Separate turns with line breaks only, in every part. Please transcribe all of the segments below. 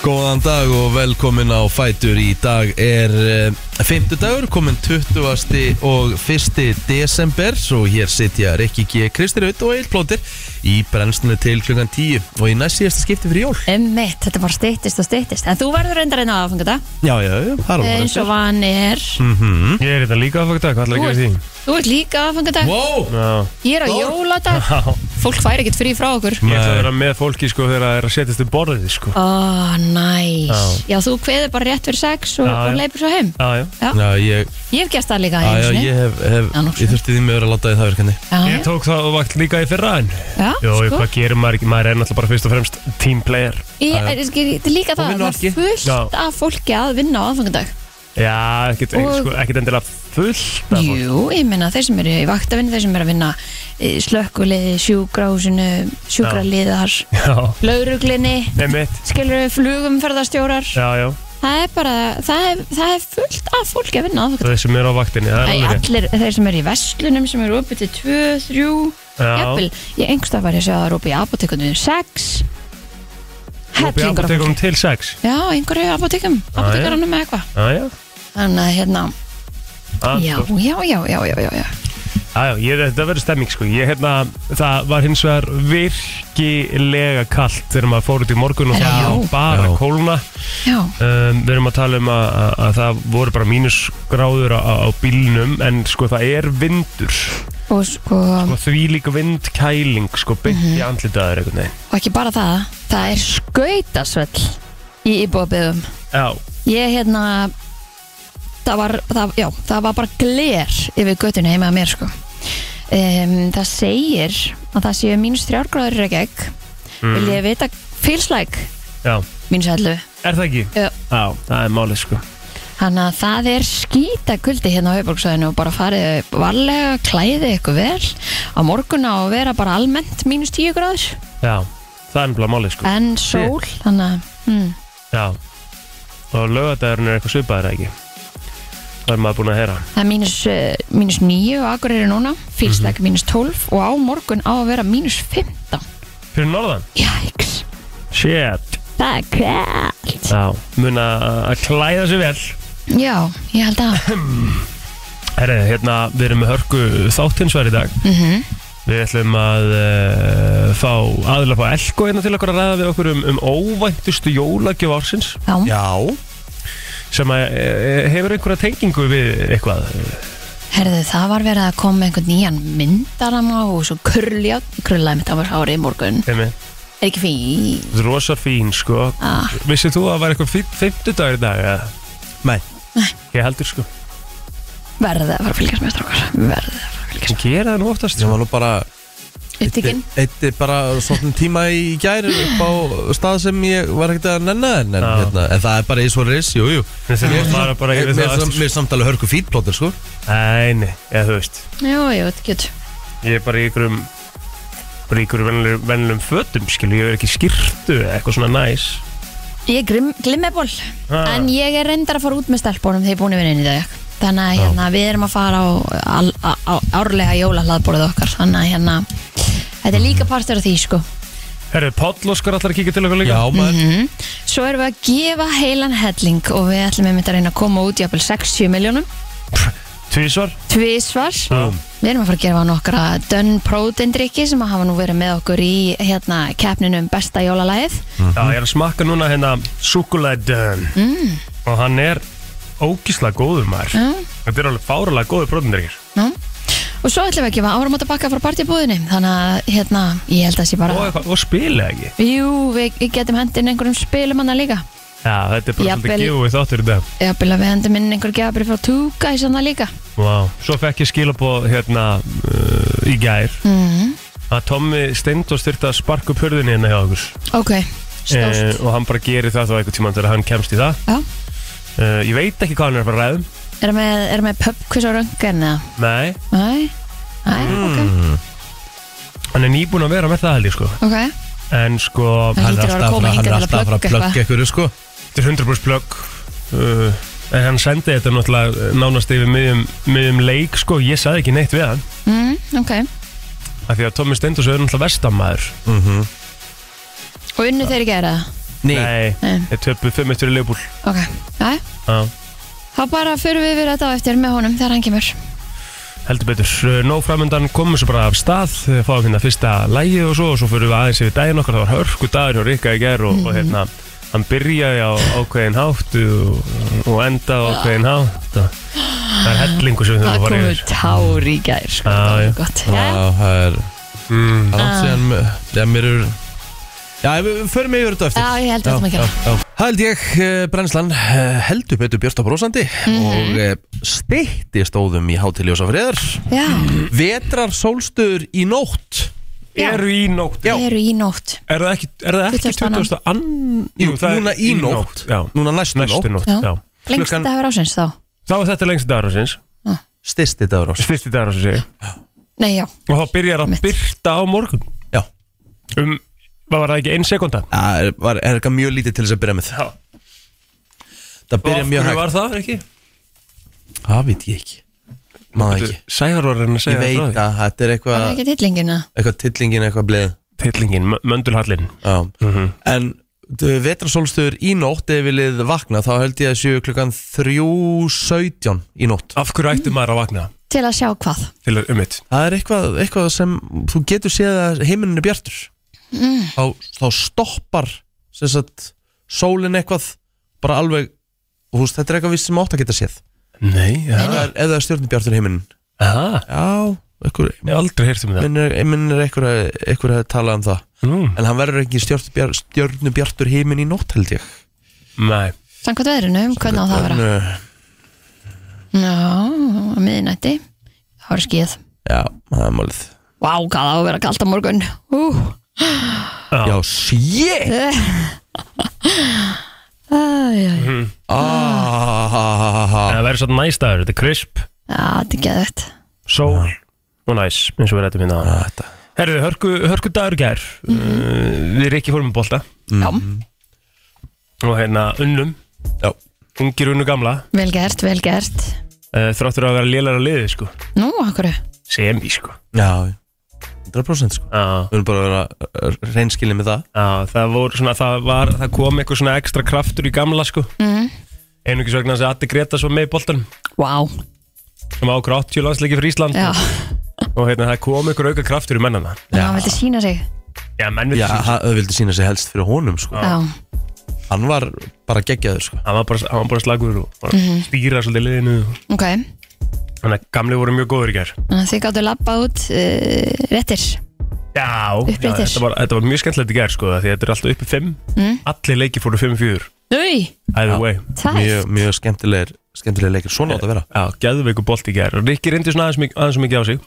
Góðan dag og velkomin á Fætur Í dag er uh, 5. dagur, komin 20. og 1. desember Svo hér sitja Rikki G. Kristirut og Egil Plóter Í brennslunni til klukkan 10 Og í næst síðasta skipti fyrir jól
Emmitt, Um þetta bara styttist og styttist En þú verður reyndar einn aðfangata
Já, já, já, það
Eins og van er
Mhm.
Ég er þetta líka aðfangdag, hvað ætlaðu að gera í því?
Þú ert líka aðfangata
Wow,
Já,
Ég er á jóladag Fólk fær ekkert frí frá okkur
ég ætla að
Nei.
vera með fólki sko þegar það er að setjast um borðið sko
Ó, næs Já, þú kveður bara rétt fyrir sex og,
Já, já.
og leipur svo heim
Já, já
já, ég,
Ég hef gert það líka
já,
einu
já,
sinni.
ég hef, hef
Já, nokkuð.
Ég þurfti því með að láta því það verkefni
já,
Ég tók það og vakt líka í fyrra en
já,
Jó,
sko.
hvað gerir maður ekki, maður er náttúrulega bara fyrst og fremst team player
Ég, ég, ég, ég, líka það,
vinnur
það
ekki.
er fullt
Já.
af fólki að vinna á aðfangadag
Já, ekkert, og...
Og-
sko, ekkert endilega fullt af fólki
Jú, ég meina þeir sem eru í vaktavinni þeir sem eru að vinna slökkuliði, sjúkrahúsinu sjúkraliðar,
Já,
lauruglinni
emitt
skilur við flugumferðarstjórar
Já, já,
það er bara, það er, það er fullt af fólki að vinna á
það er sem er á vaktinni, það er
Æ,
alveg rétt.
allir þeir sem eru í vestlunum sem eru opið til 2, 3
Já.
jafnvel, ég engstað var ég að segja að það eru opið í apotekunum 6
Opið
hellingur af
apótekum
fólki
til sex
já, einhverju apotekum,
já.
apotekarunum eða eitthvað
Já, já
þannig að hérna,
Ah,
já,
sko.
já, já, já, já, já, já.
Já, já, ég, þetta verður stemming sko Ég, hérna, það var hins vegar virkilega kalt þegar maður fór út í morgun og það
Já.
var bara
Já.
kólna
já.
um, Við erum að tala um að, að, að það voru bara mínusgráður á, á bílnum en sko það er vindur
og sko,
og því líka vindkæling sko beint
Mhm.
í andlitaður einhvern veginn
og ekki bara það það er skautasvell í íbúðaböðum
Já,
Ég hérna það var, það, já, það var bara gler yfir göttinu heima að mér sko um, Það segir að það séu mínus þrjárgráður í Reykjavík Vil ég vita, feels like
já,
mínus hellu
er það ekki?
Já.
Já, það er málið sko
Þannig að það er skýta kuldi hérna á höfbruksvæðinu og bara farið varlega, klæði ykkur vel á morgun á að vera bara almennt mínus tíu gráður
Já, það er nefnilega málið sko
en sól, þannig að mm,
Já, og lögadagurinn er eitthvað svipaður eða ekki Það er maður búin að heyra
það er mínus, eh, mínus níu og akkur eru núna, feels like mínus tólf og á morgun á að vera mínus fymtán
Fyrir norðan?
Jæks
Shit
Það er kvælt
Já, muna að klæða sig vel
Já, ég held að
Herri, hérna, við erum með hörku þáttinsverð í dag
Mm. Mhm.
Við ætlum að uh, fá aðla fá Elko hérna til okkur að ræða við okkur um, um óvæntustu jólagjöf ársins
Já,
Já,
sem að, uh, hefur einhverja tengingu við eitthvað eh,
herðu, það var verið að koma með einhvern nýjan myndarama og svo kurljátt, kurlaði mitt á var hárið í morgun
Emi,
Er ekki fín
þetta er rosar fín sko
ah,
Vissið þú að það var eitthvað fimmtudagur í dag? eða?
nei
Ég heldur sko
Verðið að fara að fylgjast með strákar Verðið að fara að fylgjast
Sem gera það nú oftast
Ég
sko.
var nú bara
með Upptíkin
Eitt er bara svona tíma í gær upp á stað sem ég var ekkert að nenna en, en,
Já.
hérna, en það er bara eins og ris, jú, jú
En þegar
Mér
maður bara- bara yfir
mér-
það
mér
aftur,
sam-
sko.
mér er samtalið hörku fítplótir, sko
Nei, nei, eða þú veist
Jú, jú, þetta er gett
Ég er bara í einhverjum bara í einhverjum venlum fötum skilu, ég er ekki í skyrtu eða eitthvað svona næs
Ég er grimm- glimmeból
Ah.
En ég er reyndar að fara út með stelpunum þegar ég er búin að vinna inn í dag Þannig að hérna, við erum að fara á, á, á, á árlega jólahlaðborðið okkar Þannig að hérna, þetta er líka partur af því sko
Herru, Páll Óskar ætlar að kíka til okkur líka Mhm.
Já, maður
Mhm. Svo erum við að gefa heilan helling og við ætlum einmitt að reyna að koma út í apel 60 miljónum,
Tvísvar
tvísvar
Já.
Við erum að fara að gefa nokkra Dönn Proteindrykki sem að hafa nú verið með okkur í hérna keppninu um besta jólalæð
Mhm.
Já, ég er að smakka núna hérna Súkulæðun mm. Og hann er ógíslega góður maður
Já.
Þetta er alveg fárulega góður brotindir
Nú. og svo ætlum við að gefa áramóta bakka frá partibúðinni þannig að hérna, ég held að sé bara
og, eitthvað- og spila ekki
Jú, við við getum hendin einhverjum spilum hana líka
Já, þetta er bara
Jafnvel-
svolítið gjóið þáttur í dag
Já, bila við hendum inn einhver gefabri frá Tuga í sanna líka
wow. Svo fekk ég skilabóð hérna uh, í gær
mm.
að Tommi Steindors þurfti að sparka upp hörðinni hérna hjá okkur
Ok,
eh,
stórt
og hann bara gerir það þá eitthvað tíma þegar hann kemst í það
Já,
Uh, ég veit ekki hvað hann er að fara að ræðum
erum við, erum við pub quiz á röngan eða?
Nei, Hmm.
Nei, nei,
Mm. hann er nýbúin að vera með það held ég sko
ok, ok
En sko,
Það
Hann
hlýtur
er
að vera að
alltaf að
koma
fara- hann
hingað
er
til að
alltaf að fara að
plugga
plugga ykkur, sko
þetta er 100% plögg uh, En hann sendi þetta náttúrulega nánast yfir miðjum, miðjum leik sko Ég saði ekki neitt við hann
mm, Ok,
Mhm.
Af því að Tommi Steindós er náttúrulega vestamæður
og unnu þeir í gera
Nei,
Nei,
Nei.
þeir töpu 5-1 fyrir Leopold
Ok, já,
Já,
þá bara förum við yfir þetta á eftir með honum þegar hann kemur
heldur betur Uh, Nóg framöndan komum svo bara af stað uh, Fáum hérna fyrsta lægi og svo Og svo fyrir við aðeins yfir daginn okkar Það var hörku dagur hjá Rikka í ger Og,
Mhm.
og hérna, hann byrjaði á ákveðin hátt Og, og enda á ákveðin hátt og, Það er hellingu sem við þurfum
Það
að fara
komu
yfir
tár í gær sko,
Já,
það var
já.
gott.
Já,
Já, Ah.
það er
mm.
langt síðan Já, mér er Já, við við förum yfir þetta eftir
Já, ég held við ætlum að gera.
já, já. Það held ég, eh, brennslan eh, heldur betur Björsta Brósandi
Mhm.
og eh, stytti stóðum í hátiljósa friðar
já,
Vetrar sólstöður í nótt
Já.
Eru í nótt
Já.
við eru í nótt
Er það ekki, er það ekki 20.
22.
ann
Jú, núna í nótt,
Já,
núna næstu
næstu
nótt,
nótt
Já.
já.
Lengst
Klukkan-
dagur ásins þá
Þá er þetta lengst dagur sinns
stysti dagur ás
Fyrsti dagur sem segi
Nei, já,
Og þá byrjar að
Mitt.
byrta á morgun
Já,
Um, hvað var það ekki, ein sekunda
það er- var- er eitthvað mjög lítið til þess að byrja með
Já.
Það byrja mjög hægt
var það ekki?
Það veit ég ekki Maður ekki
Sæðar var að reyna að
Ég
segja
veit að þetta er
það
eitthvað
er ekki tillingina
eitthvað tillingin, eitthvað bleið
Tillingin, Mhm. möndulhallin
Já. En vetrasólstöður í nótt ef viljið vakna þá held ég að séu klukkan 3.17 í nótt
Af hverju ætti maður að vakna
til að sjá hvað
til að um mitt?
Það er eitthvað, eitthvað sem þú getur séð að heiminn er bjartur
Mm.
þá, þá stoppar sem sagt, sólin eitthvað bara alveg og þú veist, þetta er eitthvað viss sem átt að geta séð
Nei,
Það
já
er, ef það er stjórnubjartur heiminn
Aha,
Já, einhver,
Ég hef aldrei heyrt um það
minn er, minn er einhver, að- einhver að tala um það
mm.
en hann verður ekki stjörnubjar- stjörnubjartur heiminn í nótt held ég
Nei,
Sankvæmt veðrinu, um hvernig á það að vera
En, uh,
Já, að miðinætti Það var skíð
Já, það er málið
Vá, hvað það á að vera kalt á morgun Ú,
Já, shit
æ, æ, æ.
Hmm. ah,
það verður svona næst dagur Þetta er krisp,
Já, þetta er geðvægt
sól og næs eins og við rættum hérna
Þetta
Herðu, hörku, hörku dagur gær uh, Við erum ekki fórum í bolta
Mhm. Já,
og hérna unnum
Já,
Ungir unnu gamla
vel gert, vel gert
uh, Þráttur að vera lélæra liðið sko
Nú, akkur
Semi sko
já 100% sko
Já,
Við erum bara að vera reynskilið með það
já, það voru svona, það var, það kom eitthvað svona ekstra kraftur í gamla sko
mm.
Einungis vegna þess að Addi Gretas var með í boltan
Vá,
sem ákur 80 landsleiki fyrir Ísland
já,
og hérna það kom eitthvað auka kraftur í mennana
já. hann vildi sína sig
Já, menn við
Já,
þessu
það vildi sína sig helst fyrir honum sko
Já,
Hann var bara geggjaður sko
Hann var bara, hann var bara slagur og bara
Mhm.
stýra svolítið liðinu
ok
Þannig að gamli voru mjög góður í gær
Þannig að Þið gáttu labbað út uh, réttir
Já,
Upp
já
yfir.
þetta, var, þetta var mjög skemmtilegt í gær sko af því að þetta er alltaf uppi 5
Mm.
Allir leiki fóru 5-4
Új,
Either
Já.
way
það
Mjög, mjög skemmtilegir, skemmtilegir leikir Svona átt að vera
Já, gæðveiku bolt í gær Rikki reyndi svona aðeins, mik- aðeins of mikið á sig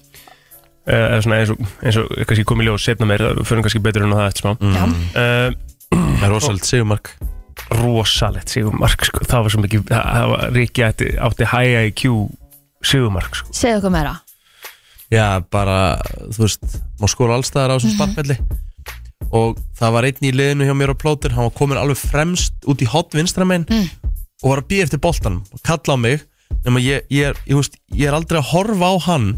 Eh, eða svona eins og, eins og kannski komið ljóð setna meir, það fyrir kannski betur en á það eftir smá
Já,
uh,
Það er rosalegt segumark
rosalegt sigumark sko. það var svo mikið, það- það var- Rikki átti, átti high IQ sigumark sko.
segðu okkur meira
Já, bara, þú veist Má skóla allstæðar á
Mhm.
þessum spartvelli Og það var einn í liðinu hjá mér á plótir Hann var komin alveg fremst út í hot vinstra megin
Mm.
Og var að býja eftir boltanum Og kalla á mig Nefnum að ég, ég, er, ég, veist, ég er aldrei að horfa á hann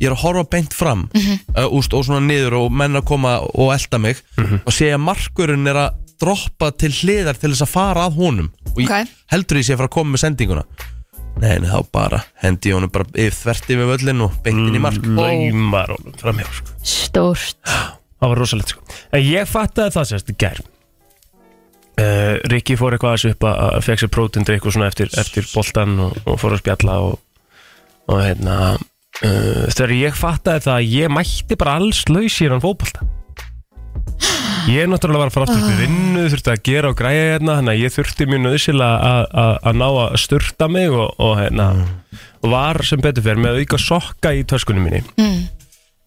Ég er að horfa beint fram
Mhm.
mm úst, Og svona niður og menn að koma og elta mig
Mhm.
Og sé að markurinn er að droppa til hliðar Til þess að fara að honum Og ég,
Ok.
heldur ég sé að fara að koma með sendinguna Nei, nei, þá bara hendi ég honum bara yfir þvert yfir völlin og beintin í mark
Mm, laumar honum framhjá sko.
Stórt
það var rosalegt sko. en ég fattaði það sérst í gær uh, Rikki fór eitthvað aðeins upp að, að fekk sér prótindri eitthvað svona eftir, eftir boltan og, og fór að spjalla og, og hérna uh, þegar ég fattaði það að ég mætti bara alls laus í hann fótbolta Ég er náttúrulega var að fara aftur upp í vinnu, þurfti að gera og græja hérna, þannig að ég þurfti mjög nöðsilega að ná að sturta mig og, og hérna, var sem betur fer með auka sokka í töskunum minni.
mm.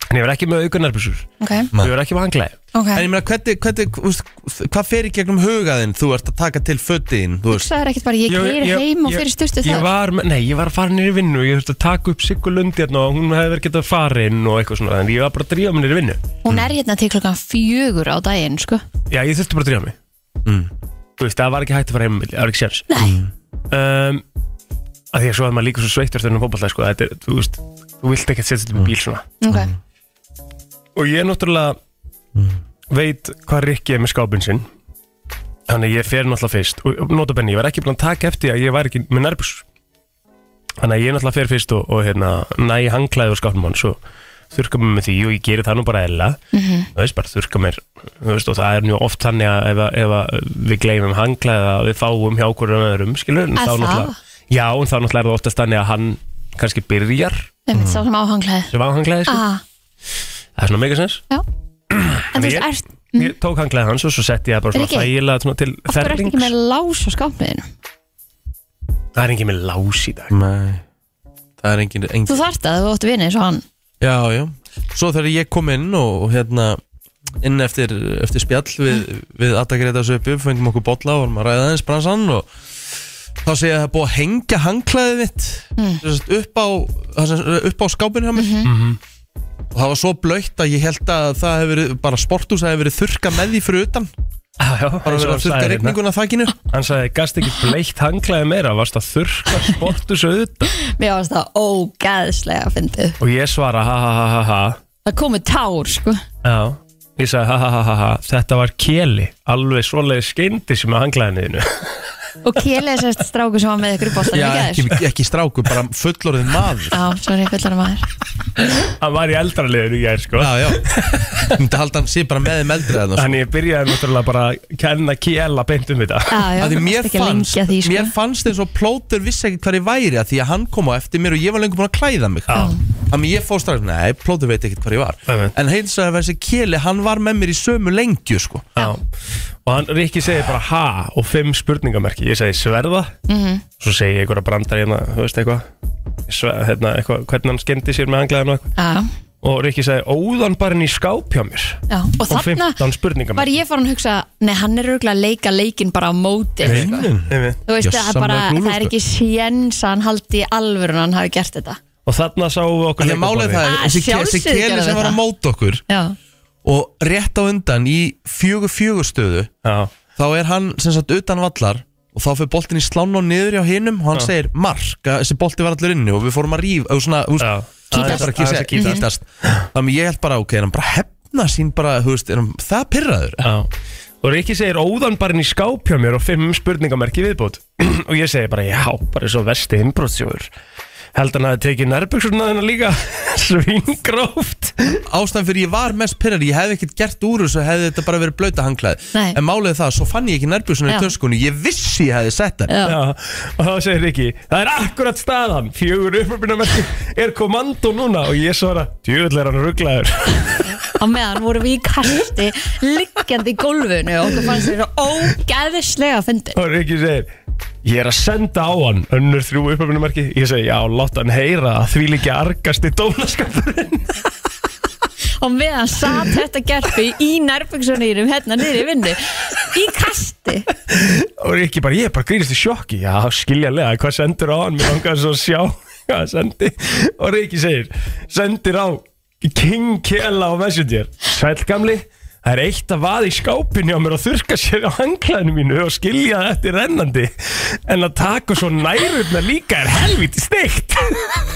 En ég var ekki með auka nærbúsur,
Ok,
Nei.
ég var ekki með hanglaði.
ok
En ég meina, hvernig, hvernig, þú veist, hvað fer í gegnum hugaðinn þú ert að taka til fötiðinn, þú veist?
Það er ekkert bara, ég keiri heim og
ég-
fyrir styrtu
ég
þar
var, með- Nei, ég var að fara nýri vinnu Ég þurfti að taka upp Siggu Lundi hérna og hún hefði verið getað farin og eitthvað svona En ég var bara að drífa mig nýri vinnu
Hún er hérna til klokkan fjögur á daginn, sko
Já, ég þurfti bara að drífa mig
Mm.
Þú veist, það var ekki hægt að fara heim Það var ekki séns
Nei,
Mm.
um, að Því að svo að maður líka svo sveittur þennan fótballa sko, þetta er, Þú veist, þú vilt ekki að setja þetta upp í bíl svona
ok,
Og ég náttúrulega veit hvað Rikki er með skápin sinn Þannig að ég fer náttúrulega fyrst og notabenni, ég var ekki búin að taka eftir því að ég var ekki með nærbús Þannig að ég náttúrulega fer fyrst og, og hérna, næ hangklæði úr skápnum hans og þurka mér með því og ég geri það nú bara eðla þú veist, bara þurka mér þú veist, og það er nú oft þannig að ef, að- ef að við gleymum hangklæði að við fáum hjá okkur um öðrum, skilur en
Er
þá
það?
náttúrulega- Já, en þá náttúrulega er það oftast þannig að hann kannski byrjar
Einmitt,
Mm.
sá sem áhanglaði
sem á hangklæði, sko.
ah,
það er svona megasens
En þú
En
veist,
ég-
ert,
Ég tók hangklæði hans og svo setti ég það bara svona
Riki,
þægilega svona til
af hverju ert ekki
þerrings
með lás á skápmiðinu?
Það er engin með lás í dag
Nei Það er engin, engin
Þú þarft að þú óttu vinni eins og hann
Já, já Svo þegar ég kom inn og, og hérna inn eftir, eftir spjall við, við Adda Gretas uppi, fengum okkur bolla og varum að ræða eins bransan og þá sé ég að það er búið að hengja hangklæðið mitt mm. upp, á, það sem- upp á skápinu hjá mér
Mhm.
og það var svo blöytt að ég held að það hefur verið, bara sportús hefur verið þurka með því fyrir utan
Já, já, eins og
bara
hann
verið að þurka
sagði hérna.
regninguna þakkinu
Hann sagði, gast ekki bleikt hanglaði meira Varst að þurrka sportu svo auðvitað
Mér varst það ógæðslega að fyndið
Og ég svara, ha ha ha ha ha
Það komu tár, sko
Já, ég sagði, ha ha ha ha ha Þetta var keli, alveg svoleiði skeindi sem að hanglaði niðinu
Og Kjelið er sérst stráku sem var með ykkur í bóttan
Já, ekki, ekki stráku, bara fullorðin maður
Já, sorry, fullar maður
Hann var í eldra liðinu, ég er sko
Já, já Ég myndi halda hann sé bara með þeim eldri þarna, sko.
Þannig ég byrjaði náttúrulega bara að kenna kela beint um þetta
Já, já,
að því
þú
mér
mást ekki
fannst,
lengja því, sko
mér fannst eins og plóter vissi ekki hver ég væri að því að hann kom á eftir mér og ég var lengur búin að klæða mig
Já.
þannig að ég fór strax, nei, plóter veit ekki hver ég var
Einmitt.
en heils að þessi keli, hann var með mér í sömu lengju sko.
Já. Og hann, Rikki segir bara ha og fimm spurningamerki. Ég segi sverða,
Mhm.
svo segi ég einhverja brandar hérna, þú veist eitthvað, sve- hérna, eitthvað hvernig hann skendi sér með anglaðinu og eitthvað.
Já,
Og Rikki segi óðan bara inn í skáp hjá mér.
já Og
Og
þarna
15 spurningamerki.
var ég farin að hugsa Nei, hann er örgulega að leika leikin bara á móti sko.
Einmitt.
Þú veist, það er
Jössamlega
bara,
glúlu,
það er
sko.
ekki séns að hann haldi í alvöru en hann hafi gert þetta
Og þarna sáum við okkur
Því að málið það er,
Ah,
þessi, ke- þessi
sjálfsögðu
keli
gerðu
sem var
það.
að móta okkur
Já,
og rétt á undan í fjögur fjögur stöðu
Já,
þá er hann sem sagt utan vallar og þá fyrir boltin í slán og niður hjá hinnum og hann segir mark, að þessi bolti var allur inni og við fórum að ríf, og svona, þú veist,
já.
Það er bara ekki að segja
kýtast.
kýtast Þannig ég held bara, ok, er hann bara að hefna sín bara, þú veist, er hann það pyrraður
Já. Og Rikki segir óðan bara inn í skáp hjá mér og fimm spurningamerki í viðbót. og ég segi bara, já, bara svo vesti innbrótsjóður. Held hann hafi tekið nærbyggsuna þennan líka svingróft.
Ástæðan fyrir ég var mest pyrraður, ég hefði ekkert gert úr þessu hefði þetta bara verið blauta hangklæði
Nei.
En málið er það, svo fann ég ekki nærbjörnsuna í
Já.
töskunni, ég vissi ég hefði sett það
já,
Já, og þá segir Rikki Það er akkurat staðan, fjögur uppröfbyrnamerki er komando núna og ég svara, djöðl er hann rugglaður
á meðan vorum við í kasti liggjandi í gólfinu og okkur fannst þetta ógæðislega að fyndi
og Rikki segir Ég er að senda á hann önnur þrjú uppröfbyrnamerki ég segi, já, láta hann heyra að því líka argasti dónaskapurinn
og meðan satt þetta gerfi í nærbyggsonýrum hérna niður í vinnu í kasti
og Rikki bara, ég er bara grínist í sjokki já, skiljanlega, hvað sendur á hann mér langar svo að sjá hvað hann sendi og Rikki segir, sendir á King Kela og Messenger Sæll gamli Það er eitt að vaða í skápinu á mér og þurka sér á hanglaðinu mínu og skilja það eftir rennandi en að taka svo nærurna líka er helviti steikt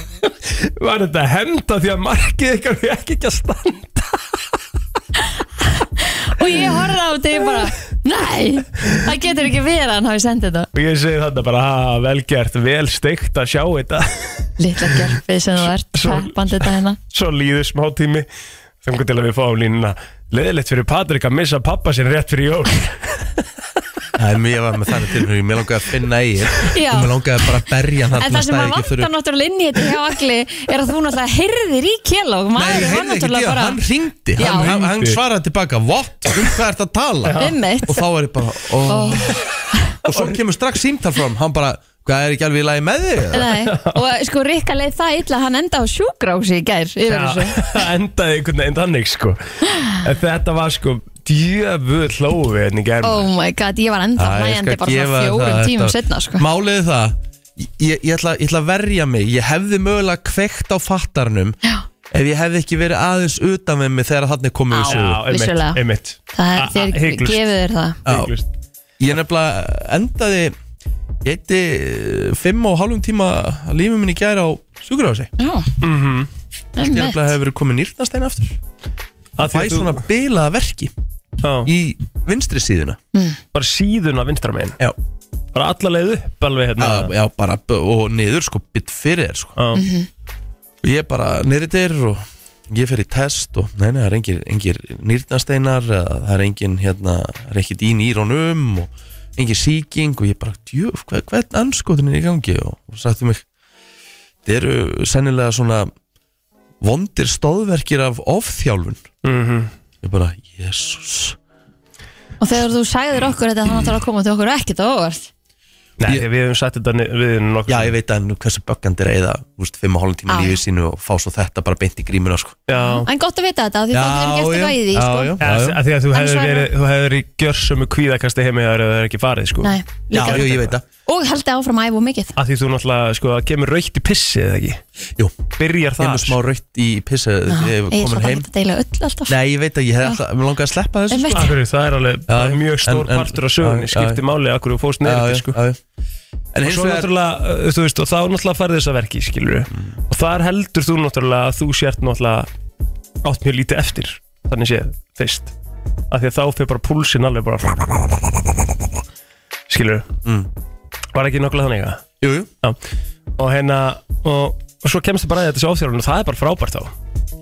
Var þetta henda því að markið ykkar við ekki ekki að standa
og ég horfði á þetta og ég bara nei, það getur ekki verið að hann hafi sendið þetta
og ég segi þetta bara, ha, vel gert, vel steikt að sjá þetta
litla gerfi sem þú ert
Svo-
peppandi þetta hérna
svo líður smá tími þangar til að við fáum línuna leðilegt fyrir Patrik að missa pappa sinn rétt fyrir jól
Það er mjög var með þannig tilhörning, mér langaði að finna eigin
Já.
og mér langaði bara að berja hann
En það sem maður vantar náttúrulega inn í þetta hjá Agli er að þú náttúrulega heyrðir í kjela og
Nei,
maður
ég
var
heyrði ekki
náttúrulega
það,
bara
hann ringdi,
Já.
hann, hann, hann
Hringdi.
svaraði tilbaka, what, um hvað ert að tala?
Einmitt.
Og þá er ég bara, ó Og svo kemur strax símtal frá hann, hann bara, hvað er ekki alveg í lagi með þig? eða?"
Nei, og sko Rikka leið það illa að hann enda á sjúkrási í gær yfir þessu
það endaði einhvern veginn þannig sko en þetta var sko djöfuð hlóðu við hérna í germa
Oh my god, ég var enda
Æ, ég
hlægjandi
skal
bara
gefa
svona
þér
fjórum
það,
tímum
þetta-
setna sko.
Málið er það ég, ég, ætla, ég ætla að verja mig Ég hefði mögulega kveikt á fattarnum
Já.
Ef ég hefði ekki verið aðeins utan með mig Þegar þannig komið
Á.
við sögu
vissulega.
einmitt
Það er,
A- a-
þér
hiklaust.
gefið þér það
Já.
Hygglust.
Ég nefnilega endaði Ég eitti eh, fimm og hálfum tíma Lífum minn í gæra á sjúkurhási Ég
Já,
Mhm.
nefnilega hefði verið komið nýrnast einn aftur
Að því
Fæ
að þú-
svona bilaða verki
Já.
í vinstri síðuna
Mm.
Bara síðuna vinstra megin
Já,
Bara alla leið upp alveg hérna
já, já bara b- og niður sko, bit fyrir þér sko.
Já.
og ég bara niður þér og ég fer í test og nei, nei, það er engir, engir nýrnasteinar eða það er engin hérna, það er ekkit í nýrónum og engin síking og ég bara, djöf, hver, hvern anskotin er í gangi og, og sagði mig það eru sennilega svona vondir stóðverkir af ofþjálfun
Mhm.
ég bara, jésús
Og þegar þú sagðir okkur þetta þannig að það koma til okkur ekkert á óvart
Nei,
Ég-
við hefum sett þetta ni- við nokkuð
Já, ég veit að nú hversu böggandi reyða, þú veist, fimm og hálfum
Já,
tíma
já.
lífið sínu og fá svo þetta bara beint í grímuna, sko.
Já.
En gott að vita þetta, af því það er ekki eftir hvað í því sko.
já,
Já,
já, já.
af því að þú
En
hefur
sværa.
verið, þú hefur verið gjörsum kvíðakasti heimi ef það er ekki farið sko.
Nei,
Já,
líka
jú, ég veit það.
Og haldið áfram að æfa of mikið
að því þú náttúrulega sko, það kemur raukt í pissi eða ekki
Jú,
byrjar það
kemur smá rautt í pissa þegar ég
Ah, Ég
er komin
ætla
heim.
að deila öll alltaf
Nei, ég veit að ég hef alltaf, mér langaði að sleppa þessu. sko.
Einmitt.
Akkur, það er alveg
Já, já.
mjög stór
En- en-
partur af sögunni
já, já,
skiptir máli akkur þú fórst
Já,
neyri
já,
sko.
já, já.
og
En eins
svo
og það,
náttúrulega, uh, þú veist, og þá náttúrulega farið þessa verki skilur
Mm.
og þar heldur þú náttúrulega að þú sért náttúrulega átt mjög lítið eftir þannig séð, fyrst af því að þá fyrir bara púlsinn alveg bara skilur
Mm.
var ekki nokkulega þannig að
jú, jú,
Já. og hérna og, og svo kemst þið bara að þessi áþjálfun og það er bara frábært þá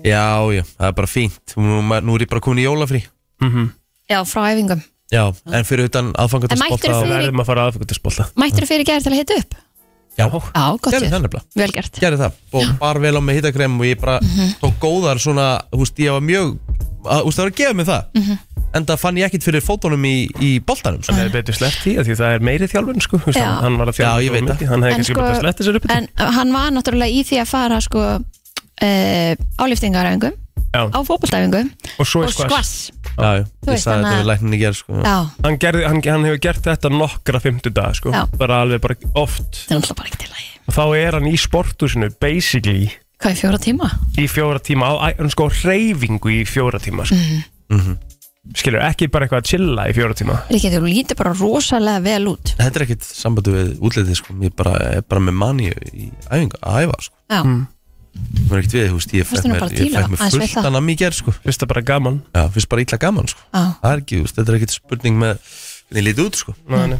já, já, það er bara fínt. Nú, ma- nú er ég bara komin í jólafrí.
Mhm.
Já, frá æfingum
Já, en fyrir utan
En mættirðu
aðfangatum spotta
fyrir-
og...
verðum að fara aðfengatisbólta
Mættir fyrir gæri til að hita upp
Já,
Já, gott Mhm.
gerði
þér,
það nefnilega.
vel gert
Gerði það. Og bar vel á með hittakrem og ég bara tók góðar svona, þú veist, ég var mjög, að- þú veist, það var að gefa mig það.
Mhm.
En það fann ég ekkit fyrir fótunum í, í boltanum, sko.
Það er betur sleppt í af því það er meiri þjálfun sko. Þú veist,
Já.
hann, hann var að þjálfa
Já, ég
svo
veit
mikið,
það.
Hann hefði
En
kannski
sko-
bara slett þessar upp
En uh, hann var náttúrulega í því að fara sko uh, áliftingaræfingum
Já.
á fótboltæfingu
Og svo
og
er skvass
skvass
Já,
Þú
já, ég
veist,
sagði
þannig
þetta
að-
við lækninni gerð, sko.
Já,
hann, gerði, hann, hann hefur gert þetta nokkra fimmtudag sko.
Já.
bara alveg bara oft
það er náttúrulega bara ekki til að
og þá er hann í sportusinu basically
Hvað er fjóra tíma?
í fjóra tíma á æ- hann sko reyfingu í fjóra tíma sko.
Mm.
Mhm.
skilur ekki bara eitthvað að chilla í fjóra tíma
Rikki, þú lítur bara rosalega vel út
Þetta er ekkert sambandi við útlitið sko Ég bara, er bara með maníu í æfingu að æfa sko
Já,
Mm.
Það er ekkert við, þú veist, ég
Varstu
fekk
nú
mér,
bara að
ég
díla?
fekk mér
Aðeins við
fullt
það.
að nammi í gerð sko
finnst það bara gaman
Já, finnst bara illa gaman sko
já,
Það er ekki, þú veist, þetta er ekkert spurning með Hvernig lítið út sko
Ná, nei.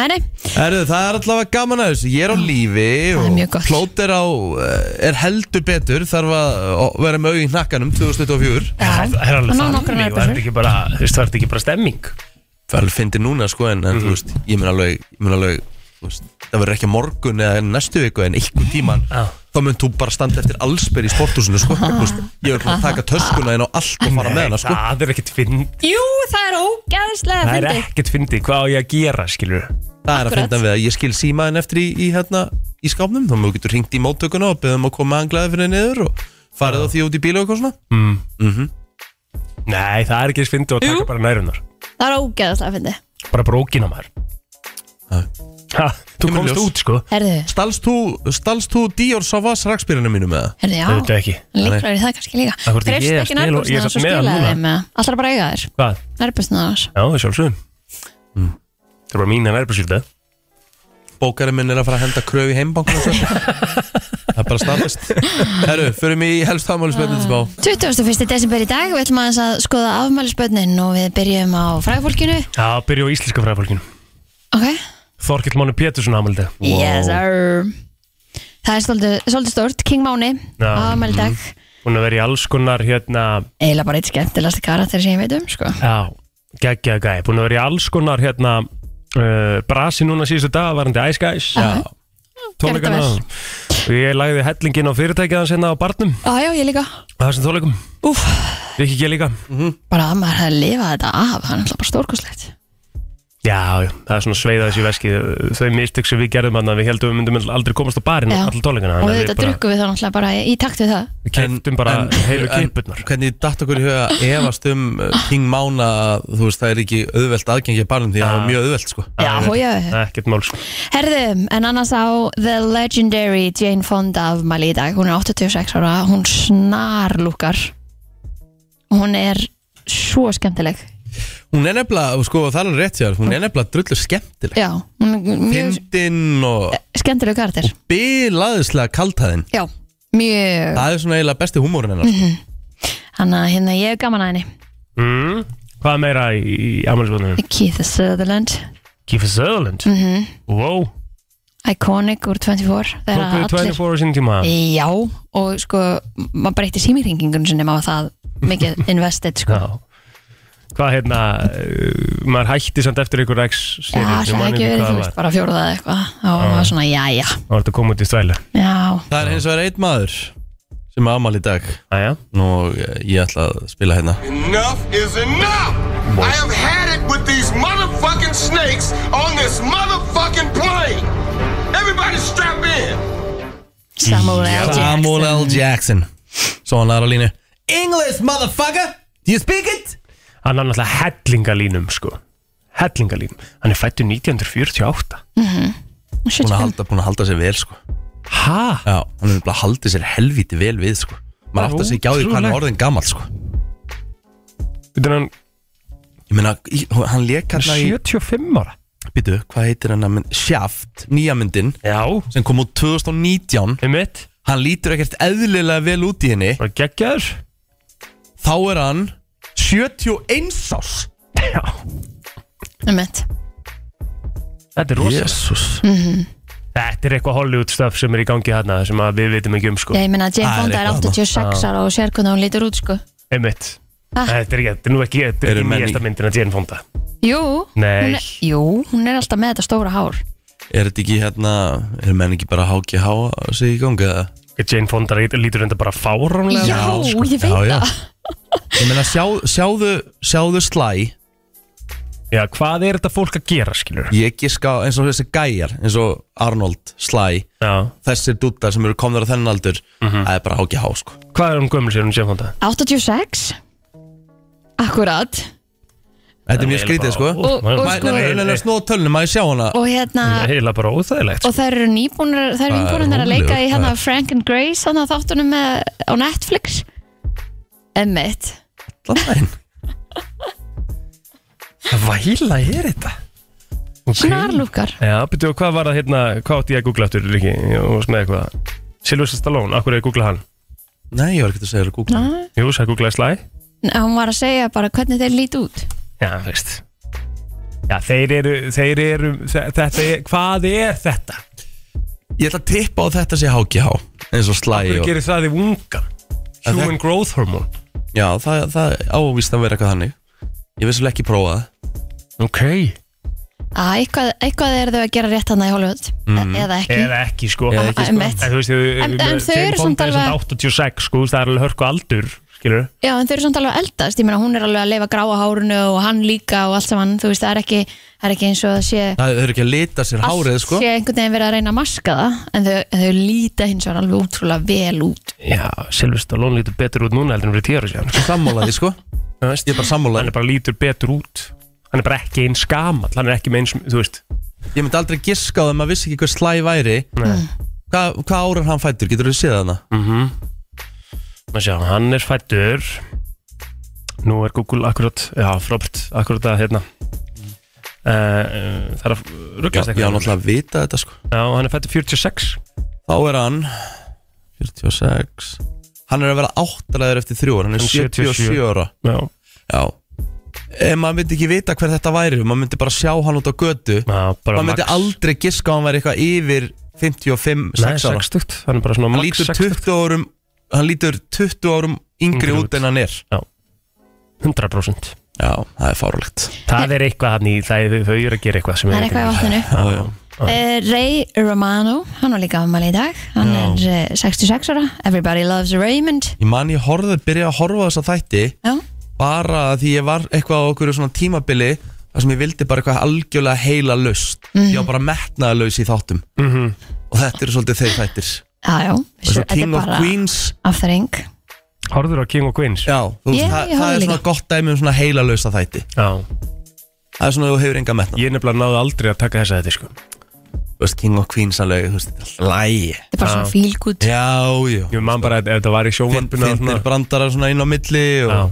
nei, nei,
Herðu, það er allavega gaman að þessu Ég er á lífi
Það er mjög
og
gott.
plót er á eh, Er heldur betur, þarf að eh, vera með augun í hnakkanum 2024
já
það er alveg
Hann á
þannig það
nokkrar
er
nærbysur.
ekki bara, þú veist, það er ekki bara stemming Mhm.
Það er alveg fyndið núna sko en, en þú veist, ég mun alveg, ég mun alveg þú veist, Það verður ekki á morgun eða næstu viku en einhvern tíman
Já.
þá mun þú bara standa eftir allsberg í sporthúsinu sko. Þú veist, ég verður að taka töskuna inn á allt og fara með hana sko.
það er ekkert fyndið
Jú, það er ógæðslega
það er
fyndið
ekkert fyndið, hvað á ég að gera skilur
Það er að finna við að ég skil símaðin eftir í, í, hérna, í skápnum þá mjög getur ringt í móttökuna og beðum að koma anglaði fyrir niður og farið á því út í bíla og eitthvað svona
Mhm.
Mhm.
nei, það er ekki eins fyndið að taka bara nærunar
Það er ógæðslega fyndið
bara brókina maður
Já.
ha, þú
Kemur
komst
ljós.
út sko
Herðu,
Stalst þú, stalst þú Dior Savas rakspyrinu mínu með það?
herðu, já
Auðvitað ekki.
Líklar er það kannski líka
Akkur er ég
Greifst
að
ekki
spila- ég er
nærbúsna
samt
þess og
með hann
spilaði
núna.
þeim Allra bara að eiga þér,
hvað?
nærbúsna þess
Já, sjálfsögum mm. Það er bara mín en erbjörnsýrta
Bókarinn minn er að fara að henda kröfu í heimbankunum Það er bara staðfest Herru, förum í helst afmálisböndin
Ah.
smá
21. desember í dag, við ætlum aðeins að skoða afmælisbönnin og við byrjum á frægfólkinu
Já, byrju á íslenska fræðfólkinu
Ok,
Þorkill Máni Pétursson ámældi
yes sir Það er svolítið, svolítið stort, King Máni
Já. Mhm.
afmæli í dag,
Hún er verið í alls konar hérna
eiginlega bara eitt skemmtilegasti karakter sem ég veit um, sko
Já, geggja gæ Hún er verið í alls konar hérna uh, Brasi núna síðustu dag varandi Ice Guys
Já,
tónleikana
gerðu
Og ég lagði hellingin á fyrirtækið hans hérna á barnum
Á, já, ég líka
á þessum tónleikum
Úf,
Rikki ekki líka
Mhm.
bara að maður hefði lifað þetta af, það er alltaf bara stórkoslegt
Já, já, það er svona sveiða þessi veski Þau mistök sem við gerðum hann Við heldum við myndum aldrei komast á barinn
Já.
Alltaf tónleikana
Og
þannig að
þetta
bara-
drukkum við þá náttúrulega bara í takt við það
Við keftum bara heilu
en
kipurnar
Hvernig datt okkur í huga að efast um uh, King Mána að, Þú veist, það er ekki auðvelt aðgengi að barnum Því að það var mjög auðvelt, sko
Já, hója
Ekkert mál sko
Herðu, en annars á The Legendary Jane Fonda afmæli í dag hún er 86 ára, hún snarlúkar hún er svo skemmtileg
Hún er nefnilega, sko, það er alveg rétt hjá þér, Hún er nefnilega drullu skemmtileg
já, hún er mjög
Fyndinn og
skemmtileg karakter
bilaðislega kaltæðin
já, mjög
sko.
Það er svona eiginlega besti húmórin hennar sko.
hann að hérna ég er gaman að henni
mm. Hvað meira í, í afmælisbóðunum?
Keith Sutherland
Kiefer Sutherland
mm
Wow,
Iconic úr 24 Þegar
tók við
allir-
24 á sín tíma
Já, og sko maður breytti símiringingun sinni maður það mikið invested sko
Já Hvað hérna, uh, maður hætti samt eftir ykkur X
Já,
seríu, ég
Ah, það
man
ekki verið,
hvað það
þú veist,
var. Ah.
bara fjórða eða eitthvað þá var maður svona, já, já,
Það var þetta að koma út í þvælu
já
Það er hins vegar einn maður sem er amal í dag
Æja,
og eh, ég ætla að spila hérna
Enough is enough! I have had it with these motherfucking snakes on this motherfucking plane! Everybody strap in!
Samuel L. Jackson
Samuel L. Jackson Svo hann laður á línu English motherfucker, do you speak it?
hann er náttúrulega hellingalínum sko Hellingalínum, hann er fættur 1948
Mhm.
Búin að
75.
halda, búin að halda sér vel sko
Hæ?
Já, hann er bara haldið sér helvíti vel við sko Maður átt að segja á því hvað hann er orðin gammal sko
Þannig hann
Ég meina, í- hann lék
er
hann í
75 ára
Býtu, hvað heitir hann að mynd Shaft, nýja myndin
Já,
sem kom út 2019
um mitt,
Hann lítur ekkert eðlilega vel út í henni
bara geggjaður
Þá er hann 71 árs
Já,
Einmitt. Mhm.
þetta er rosa
Jesus
Þetta er eitthvað Hollywood stuff sem er í gangi hérna sem að við vitum ekki um sko
Já, ég meina, Jane
Það er
Fonda er
eitthvað
86 ára og sér hvernig hún lítur út sko
Einmitt
Ha?
Nei, Þetta er ekki, þetta er nú ekki, þetta er
Eru
ekki
menn í-
nýjasta myndin að Jane Fonda
Jú,
Nei.
hún er, jú, hún er alltaf með þetta stóra hár
Er þetta ekki hérna, er menn ekki bara HGH að segja í gangi eða?
Jane Fonda lítur enda bara fáránlega
Já,
Já, sko,
ég
já,
veit
já.
það
Ég meina, sjá, sjáðu, sjáðu slæ
Já, hvað er þetta fólk að gera, skilur?
Ég giska á eins og þessi gæjar eins og Arnold, slæ
Já Mhm.
Þessir dúttar sem eru komnar á þennan aldur Það er bara HGH sko
Hvað er hún gömul sér hún Jane Fonda?
86 Akkurat
Þetta er mjög skrítið sko
Og- og
Mæ-
sko-
Nei, nei, nei, nei, snúa tölnum, maður sjá hana
Og hérna,
Heila bara óþægilegt
og þær eru nýbúnar þær eru
Það er
nýbúnar að
rólegur,
leika í hérna
það er-
Frank and Grace hann að þáttunum með, á Netflix Emmett
Allan
Væla er þetta?
Snarlúkar
Já, betur, hvað var það hérna, hvað átti ég að googla aftur, Riki? Og svona eitthvað Silvestar Stallone, akkur er ég að googla hann?
Nei, ég var ekkert að segja þér að googla
Jú, sagði googlaði slæ
hún var að segja bara hvernig þeir líti út
Já, veist Já, þeir eru, þeir eru, þe- þetta er, hvað er þetta?
Ég ætla að tippa á þetta sé HGH eins og slæ
Hvað
og,
gerir það í ungan?
það-
Human Growth Hormone
Já, það, það ávíst að vera eitthvað þannig Ég vissulega ekki prófa það
Ok
að eitthvað, eitthvað eru þau að gera rétt hann í Hollywood e eða ekki
Mm.
Ah,
Eða ekki, sko
Eða ekki, sko.
Einmitt.
En þú veist,
En- en þau
Jane
eru samt
Fonda er samt
alveg-
86, sko, þú veist, það er alveg hörku aldur, skilur
Já, en þau eru samt alveg að eldast, ég meina hún er alveg að leifa gráa hárunu og hann líka og allt saman þú veist, það er ekki, það er ekki eins og það sé
Það eru ekki að lita sér hárið sko
sé einhvern veginn verið að reyna að maska það en þau, en þau líta hins vegar alveg útrúlega vel út
Já, Silvestar Stallone lítur betur út núna heldur en fyrir tíu ára síðan
Sammálaði sko
Þú veist,
Ég er bara sammálaði
Hann er bara lítur betur út Hann er bara ekki eins gamall Hann er ekki með eins, þú veist
Ég myndi aldrei giska á það, maður vissi ekki hvað slæ væri
Nei. Mhm.
Hva, Hvað árar hann fættur, getur þú séð hana?
Má sjá, Hann er fættur Nú er Google akkurat Já, frábært, akkurat að hérna uh, Það er að
Já,
ruggast
ég á náttúrulega að vita þetta sko
Já, hann er fættur 46
Þá er hann 46 Hann er að vera áttalæður eftir þrjú ára Hann er
Hann er
77 ára
Já,
Já Ef maður myndi ekki vita hver þetta væri Maður myndi bara sjá hann út á götu
já bara
Maður myndi
max-
aldrei giska á hann væri eitthvað yfir 55,
Nei,
6 ára
60 Hann er bara svona
Hann
max
lítur
60
20 árum Hann lítur 20 árum yngri
Yngri
út
út.
en hann er
100%
Já, það er fárulegt
Það er eitthvað hann í Það er þau eru að gera eitthvað sem
það er eitthvað í vatninu
Já, já
Uh, Ray Romano, hann var líka afmæli í dag hann er uh, 66 ára Everybody loves Raymond
Ég man ég horfði, byrjaði að horfa á þessa þætti
Já,
bara að því ég var eitthvað á okkur svona tímabili þar sem ég vildi bara eitthvað algjörlega heila laust ég
Mhm.
var bara metnaða laus í þáttum
Mhm.
og þetta eru svolítið þeir þættir
já, já
Svo
Svo, þetta er
King of
bara
Queens
afþreng
Horður á King og Queens
Já, þú veist,
Ég-
það,
ég
það
horfði
er svona
líka.
gott dæmi um svona heila lausa þætti
Já.
það er svona að þú hefur enga metna
Ég nefnilega náði aldrei að taka þessa þetta sko
Þú veist, King of Queens alveg, þú veist, þetta er lægi
þetta er bara svona feel good
Já, já
Ég man bara að ef þetta var í sjónvarpinu og
Fyndir
svona-
brandarar svona inn á milli
Já.
og...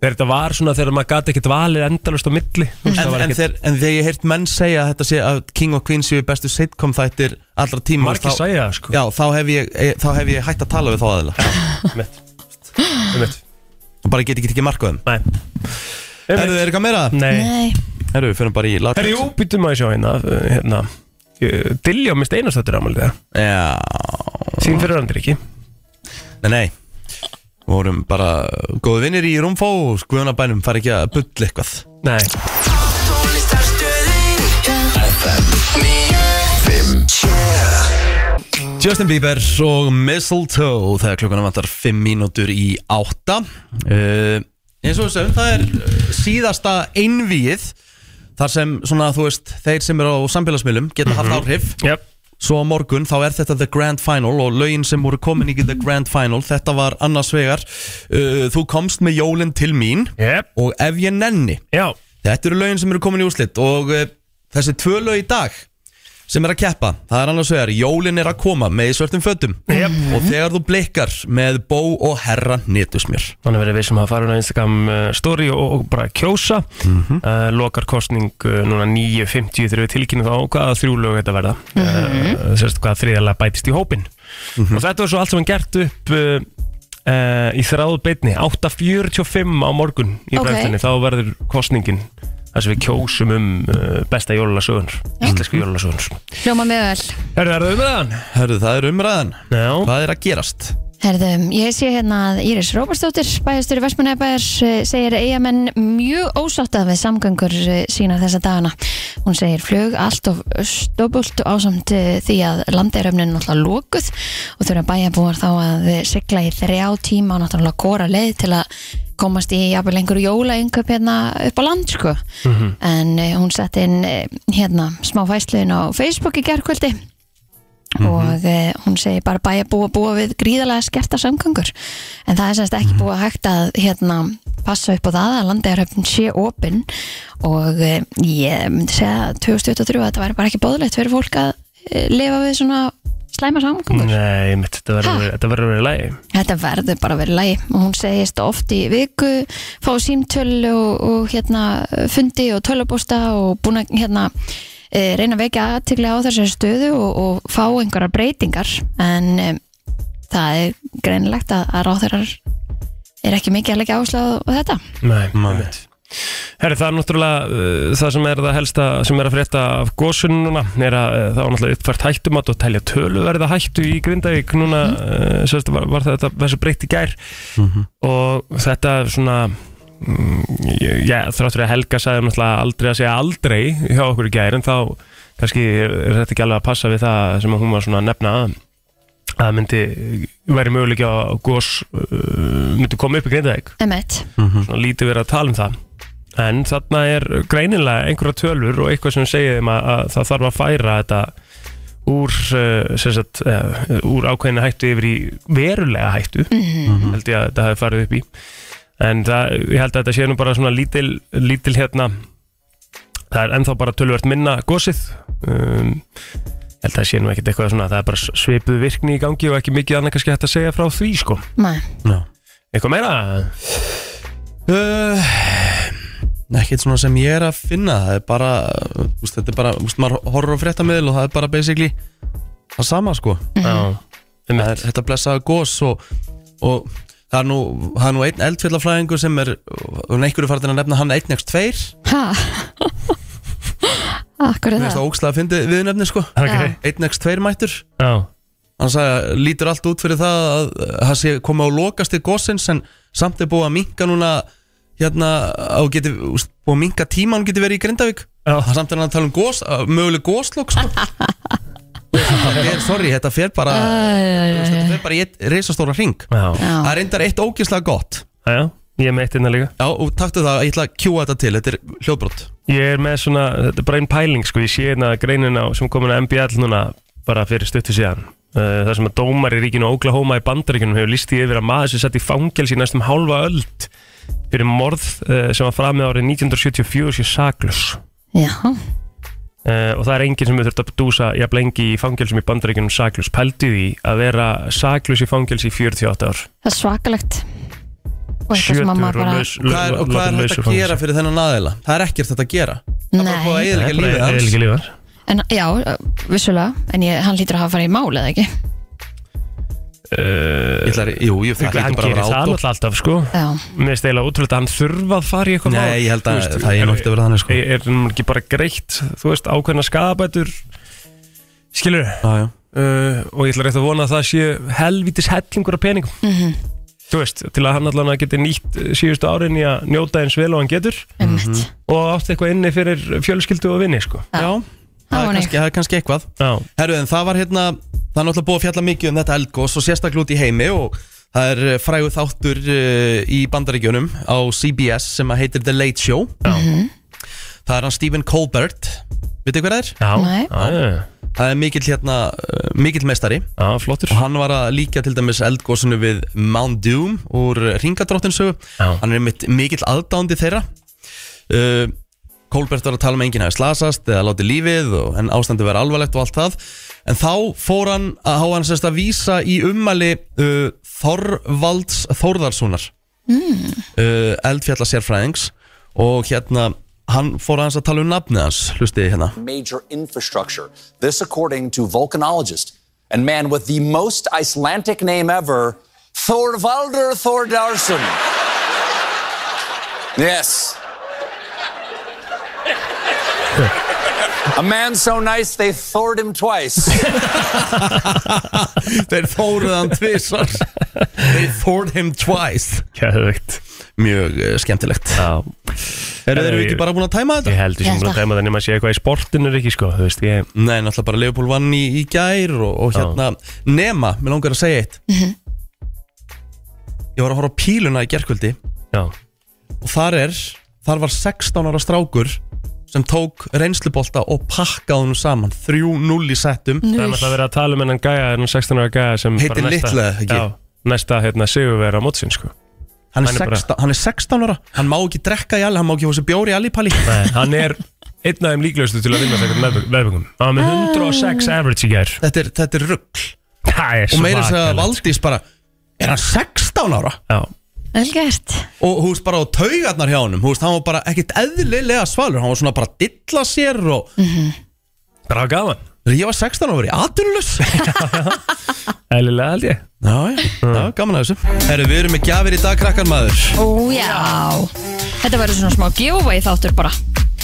Þegar þetta var svona þegar maður gati ekkert valið endalust á milli Þú veist,
Mhm.
en,
það var
en,
ekkert-
þeir, en þegar ég hef heyrt menn segja að þetta sé að King of Queens séu bestu sitcom þættir allra tíma
Margir segja það sko
eh, Já, þá hef ég, e, þá hef ég hægt að tala við þá aðila
Einmitt. Einmitt.
og bara get ekki ekki markaðum
Nei
Herru, er eitthvað meira?
Nei
Nei,
Herru, við fyrir bara í lagar
Herru, jú, býtum maður að sjá hérna uh, Hérna uh, Dilljá mist einastöttur ámælið það
Já,
Sín fyrir andir ekki
nei, nei Við vorum bara góði vinnir í Rúmfó og skoðunabænum fari ekki að bull eitthvað
Nei
Justin Bieber og Mistletoe þegar klukkana vantar 5 mínútur í 8 uh, eins og þessum, það er uh, síðasta einvíið þar sem svona, þú veist, þeir sem eru á samfélagsmiðlum geta haft áhrif
Jep
Svo á morgun þá er þetta The Grand Final og lögin sem voru komin í The Grand Final þetta var annars vegar uh, Þú komst með jólinn til mín
Jep
og Ef ég nenni
Já
Þetta eru lögin sem eru komin í úslit og uh, þessi tvö lög í dag sem er að keppa, það er annars vegar Jólinn er að koma með í svörtum fötum
Jep Mhm.
og þegar þú blikkar með bó og herra nýtusmjör
Þannig verið við sem hafa farið á Instagram uh, story og, og bara kjósa mm
Mhm.
Lokar kostning uh, núna 9.50 þegar við tilkynum þá hvaða þrjú lög þetta verða mm -hmm. Sérst hvaða þriðalega bætist í hópin Og þetta var svo allt sem hann gert upp uh, uh, í þráðu beitni 8.45 á morgun í
Ok.
okay. Þá verður kostningin þar sem við kjósum um uh, besta jólulasögun Íslensku jólulasögun
hljóma mjög vel
Er það um það?
Hörðu, það er umræðan
Já
Hvað er að gerast?
Herðum, ég sé hérna að Íris Róbersdóttir, bæjastur í Vestmanæbæjar, eh, segir eigamenn mjög ósáttað við samgöngur eh, sínar þessa dagana. Hún segir flug allt of stóbult ásamt eh, því að landeiröfnin er náttúrulega lókuð og þurfa bæjarbúar þá að eh, sigla í þrjá tíma og náttúrulega góra leið til að komast í jafnvel einhverju jólaengup hérna upp á land sko. En eh, hún sett inn eh, hérna smá fæsluðin á Facebook í gerkvöldi
Mhm.
og eh, hún segir bara bæja búa búa við gríðarlega skerta samgangur en það er semst ekki búa hægt að hérna, passa upp á það að landegarhöfn sé opinn og eh, ég myndi segja að 2023 að þetta væri bara ekki bóðlegt fyrir fólk að eh, lifa við svona slæma samgangur
Nei, mitt, þetta verður- þetta verður að vera í lagi
Þetta verður bara verið lægi og hún segist oft í viku fá símtöl og, og hérna fundi og tölubósta og búin að hérna e, reyna að vekja aðtiglega á þessari stöðu og, og fá einhverjar breytingar en e, það er greinilegt að, að ráþeirar er ekki mikið að leggja áherslu á á þetta
Nei,
Nei.
einmitt Herri, það er náttúrulega uh, það sem er það helsta sem er að frétta af gósun núna er að uh, það var náttúrulega uppfært hættumat og telja töluverða hættu í Grindavík núna, mm. sérst, var, var þetta þessu breytt í gær og þetta er svona mm, já, þráttur að Helga sagði náttúrulega aldrei að segja aldrei hjá okkur í gær en þá kannski er er þetta ekki alveg að passa við það sem hún var svona að nefna að að myndi væri möguleik á gós uh, myndi koma upp í Grindavík
Emmett,
svona lítið verið að tala um það en þarna er greinilega einhverja tölur og eitthvað sem segir þeim að, að það þarf að færa þetta úr, uh, sem sagt, uh, úr ákveðinu hættu yfir í verulega hættu held ég að þetta hafi farið upp í en það, ég held að þetta sé nú bara svona lítil, lítil hérna það er ennþá bara tölvert minna gósið um, ég held að það sé nú ekkert eitthvað svona það er bara svipuð virkni í gangi og ekki mikið annað kannski hægt að segja frá því sko
maður
No.
eitthvað meira? Eh,
Uh, ekkert svona sem ég er að finna það er bara, uh, úst, þetta er bara úst, maður horfur á fréttamiðl og það er bara basically það sama sko
Já,
það er, þetta blessaða gós og, og það, er nú, það er nú einn eldfjallafræðingur sem er og einhverju fartin að nefna hann 1x2
Ha? Akkur er
Mér
það?
finnst það ógslag að fyndi við nefni sko
okay.
1x2 mættur
Já,
hann sagði að lítur allt út fyrir það að að það sé komið á lokastig gósins en samt er búið að minka núna hérna á geti úst, búið að minka tíma hann geti verið í Grindavík
Já.
það samt er hann að tala um gós, að möguleg góslokk sko. Þetta er- sorry, þetta fer bara þetta fer bara í eitt reisastóra ring
já,
það
Já,
er reyndar eitt ógislega gott
já, já, ég er meitt innan líka
já og taktu það, ég ætla að kjúa þetta til þetta er hljóðbrott
Ég er með svona, þetta er bara einn pæling sko, ég sé hérna greinina sem komin að MBL núna bara fyrir stuttu síðan uh, Það sem að dómar í ríkinu Oklahoma í bandaríkunum hefur líst í yfir að maður sem satt í fangels í næstum hálfa öld fyrir morð uh, sem var framið árið 1974 sé saklus
já,
Uh, og það er enginn sem við þurft að dúsa jafn lengi í fangelsum í bandaríkunum saklus pældu því að vera saklus í fangels í 48 ár
það er svakalegt Og eitthvað sem að
Sjötur
maður
og
bara
laus
og hvað er, og hvað er
látinn
þetta
laus úr
að gera
fangelsi.
fyrir þennan aðeila það er ekkert þetta að gera það er bara búið að
Nei,
Það
eðilega
er
lífið
bara
hans
eyðileggja lífið hans
en já, vissulega En ég, hann lítur að hafa farið í mál eða ekki
uh,
Ég ætlar, jú, ég það
hann
lítur bara að
gerir
vera
það
ádótt
náttúrulega alltaf sko
Já,
Mér finnst eiginlega útrúlega að hann þurfa að fara í eitthvað
Nei, ég held að það er nú ekkert að vera þannig, sko.
Er, er hann ekki bara greitt, þú veist, ákveðna skadabætur Skilur
Já, já
uh, Og ég ætla rétt að vona að það sé helvítis hellingur af peningum Þú veist, til að hann allan að geti nýtt eh, síðustu árin í að njóta eins vel og hann getur
ummitt
Mhm.
Og átti eitthvað inni fyrir fjölskyldu og vinni sko
Já.
Já, það
var
er
nei.
kannski, það er kannski eitthvað
Já,
Herru, en það var hérna, það er náttúrulega búið að fjalla mikið um þetta eldgós og sérstaklega út í heimi og það er eh, frægur þáttur eh, í bandaríkjunum á CBS sem að heitir The Late Show
Já.
Mhm.
Það er hann Stephen Colbert, veitu hvað það er?
já,
Nei.
já, já,
Það er mikill hérna, eh, mikill mestari
já, flottur
og hann var að líka til dæmis eldgósinu við Mount Doom úr ringadróttinsögu
Já.
hann er mitt mikill aðdándi þeirra uh, Kolbert var að tala um að enginn hafi slasast eða látið lífið og, en ástandi verið alvarlegt og allt það en þá fór hann að hafa hann sérst að vísa í ummæli uh, Þorvalds Þórðarssonar mm. uh, eldfjalla sérfræðings og hérna hann fór aðeins að tala um nafnið hans hlustiði hérna
major infrastructure. This, according to volcanologist and man with the most Icelandic name ever, Thorvaldur Thordarson. yes. A man so nice they thored him twice.
Þeir þóruð hann tvisar They thored him twice
Kæðvegt
Mjög uh, skemmtilegt
Já,
Eru
Herðu,
þeir
ég-
ekki bara búin að tæma
ég
þetta?
held ég sem
Ég
búin
held
að dæma það nema að sé eitthvað í sportinu er ekki sko, þú veist, ég
Nei, náttúrulega bara Leopold vann í, í gær og, og hérna Nema, mér langar að segja eitt
Mhm.
Ég var að horfa á píluna í gerkvöldi
Já,
Og þar er, þar var 16 ára strákur Sem tók reynslubolta og pakkaði hún saman 3-0 í settum
það er náttúrulega verið að tala um hennan gæja, hennan 16 ára gæja sem
Heitir Little, eða ekki?
Já, næsta hérna sigurvera á mótsinn sko
Hann er,
Hann er bara-
16, hann er 16 ára, hann má ekki drekka í alli Hann má ekki fá sér bjóri í allipalli
Nei, hann er einn af þeim líklegustu til að vinna þegar meðböngum Hann var með
Ah.
106 average í gær
Þetta er, þetta er rugl
Það er
og meira þess að
svakalegt.
Valdís bara er hann 16 ára
Já,
vel gert
og hún veist bara á taugarnar hjá honum hún veist hann var bara ekkit eðlilega svalur hann var svona bara að dilla sér og
Mhm.
bara gaman
ég var 16 ára og verið aðtunlus
Ælilega held ég Mm.
já, já, já, gaman að þessu Herru, við erum með gjafir í dag krakkar maður
Ó já Þetta verður svona smá giveaway þáttur bara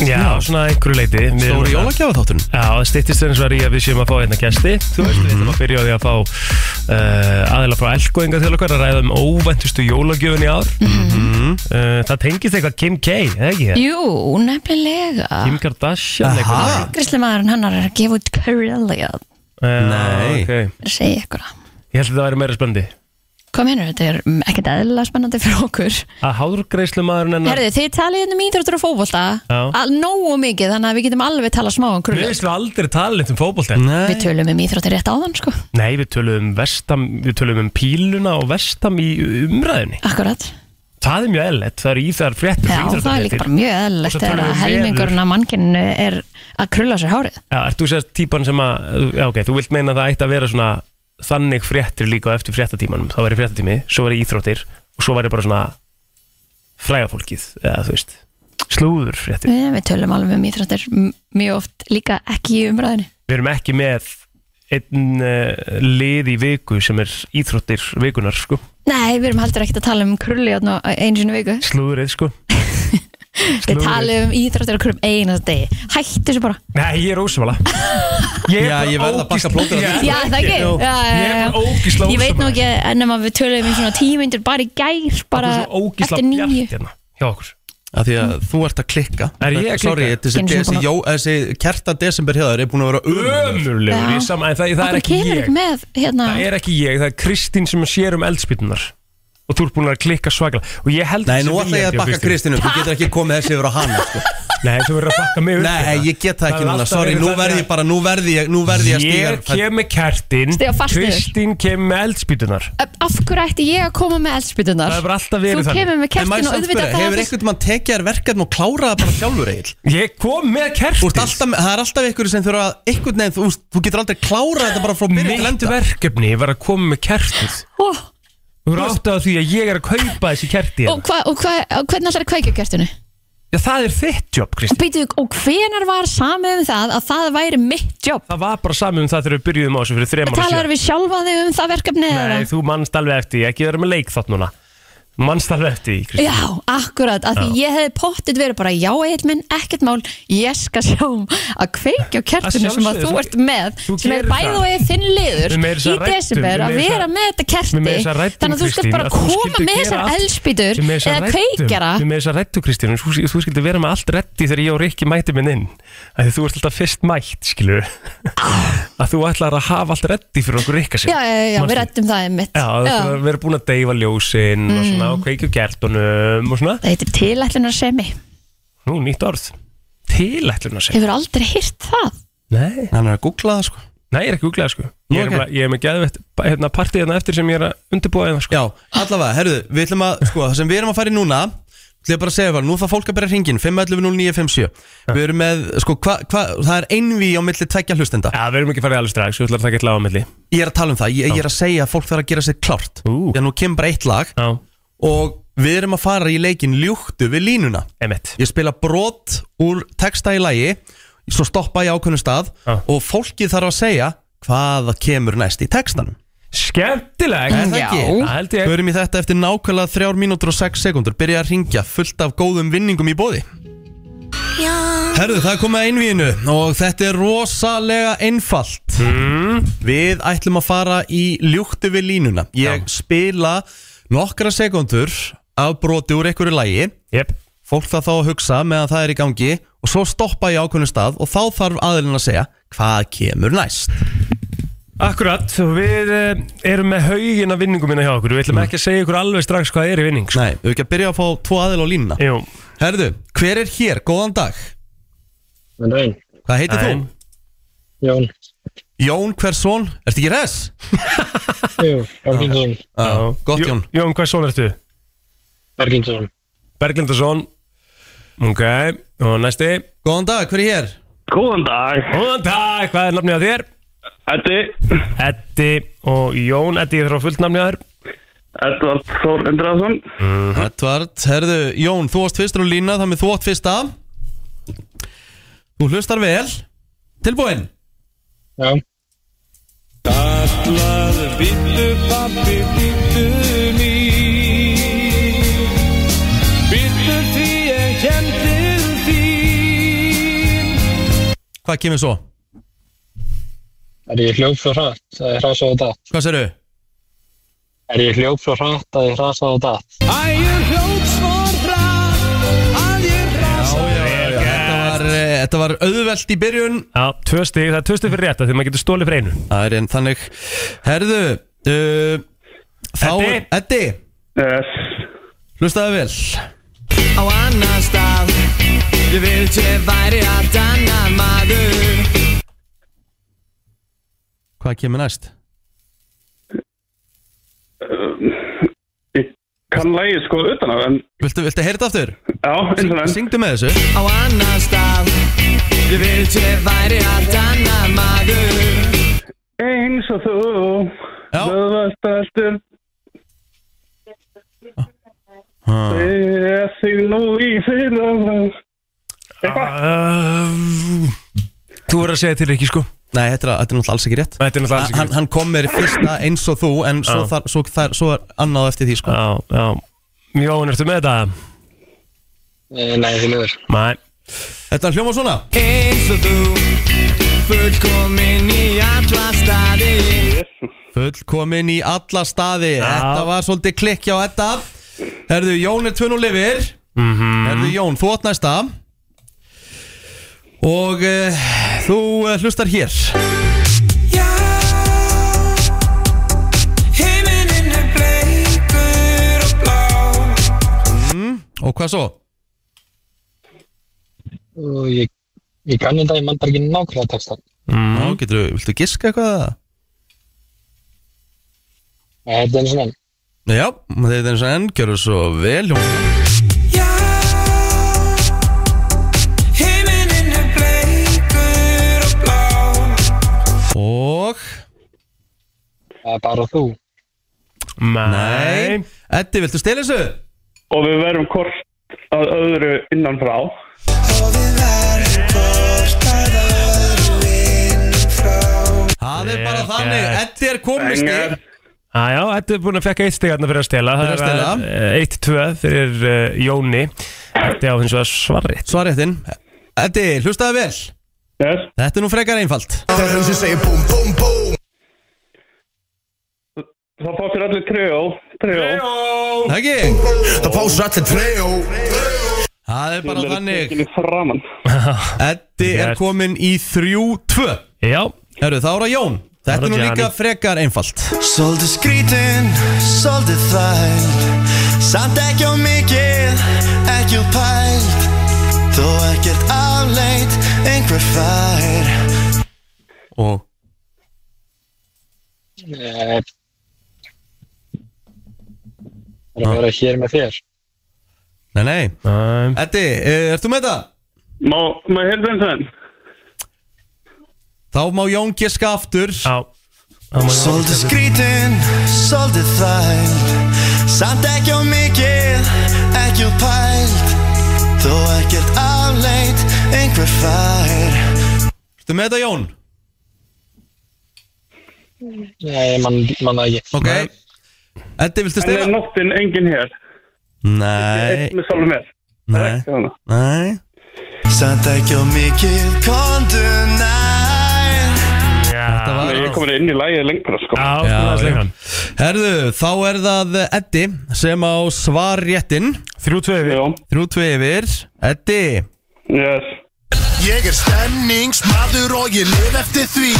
Já, svona að einhverju leiti Við erum að-
Stóri jólagjafa þátturinn
Já, það stýttist eins og í að við séum að fá hérna gæsti Þú veist, við ætlum að byrja á því að fá uh, aðeila frá elgoinga til okkar að ræða um óvæntustu jólagjöfun í ár
Mhm.
uh, Það tengist eitthvað Kim K, eða ekki?
Jú, nefnilega
Kim Kardashian eitthvað
Grislimaðurinn hennar er að gefa út Karelia
Já,
Nei.
ok.
Segja ykkur það
Ég held að það væri meira spöndi
Hvað mennur, þetta er mm, ekkert eðlilega spennandi fyrir okkur
Að hárgreislu maðurinn hennar
Herðu, þið talið hérna um íþróttur og fótbolta
Já.
al- Nógu mikið, þannig að við getum alveg talað smá um
Við
krullu
veistum aldrei tala neitt um fótbolta
Við tölum um íþróttir rétt áðan, sko
Nei, við tölum um vestam Við tölum um píluna og vestam í umræðinni
Akkurat
Það er mjög eðlert, það er í þar fréttur
Já, það er líka bara mjög eðlilegt
Og svo tölum
þegar
við
að
um
helmingurinn af mannkyninu er að krulla sér hárið
Já, ert þú sérst típan sem að, já ok, þú vilt meina að það ætti að vera svona þannig fréttir líka á eftir fréttatímanum, þá væri fréttatími, svo væri íþróttir og svo væri bara svona frægafólkið, eða þú veist, slúður fréttir.
Við, við tölum alveg um íþróttir m- mjög oft líka ekki í umræðinni
Við erum ekki með einn uh, lið í viku sem er íþróttir vikunar, sko,
Nei, við erum heldur ekkert að tala um krulli hérna á einu sinni í viku
slúðrið, sko.
Við talum um íþróttir og krullum einast degi Hættu þessu bara
Nei, ég er ósumala. Ég
Já, ég verð að bakka plótur að því.
Já, það ekki
Jú.
Já, já,
Ég
já.
er bara ógísla
Ég veit nú
ósammála.
ekki ennum að við tölum um svona tímyndur bara í gær bara
Ógísla
eftir nýju
bjart hérna hjá okkur.
Af því að þú ert að klikka
Er ég að
Sorry,
klikka?
þessi,
Einu sinni
desi,
búin að-
jó, þessi kerta desember hjá þér er búin að vera ömurlegur.
Ömurlegur, ég sam- en það, það er
Okkur
ekki
kemur
ég.
ekki með hérna
Það er ekki ég, það er Kristín sem sér um eldspýtunar og þú ert búin að klikka svaklega og ég held
Nei,
þessi
nú ætla ég
viljandi á
að bakka Kristínu Þú getur ekki komið þessi yfir á hana sko.
Nei, þú verður að bakka mig upp
Nei,
hérna.
ég get það ekki
hefur
núna
alltaf
Sorry,
verið
nú
þannig
verð ég bara Nú verð ég, nú verð ég að
Ég
stiga
kem með kertin
Stiga fast niður.
Kristín kem með eldspýtunar
Af hverju ætti ég að koma með eldspytunar?
Það hefur alltaf verið
Þú
þannig.
kemur með
En
kertin og
maður samt spyrja,
auðvitað
Hefur einhvern mann tekið þér verkefn og klárað það bara sjálfur eiginlega?
Ég kom með
Þú ert
kertin
alltaf, með- það er alltaf ykkur sem þurfa að einhvern veginn, þú, þú getur aldrei klárað þetta bara frá byrjun til
Mitt
enda
verkefni var að koma með kertin
Ó,
Þú verður áttið á því að ég er að kaupa þessi kerti hérna.
Og, hva, og hva, og hvernig allar er kveikja kertinu?
Já, það er þitt jobb,
Og
Kristi
býtu, og hvenar var samið um það að það væri mitt jobb?
Það var bara sami um það þegar við byrjuðum á þessu fyrir þrem ára
Talar við sjálfa þig um það verkefni eða?
Nei, þú mannst alveg eftir, því, ekki vera með leik þátt núna Þú Mannst alveg eftir, því, Kristi
Já, akkurat, af því ég hefði pottit verið bara já, eitthvað minn, ekkert mál, ég skal sjá um að kveikja á kertinu
Að
sem að
sjálfsögðu,
þú
þú-
ert með
þú
sem er
gerir
bæð
það.
og eða þinn liður
Við meira þess
í
að ræddum, við
desember að
meira þess
vera
að-
með þetta
Við
kerti
með þess að rættum,
þannig að þú skalt
Kristín,
bara
að þú
koma
skyldir
með
gera
þessar
allt.
eldspýtur
Við með þess að
eða
ræddum-
kveikjara
Við með þess að rættu, Kristín, þú, þú skildi vera með allt rætti þegar ég og Rikki mæti minn inn Þegar þú ert alltaf fyrst mætt, skilur Að þú ætlar að hafa allt rætti fyrir okkur Rikka sig
Ah. Já, já, já, já,
Manstu?
við rættum það einmitt
Já, þú ætlar að vera búin að deyfa ljósin og svona, og kveikja á kertunum og svona
Það heitir tilætlunarsemi
Nú, nýtt orð Tilætlunar sig
Hefur aldrei hýrt það?
Nei,
Hann er að googla það sko
nei, ég er ekki úglega sko Ég er,
Ok.
bara, ég er með geðvett hérna, partíð hérna eftir sem ég er að undirbúa hérna sko
Já, allavega, herruðu, við ætlum að, sko, það sem við erum að fara í núna ætlum ég bara að segja eitthvað, nú þarf fólk að byrja hringin 511-0957 Við erum með, sko, hva, hva, það er einví á milli tveggja hlustenda
Já, við erum ekki farið alveg strax, við ætlum að taka eitt lag á milli
Ég er að tala um það, ég, ég er að segja að fólk þarf að gera sér klárt
Ú.
Því að nú kemur bara eitt lag
Já,
og við erum að fara í leikin ljúktu við línuna
emitt
Ég spila brot úr texta í lagi Svo stoppa ég á ákveðnum stað
Já.
Og fólkið þarf að segja hvaða kemur næst í textanum
Skemmtileg
Er það
Já.
ekki?
Það held ég
Förum í þetta eftir nákvæmlega 3 mínútur og 6 sekundur Byrja að ringja fullt af góðum vinningum í bóði Herðu, það er komið að einvíinu og þetta er rosalega einfalt
Mm.
Við ætlum að fara í ljúktu við línuna Ég spila nokkra sekundur af broti úr einhverju lægi
Jep,
Fólk það þá að hugsa meðan það er í gangi og svo stoppa ég á ákveðnum stað og þá þarf aðilinn að segja hvað kemur næst
akkurat og Við eh, erum með haugin af vinningum minna hjá okkur Við ætlum ekki að segja ykkur alveg strax hvað er í vinning sko.
Mm. Nei, við ekki að byrja að fá tvo aðil á línuna
Jú,
Herðu, hver er hér? Góðan dag
En reyn,
Hvað heitir
Hæ.
þú?
Jón,
Jón Hversson, ertu ekki res?
Jú, Berginsson,
Já, gott Jón
Jú- Jón, hvað són ertu?
Berginsson,
Berglindason Ok, og næsti
Góðan dag, hver er hér?
Góðan dag,
Góðan dag, hvað er nafnið á þér?
Eddi,
Eddi og Jón Eddi, ég þarf að fullt nafnið á þér
Edvard Þór Indrason,
Edvard, herðu, Jón, þú varst fyrstur á lína þannig þú átt fyrsta Þú hlustar vel Tilbúinn
já,
Hvað kemur svo?
er ég hljóf svo hratt að ég hrasaði á datt?
Hvað serðu?
Er ég hljóf svo hratt að ég hrasaði á datt?
Þetta var, eh, þetta var auðvelt í byrjun
Já, tvö stig, það er tvö stig fyrir rétt af Því maður getur stólið fyrir einu
Það er einn þannig Herðu uh, Þá
Eddi.
Eddi
yes,
Hlustaðu vel
á annan stað Ég vildi ég væri allt annar maður
Hvað kemur næst?
ég kann lægi sko utan á, en
Viltu, viltu heyrta aftur?
já, eins og enn,
Syngdu með þessu
á annan stað Ég vildi ég væri allt annar maður
eins og þú,
Já.
þú varst alltaf, ég sig nú í fyrra,
uh, Þú verður að segja til ekki sko
Nei, þetta er, þetta er náttúrulega alls ekki rétt
Þetta er náttúrulega alls
hann,
ekki
hann kom mér í fyrsta eins og þú En svo,
Já.
þar, svo, þar, svo er annað eftir því sko.
Já, já Jón, ertu með þetta?
Eh, Nei, því miður.
Nei
Þetta hljóma svona
Eins og þú Fullkomin í alla staði
Fullkomin í alla staði Þetta var svolítið klikkja á þetta Herðu, Jón er tvun og lifir
Mm.
Herðu, Jón, þú átt næsta Og uh, þú uh, hlustar hér
Já Himinin er bleikur og blár
Og hvað svo?
Og ég, ég kann þetta, ég mann bara ekki nákvæmlega textan.
Mm. Ná, getur, viltu giska eitthvað?
Nei, Þetta er eins og enn.
Nei, Já, þetta er eins og enn, gjörðu svo vel Jón.
Já Himinin er bleikur og blár
Og,
Það er bara þú.
Nei
nei Eddi, viltu stela þessu?
og við verum hvort að öðru innan frá
Það er bara
Vel
þannig,
gert.
Eddi er komin í stig
Æjá, þetta Ah, er búin að fekka eitt stig hérna fyrir að stela Það
Fyrir að stela.
er eh, eitt tvö fyrir uh, Jóni Þetta á hins vegar svarrið
Svaréttin Eddi, hlustaðu vel
Yes
Þetta er nú frekar einfalt
Þá fátir allir trijó Trijó
Það ekki?
Það pásar allir trejó
Það er bara þannig
Framan
Eddi er
Gert.
komin í 3-2
Já,
Herru, þá er að Jón Þetta
Þá er
er nú
það
líka
Gianni.
frekar einfalt
Svolítið skrítin, svolítið þægt Samt ekki á mikið, ekki á pælt Þó ekkert afleit, einhver fær
Og
Það er að vera hér með þér.
Nei, nei
um,
Eddi, eh, ert þú með þetta?
Má, má ég heyrðu eins og enn
Þá má Jón giska aftur
á Það má-
Svolítið skrítin, svolítið þægt Samt ekki á mikið, ekki á pælt Þó ekkert afleit, einhver fær
Ertu með þetta Jón?
Nei, mann man það ekki.
Ok Eddi, viltu
En er
stila?
nóttin engin hér
Nei,
Eitt með sjálfum mér
nei,
Þannig.
nei
Samt ekki á mikið, kondu nær
Já,
Þetta var-
Nei, Ég er komin inn í lægið lengra sko
Já,
Já,
skoðaðu
já.
slengan.
Herðu, þá er það Eddi sem á svarréttin
Þrjú tvö yfir
Trijó
Þrjú tvö yfir Eddi
Yes
Ég er stemningsmadur og ég lif eftir því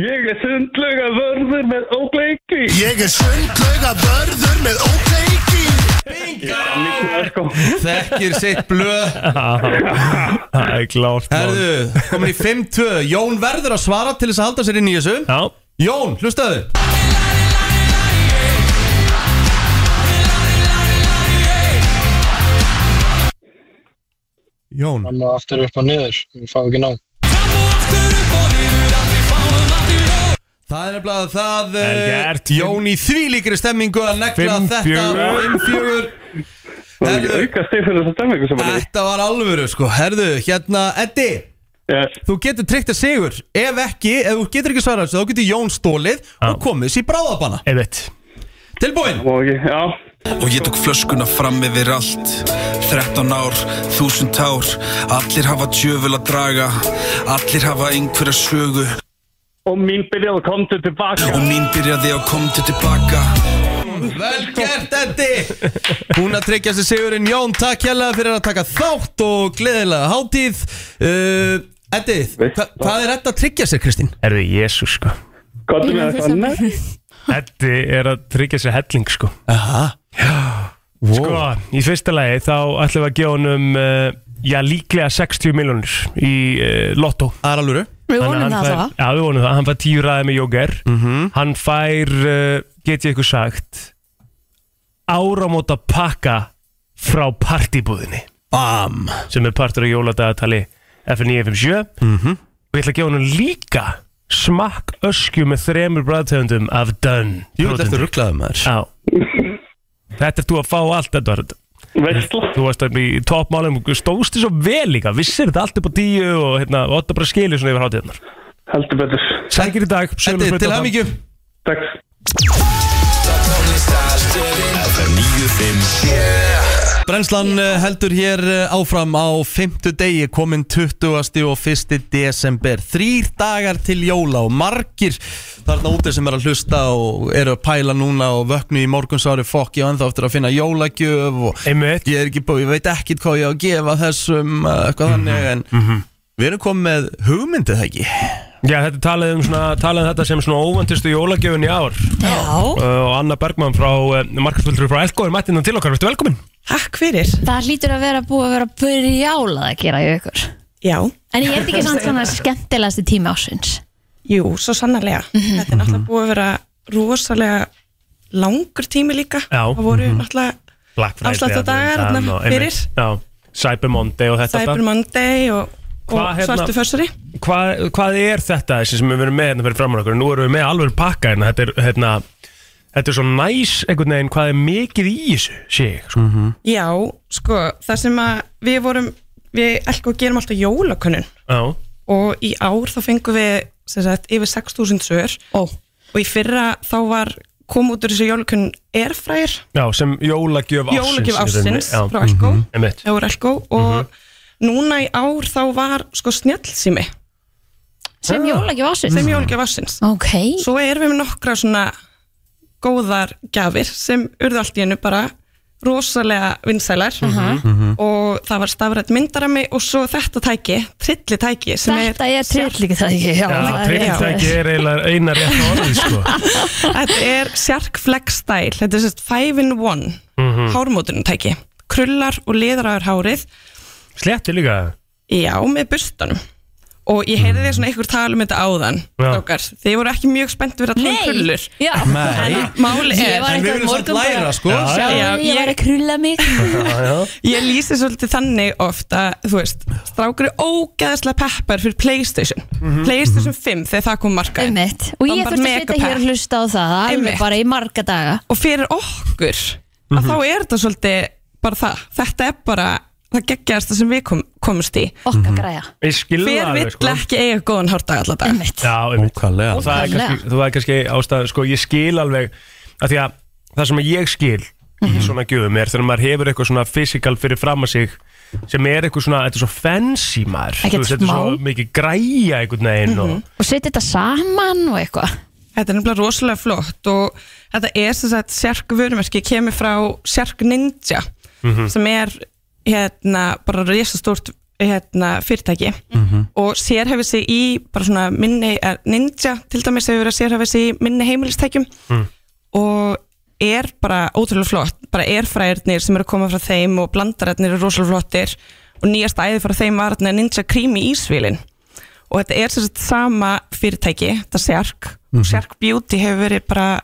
Ég er sundlega vörður með ógleiki
Ég er sundlauga vörður með ókleiki
Mikið sko
Þekkir sitt blöð
Það er klárt mál.
Herðu, komin í 5-2 Jón verður að svara til þess að halda sér inn í þessu
Já,
Jón, hlustaðu Jón
Fram og aftur upp og niður. Ég fá ekki nóg.
Það er nefnilega það eh,
Vel gert.
Jón í þvílíkri stemmingu að negla
Fimm,
þetta
fjögur.
5-4
Það er
Herðu,
ekki auka stig fyrir þessa stemmingu sem hann er í.
þetta var alvöru sko Herðu, hérna, Eddi
Yes
Þú getur tryggt að sigur Ef ekki, ef þú getur ekki svarað þessu Þá getur Jón stólið og komið sér í bráðabanna
einmitt
Tilbúin
Og ég, já
Og ég tók flöskuna fram yfir allt 13 ár, þúsund ár Allir hafa djöful að draga Allir hafa einhverja sögu
Og mín byrjaði að komta tilbaka
Og mín byrjaði að komta tilbaka
Vel gert, Eddi Hún að tryggja sér sigurinn Jón, takk hérlega fyrir að taka þátt og gleðilega hátíð uh, Eddi, hva, hvað er þetta að tryggja sér, Kristín?
Herðu, jésus sko
Komdu með eitthvað nefn
Eddi er að tryggja sér helling sko
Aha
Sko, í fyrsta lagi þá ætlum við að gefa honum uh, Já, líklega 60 miljónir í uh, lottó
Það er alvöru
Við
Þannig að
vonum
hann
það
fær-
alltaf
Já, við vonum það, hann fær tíu ræði með Jóger
Mhm.
Hann fær, uh, get ég ykkur sagt Áramóta pakka frá partibúðinni
Bam
sem er partur af jóladagatali F957
Mhm.
og ég ætla að gefa honum líka smakk öskju með þremur bræðtegundum af Dunn
Jú, þetta er rugglaðum maður
Já Þetta er þú að fá allt þetta
Veistla
Þú varst að í toppmálum stóðst þér svo vel líka Vissir þetta allt upp á tíu og hérna og Ótta bara skilur svona yfir hátíðarnar
Heldur betur
Sækir í dag
Eddi, til hamingju
Takk
Brennslan eh, heldur hér eh, áfram á 5. degi komin 20. og 1. desember Þrýr dagar til jóla og margir þarna úti sem er að hlusta og eru að pæla núna og vöknu í morgunsári fokki og ennþá eftir að finna jólagjöf og
Einmitt
ég er ekki búið, ég veit ekkit hvað ég á að gefa þessum eh, eitthvað þannig en við erum komið með hugmyndið það ekki
Já, þetta talaði um svona, talaði um þetta sem svona óvandistu jólagjöfun í ár
Já,
uh, og Anna Bergman frá uh, markarsfjöldur frá Elko er mættinn til okkar, verður velkomin
Takk fyrir.
það hlýtur að vera búið að vera brjálað að gera í ykkur
Já,
En ég er þetta ekki samt svona skemmtilegasti tími ásins
jú, svo sannarlega. Þetta er náttúrulega búið að vera rosalega langur tími líka.
Já. Mhm.
Það voru náttúrulega
Black Friday
Afsláttadagar,
Advent,
þarna,
og einmitt.
fyrir.
Já, Cyber Monday og þetta
Cyber Monday og, og
Hvað, hérna-
svartu försari.
hvað, hvað er þetta þessi sem við verum með hérna fyrir framar okkur? Nú erum við með alveg pakka hérna, þetta er hérna þetta er svo næs einhvern veginn hvað er mikið í þessu sé ég sko. mm -hmm.
Já, sko, það sem að við vorum, við elko gerum alltaf jólakönnun
Já,
og í ár þá fengum við sem sagt, yfir 6.000 svör
Ó.
og í fyrra þá var kom út úr þessu jólakönnun erfræðir
já, sem jólagjöf ársins
Jólagjöf
í rauninni.
ársins
Já.
frá Elko.
Mhm. Einmitt.
Jóra Elko og
Mhm.
núna í ár þá var sko snjallsými
Sem jólagjöf ársins?
Sem jólagjöf ársins
Ok
Svo erum við með nokkra svona góðar gjafir sem urðu allt í hennu bara rosalega vinsælar
Mhm.
og það var stafrætt myndarami og svo þetta tæki, trilli tæki
Þetta er trillíkitæki Já, það er-
tryllitæki er eiginlega eina rétt orðið sko.
Þetta er Shark Flex Style Þetta er sérst 5 in 1 mm
Mhm.
Hármótunutæki Krullar og liðraður hárið
Slétti líka Hmm.
Já, með bustanum Og ég heyrði þér svona ykkur tala um þetta áðan
Já.
Dókar, þið voru ekki mjög spennt fyrir að tala um
Nei,
krullur
já. Nei.
En máli er
Ég var En við eitthvað viljum samt morgun bara- læra, sko.
Já,
Sjáðu,
já,
ég var að krulla mig
Ég lýsi svolítið þannig oft að, þú veist, strákur er ógeðslega peppar fyrir Playstation
Mhm.
Playstation 5 þegar það kom markaði Einmitt,
Og ég þurfti að sitja hér og hlusta á það Alveg
Einmitt.
bara í marga daga
Og fyrir okkur
Mhm.
að þá er þetta svolítið bara það þetta er bara það geggjast sem við kom, komumst í
Mhm.
Okka græja
Ég skilða
Hver vill
sko.
ekki eiga góðan hárdag alltaf dag
Já, Ókallega. og það er
Ókvæðlega.
kannski, það er kannski ástæð sko, ég skil alveg að því að það sem ég skil
Mhm.
í svona gjöfum er þegar maður hefur eitthvað svona fysikal fyrir fram að sig sem er eitthvað svona, þetta er svo fancy maður
Ekkert
þú veist, þetta er svo
smá. Mhm.
mikið græja einhvern veginn og
Og setja þetta saman og eitthvað
Þetta er nefnilega rosalega flott og þetta er sem sagt sérk vörumerki kemur frá sérk ninja
Mhm.
sem er hérna bara risastórt hérna, fyrirtæki
Mhm.
og sérhefið sig í bara svona minni eh, ninja til dæmis hefur verið að sérhefið sig í minni heimilistækjum
Mm.
og er bara ótrúlega flott bara erfræðirnir sem eru að koma frá þeim og blandararnir eru rosalega flottir og nýjast æði frá þeim var þarna ninja krími ísvílin og þetta er sem sagt sama fyrirtæki þetta er Sjark og Sjark Beauty hefur verið bara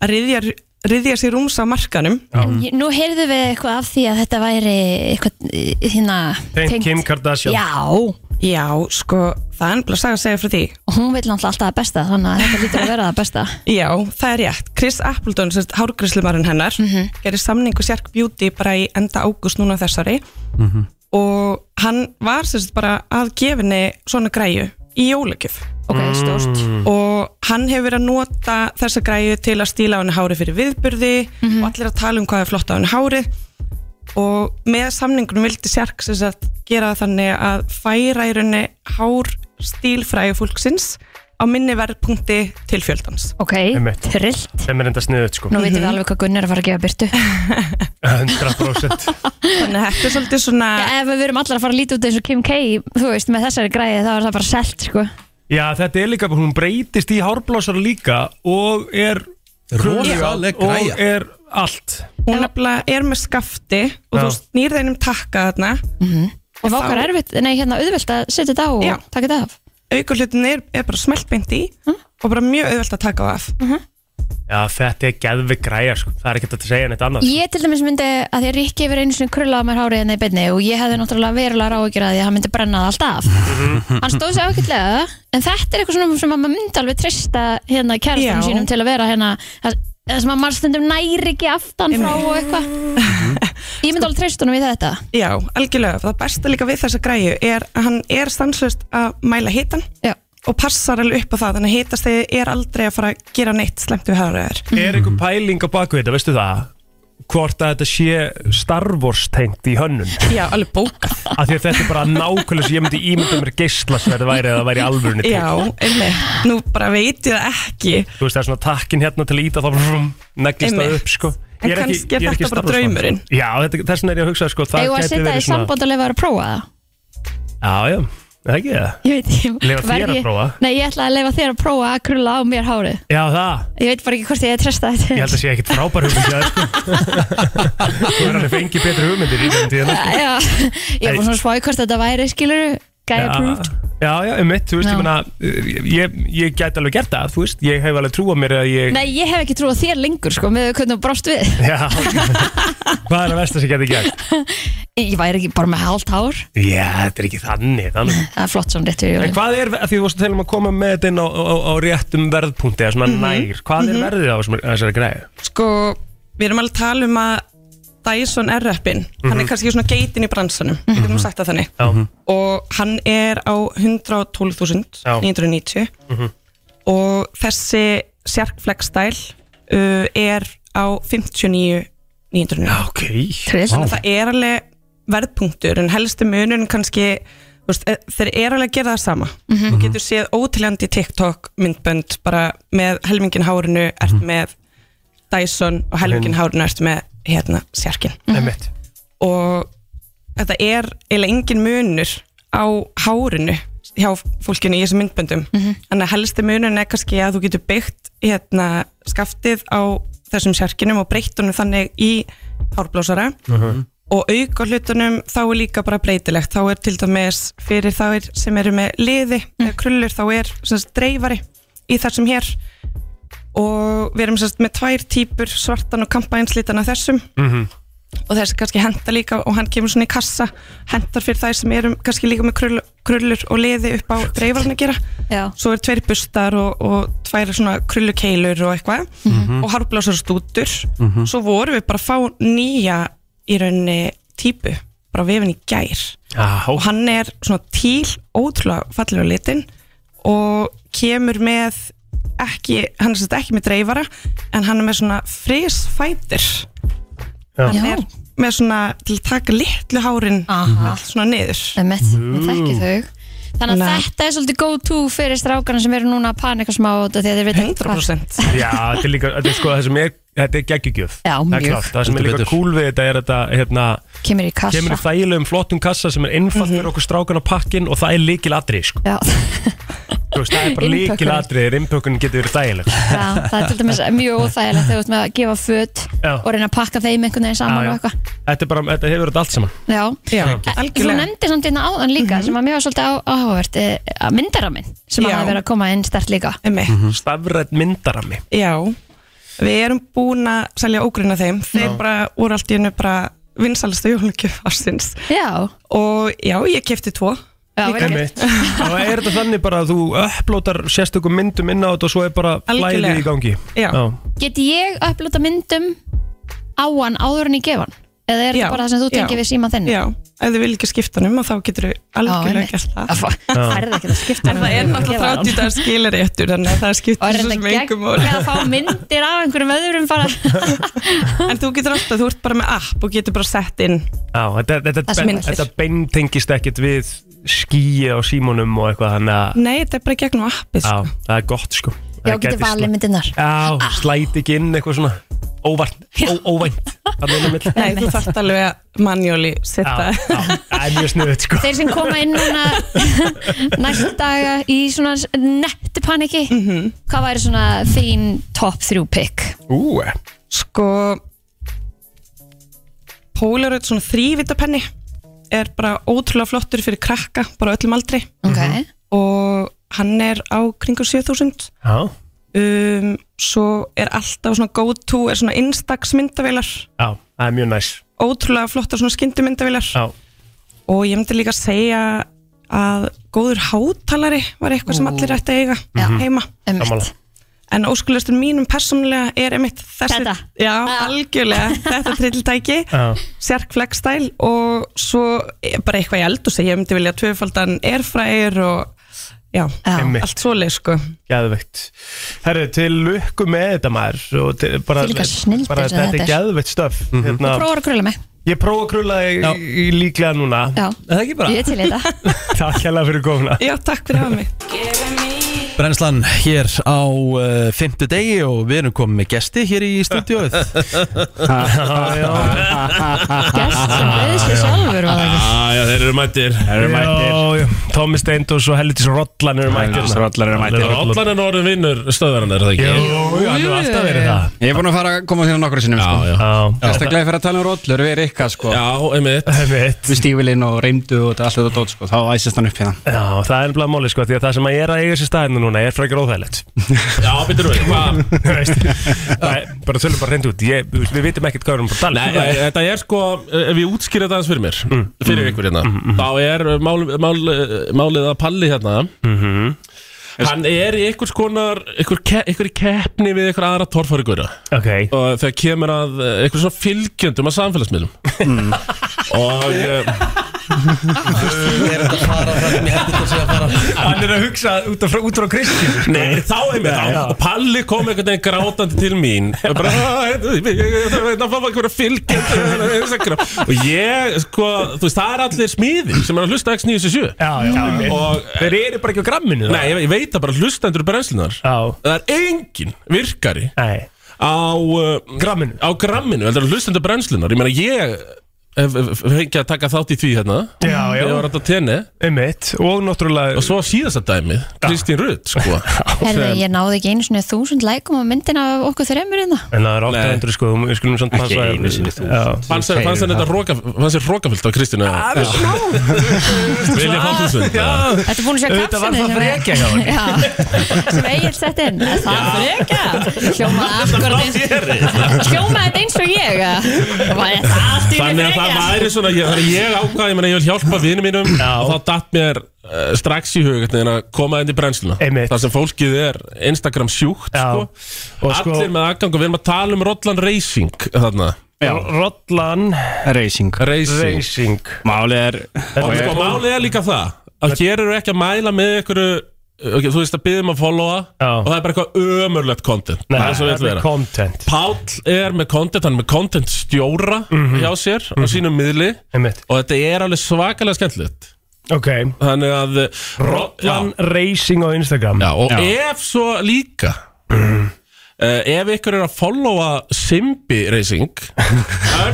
að riðja, riðja sér rúms á markanum
Ég- Nú heyrðum við eitthvað af því að þetta væri eitthvað eh, hérna tengt- Já,
Já, sko, það er ennbla saga að segja frá því
og hún vil náttúrulega alltaf það besta þannig að þetta lítur að vera það besta
Já, það er rétt. Chris Appleton, sem hárgrislumarinn hennar,
Mhm.
gerir samningu Sjark Beauty bara í enda águst núna á þessari
Mm-hmm.
og hann var sem sagt bara að gefinni svona græju í jólagjöf
Ok,
Mm-hmm.
stórt. Mm.
og hann hefur verið að nota þessa græju til að stíla á henni hári fyrir viðburði
Mhm.
og allir að tala um hvað er flott á henni hári og með samningunum vildi Sjark sem sagt gera það þannig að færa í rauninni hár stílfræju fólksins á minni verðpunkti til fjöldans Mhm.
Ok, trillt
sem er enda sniðut sko.
Nú veitum við alveg hvað Gunnar er að fara að gefa byrtu
100%
Þannig að þetta er svolítið svona
Já, ef við erum allar að fara að líta út eins og Kim K þú veist, með þessari græði þá er það bara selt sko.
Já, þetta er líka, hún breytist í hárblásar líka og er
Rosaleg græja.
og er allt
Hún nefnilega er með skafti og
Já.
þú snýr þeim um takka þarna
og það okkar erfitt, nei hérna auðvelt að setja þetta á
Já.
og taka þetta af
aukurlutin er, er bara smelt beint í og bara mjög auðvelt að taka á af
Já, þetta er geðvig græja sko. það er ekkert hægt að segja neitt annað
Ég til dæmis myndi að því að Rikki hefur einu sinni krullað á mér hárið henni í beinni og ég hefði náttúrulega verulega ráðugjur að því að hann myndi brenna það allt af
Mm-hmm.
Hann stóð sér ákveldlega en þetta er eitthvað svona sem að maður myndi alveg trista hérna kærastunum
Já.
sínum til að vera hérna það það sem að maður stundum næri ekki aftan frá og eitthvað Ég myndi alveg trista honum í þetta
Já, algjörlega, það besta líka við þessa græju er að hann er stanslust að mæla hitan
Já.
og passar alveg upp á það þannig að hitastegi er aldrei að fara að gera neitt slemt við háröður
Er einhver pæling á baku þetta, veistu það? Hvort að þetta sé Star Wars tengt í hönnun
Já, alveg bókað
Af því að þetta er bara nákvæmlega sem ég myndi ímynda mér geisla sem þetta væri að það væri alvörunni til
Já, einmitt, nú bara veit ég það ekki
Þú veist það er svona takkin hérna til að íta þá vrum, neglist það
Einmitt.
upp sko
En
Ég ekki-
kannski er
ég ekki
þetta
Star
bara
Wars fan, sko.
draumurinn.
Já, þetta- þess vegna er ég að hugsa sko það
Eða að
gæti
setja það
verið
í samband og lefa að prófa það
Já, já, er það ekki það
Ég veit ekki
Leyfa þér
verð
að
ég-
prófa?
Nei, ég ætla að leifa þér að prófa að krulla á mér hárið
Já, það
Ég veit bara ekki hvort ég er tresta þetta
Ég held að sé ekkit frábær hugmynd Það sko. Þú er alveg fengið betri hugmyndir í sko. þeim tíðan
Já, ég var
Nei.
svona spáði hvort þetta væri skilur Guy
Ja,
approved
Já, já, um mitt, þú veist,
Já.
ég meina uh, ég, ég gæti alveg gert það, þú veist Ég hef alveg trúað mér að ég
Nei, ég hef ekki trúið þér lengur sko, með hvernig þú brást við
Já, hvað er að versta sem ég gæti gert?
Ég væri ekki bara með hálft hár
Já, þetta er ekki þannig, þannig
Það er flott saman rétt
En
fyrir jólin
hvað er, af því þú varst að tala um að koma með þetta inn á, á, á réttum verðpunkti eða svona nær, hvað
Mhm.
er verðið á þessum- þessari græðu?
sko, við erum alveg að tala um að Dyson R-Rappin, hann er
Mhm.
kannski svona geitin í bransanum, mm -hmm. getum sagt það þannig
Já,
Mm-hmm.
og hann er á 112.990
Mhm.
og þessi sjarkfleggstæl uh, er á 59.990
ok
þannig að það er alveg verðpunktur en helsti munurinn kannski þú veist, e- þeir eru alveg að gera það sama
Mhm.
þú getur séð ótiljandi TikTok myndbönd bara með helmingin hárinu ert með Dyson og helmingin hárinu ert með hérna sjarkin
Einmitt.
og þetta er eiginlega engin munur á hárinu hjá fólkinu í þessum myndböndum þannig að helsti munurinn er kannski að þú getur byggt hérna skaftið á þessum sjarkinum og breytt honum þannig í hárblásara
Mm-hmm.
og auka hlutunum þá er líka bara breytilegt þá er til dæmis fyrir þá sem eru með liði eða krullur þá er sem sagt, dreifari í þessum hér og við erum sem sagt, með tvær típur svartan og kampænslítan af þessum
Mhm.
og þessi kannski henda líka og hann kemur svona í kassa hendar fyrir þær sem eru kannski líka með krull, krullur og liði upp á dreifarinn að gera
Já.
svo er tveir bustar og, og tvær svona krullukeilur og eitthvað
Mhm.
og harblásar stútur
Mhm.
svo vorum við bara að fá nýja í rauninni típu bara vefin í gær
Já.
og hann er svona tíl ótrúlega fallegur á litin og kemur með ekki, hann er sérst ekki með dreifara en hann er með svona frisfætir
Já.
hann er með svona til að taka litlu hárin
Aha.
svona niður
Emmett, ég þekki þau Þannig að þetta er svolítið go to fyrir strákarna sem eru núna að panika smá út af því að þeir veit
100%
Já, þetta er líka, þetta er sko það sem er, þetta er geggjugjöf
Já,
Það er
mjög.
klárt, það sem er
Heldur
líka
betur.
cool við þetta er þetta, hérna
Kemur í kassa Mhm.
Kemur í þægilegum flottum kassa sem er innfall fyrir okkur strákan á pakkin og það er líkil atrið, sko
Já,
Þú veist, það er bara
Innpökkunin.
líkil atrið, innpökkunin getur verið þægileg
já, það er til dæmis mjög óþægilegt þegar þú ert með að gefa föt
Já.
og reyna að pakka þeim einhvern veginn saman
Já, já.
og eitthvað
Þetta er bara, þetta hefur þetta allt saman
Já,
Já,
En Þú nefndi samt hérna áðan líka sem að mér var svolítið á- áhugavert eh, að myndara minn sem að
Mhm. Já.
hafa verið að koma inn stert líka
Einmitt.
Stafrætt myndarami
Já, við erum búin að selja ógrunna þeim þeir
Já.
bara úr allt í hennu bara vinsalistu jólugjöf ársins
Já
og já, ég kefti tvo
Já,
Líka.
Einmitt. Og er þetta þannig bara að þú upplótar sérstökum myndum inn á þetta og svo er bara
Algjörlega.
flæðið í gangi
Já.
Get ég upplota myndum á hann áður en ég gefa hann? Eða er
Já,
þetta bara það sem þú
já.
tengir við síma þenni?
Já, ef þið vil ekki skipta hann um þá getur þau algjörlega gert það
Það er ekki að skipta
En það er náttúrulega 30 dagar skilaréttur þannig að það
Og
skiptir
er
svo sem
þetta
engum
gegn að fá myndir af einhverjum öðrum bara
En þú getur alltaf, þú ert bara með app og getur bara sett inn
Já, þetta, þetta,
Það sem
þetta,
myndir.
þetta beintengist ekkit við skíi á símónum og eitthvað þannig að
Nei, þetta er bara í gegnum appið
Já, það er gott sko
Já,
Það
getur
gæti
valið
slæ-
myndirnar Ah.
Já, slæti ekki inn eitthvað svona óvart, ó, óvænt
Nei, þú þarft alveg að manjóli setja
Það er mjög snuðið sko
Þeir sem koma inn núna næstu daga í svona nettu paniki
Mhm.
Hvað væri svona þín top 3 pick?
Ú, eh.
Sko Polaroid svona þrývitapenni er bara ótrúlega flottur fyrir krakka bara á öllum aldri
okay.
og hann er á kringu 7000
já,
um, svo er alltaf svona go to er svona instax myndavélar
já, það er mjög næs
ótrúlega flottar svona skyndimyndavélar
Já.
og ég myndi líka segja að góður hátalari var eitthvað sem allir ætti að eiga Mhm. heima
Sammála.
En óskulustur mínum persónulega er einmitt þessi,
Þetta?
Já, algjörlega, þetta trilltæki
Já.
Sjark flagstæl og svo er bara eitthvað í eld og segja ég myndi vilja tvöfaldan erfræðir og já,
Einmitt.
allt svoleið sko
Gæðveikt Herru, til lukku með þetta maður og til, bara,
Þvílíkar snilldir
bara,
sem
Þetta
þetta
er
er.
gæðveikt stöf hérna.
Prófa að gröla mig
Ég prófa að krulla í, í líklega núna
Já,
Er Það ekki bara
ég er til í þetta
Takk hella fyrir komuna
Já, takk fyrir að hafa mig
Giving me
Hérna. Brennslan hér á uh, fymtu degi og við erum komið með gesti hér í stúdíóið
Gest
sem bauð sér sjálfur, var það ekki?
Ah, Já, þeir eru mættir Þeir
eru mættir Tómi Steindors og Hellitis Rottlan eru mættir
Helvítis Rollan eru mættir. Rollan er orðin vinnur stöðverðan er það ekki?
Jú, hann hefur alltaf verið það
Ég er búin að fara að koma þérna nokkru sinnum sko. Sérstaklega fyrir að tala um rollur við Rikka sko.
Já, einmitt
Við stífilinn og reymdu og þetta allt þetta dót sko. Þá æsist hann upp hérna
Já, það er ennblæð máli sko, því að það sem að ég er að eiga sér staðinu núna er frekar óþægilegt
Já, betur við, hvað?
Nei, Bara tölum bara reynd út, ég, við vitum ekkert hvað við erum bara
Nei, e- e- þetta er sko, ef ég útskýra þetta aðeins fyrir mér Fyrir ykkur hérna Þá er mál, mál, málið að palli hérna Hann er í einhvers konar, einhver, ke einhver í keppni við einhver aðra torfærigur
okay.
Og þegar kemur að eh, einhver svona fylgjöndum að samfélagsmiðlum Mm. Og eh,
er þetta að fara það sem ég held þetta að segja að fara
Hann er að hugsa út af, út af Kristján
Nei, sko. þá er mér þá Og Palli kom einhvern veginn grátandi til mín Og bara, "Ah, ég- ég- ég- ég þarf að fá einhverja fylgjandi Og ég, sko, þú veist, það er allir smiði sem er að hlusta X977
Já, já, já.
Og
Þeir eru bara ekki á gramminu
Nei, ég, ég veit það bara hlustendur brennslunar
Já
Það er engin virkari
Nei
Á uh, Gramminu Á gramminu, heldur að hlustendur brennslunar Ég meina, ég hef hef- hef fengið að taka þátt í því hérna
Já, já.
Ég var alltaf tenni
Einmitt, og náttúrulega
Og svo síðasta dæmið, Kristín Rutt, sko
Herðu, ég náði ekki einu svona þúsund lækum á myndina af okkur þreymur hérna
En það er 800 sko, við skulum samt passa einu sinni þú um
Fannst þér fannst þér þetta roka, fannst þér rokafyllt á Kristínu? Já,
við
smá Vilja fá þúsund eða?
Þetta er búin að sjá hérna.
Auðvitað var
kapsunni
það frekja hjá henni.
Sem Egil sett inn Er Það frekja Hljómaði akkurat eins Hljómaði þetta eins og ég að- Það var þetta allt í
Þannig að það væri svona, ég, þannig að ég ákvaði, ég meina ég vil hjálpa vinum mínum og þá datt mér uh, strax í hug hvernig, að koma inn í brennsluna
Einmitt.
þar sem fólkið er Instagram sjúkt sko.
sko-
allir með aðgang og við erum að tala um Rottland Racing þarna
Rottlan
Racing
Racing.
Málið er
og sko, málið er líka það að hér eru ekki að mæla með ykkur okay, þú veist að biðjum að followa og það er bara eitthvað ömurlegt content
Nei,
er svo
það
vill
er
vera.
content.
Páll er með content, hann er með content stjóra hjá sér á sínum miðli
Einmitt.
og þetta er alveg svakalega skemmtilegt
Ok,
þannig að
Rottlan Racing á Instagram
Já, og ef svo líka Uh, ef ykkur er að followa Simbi Racing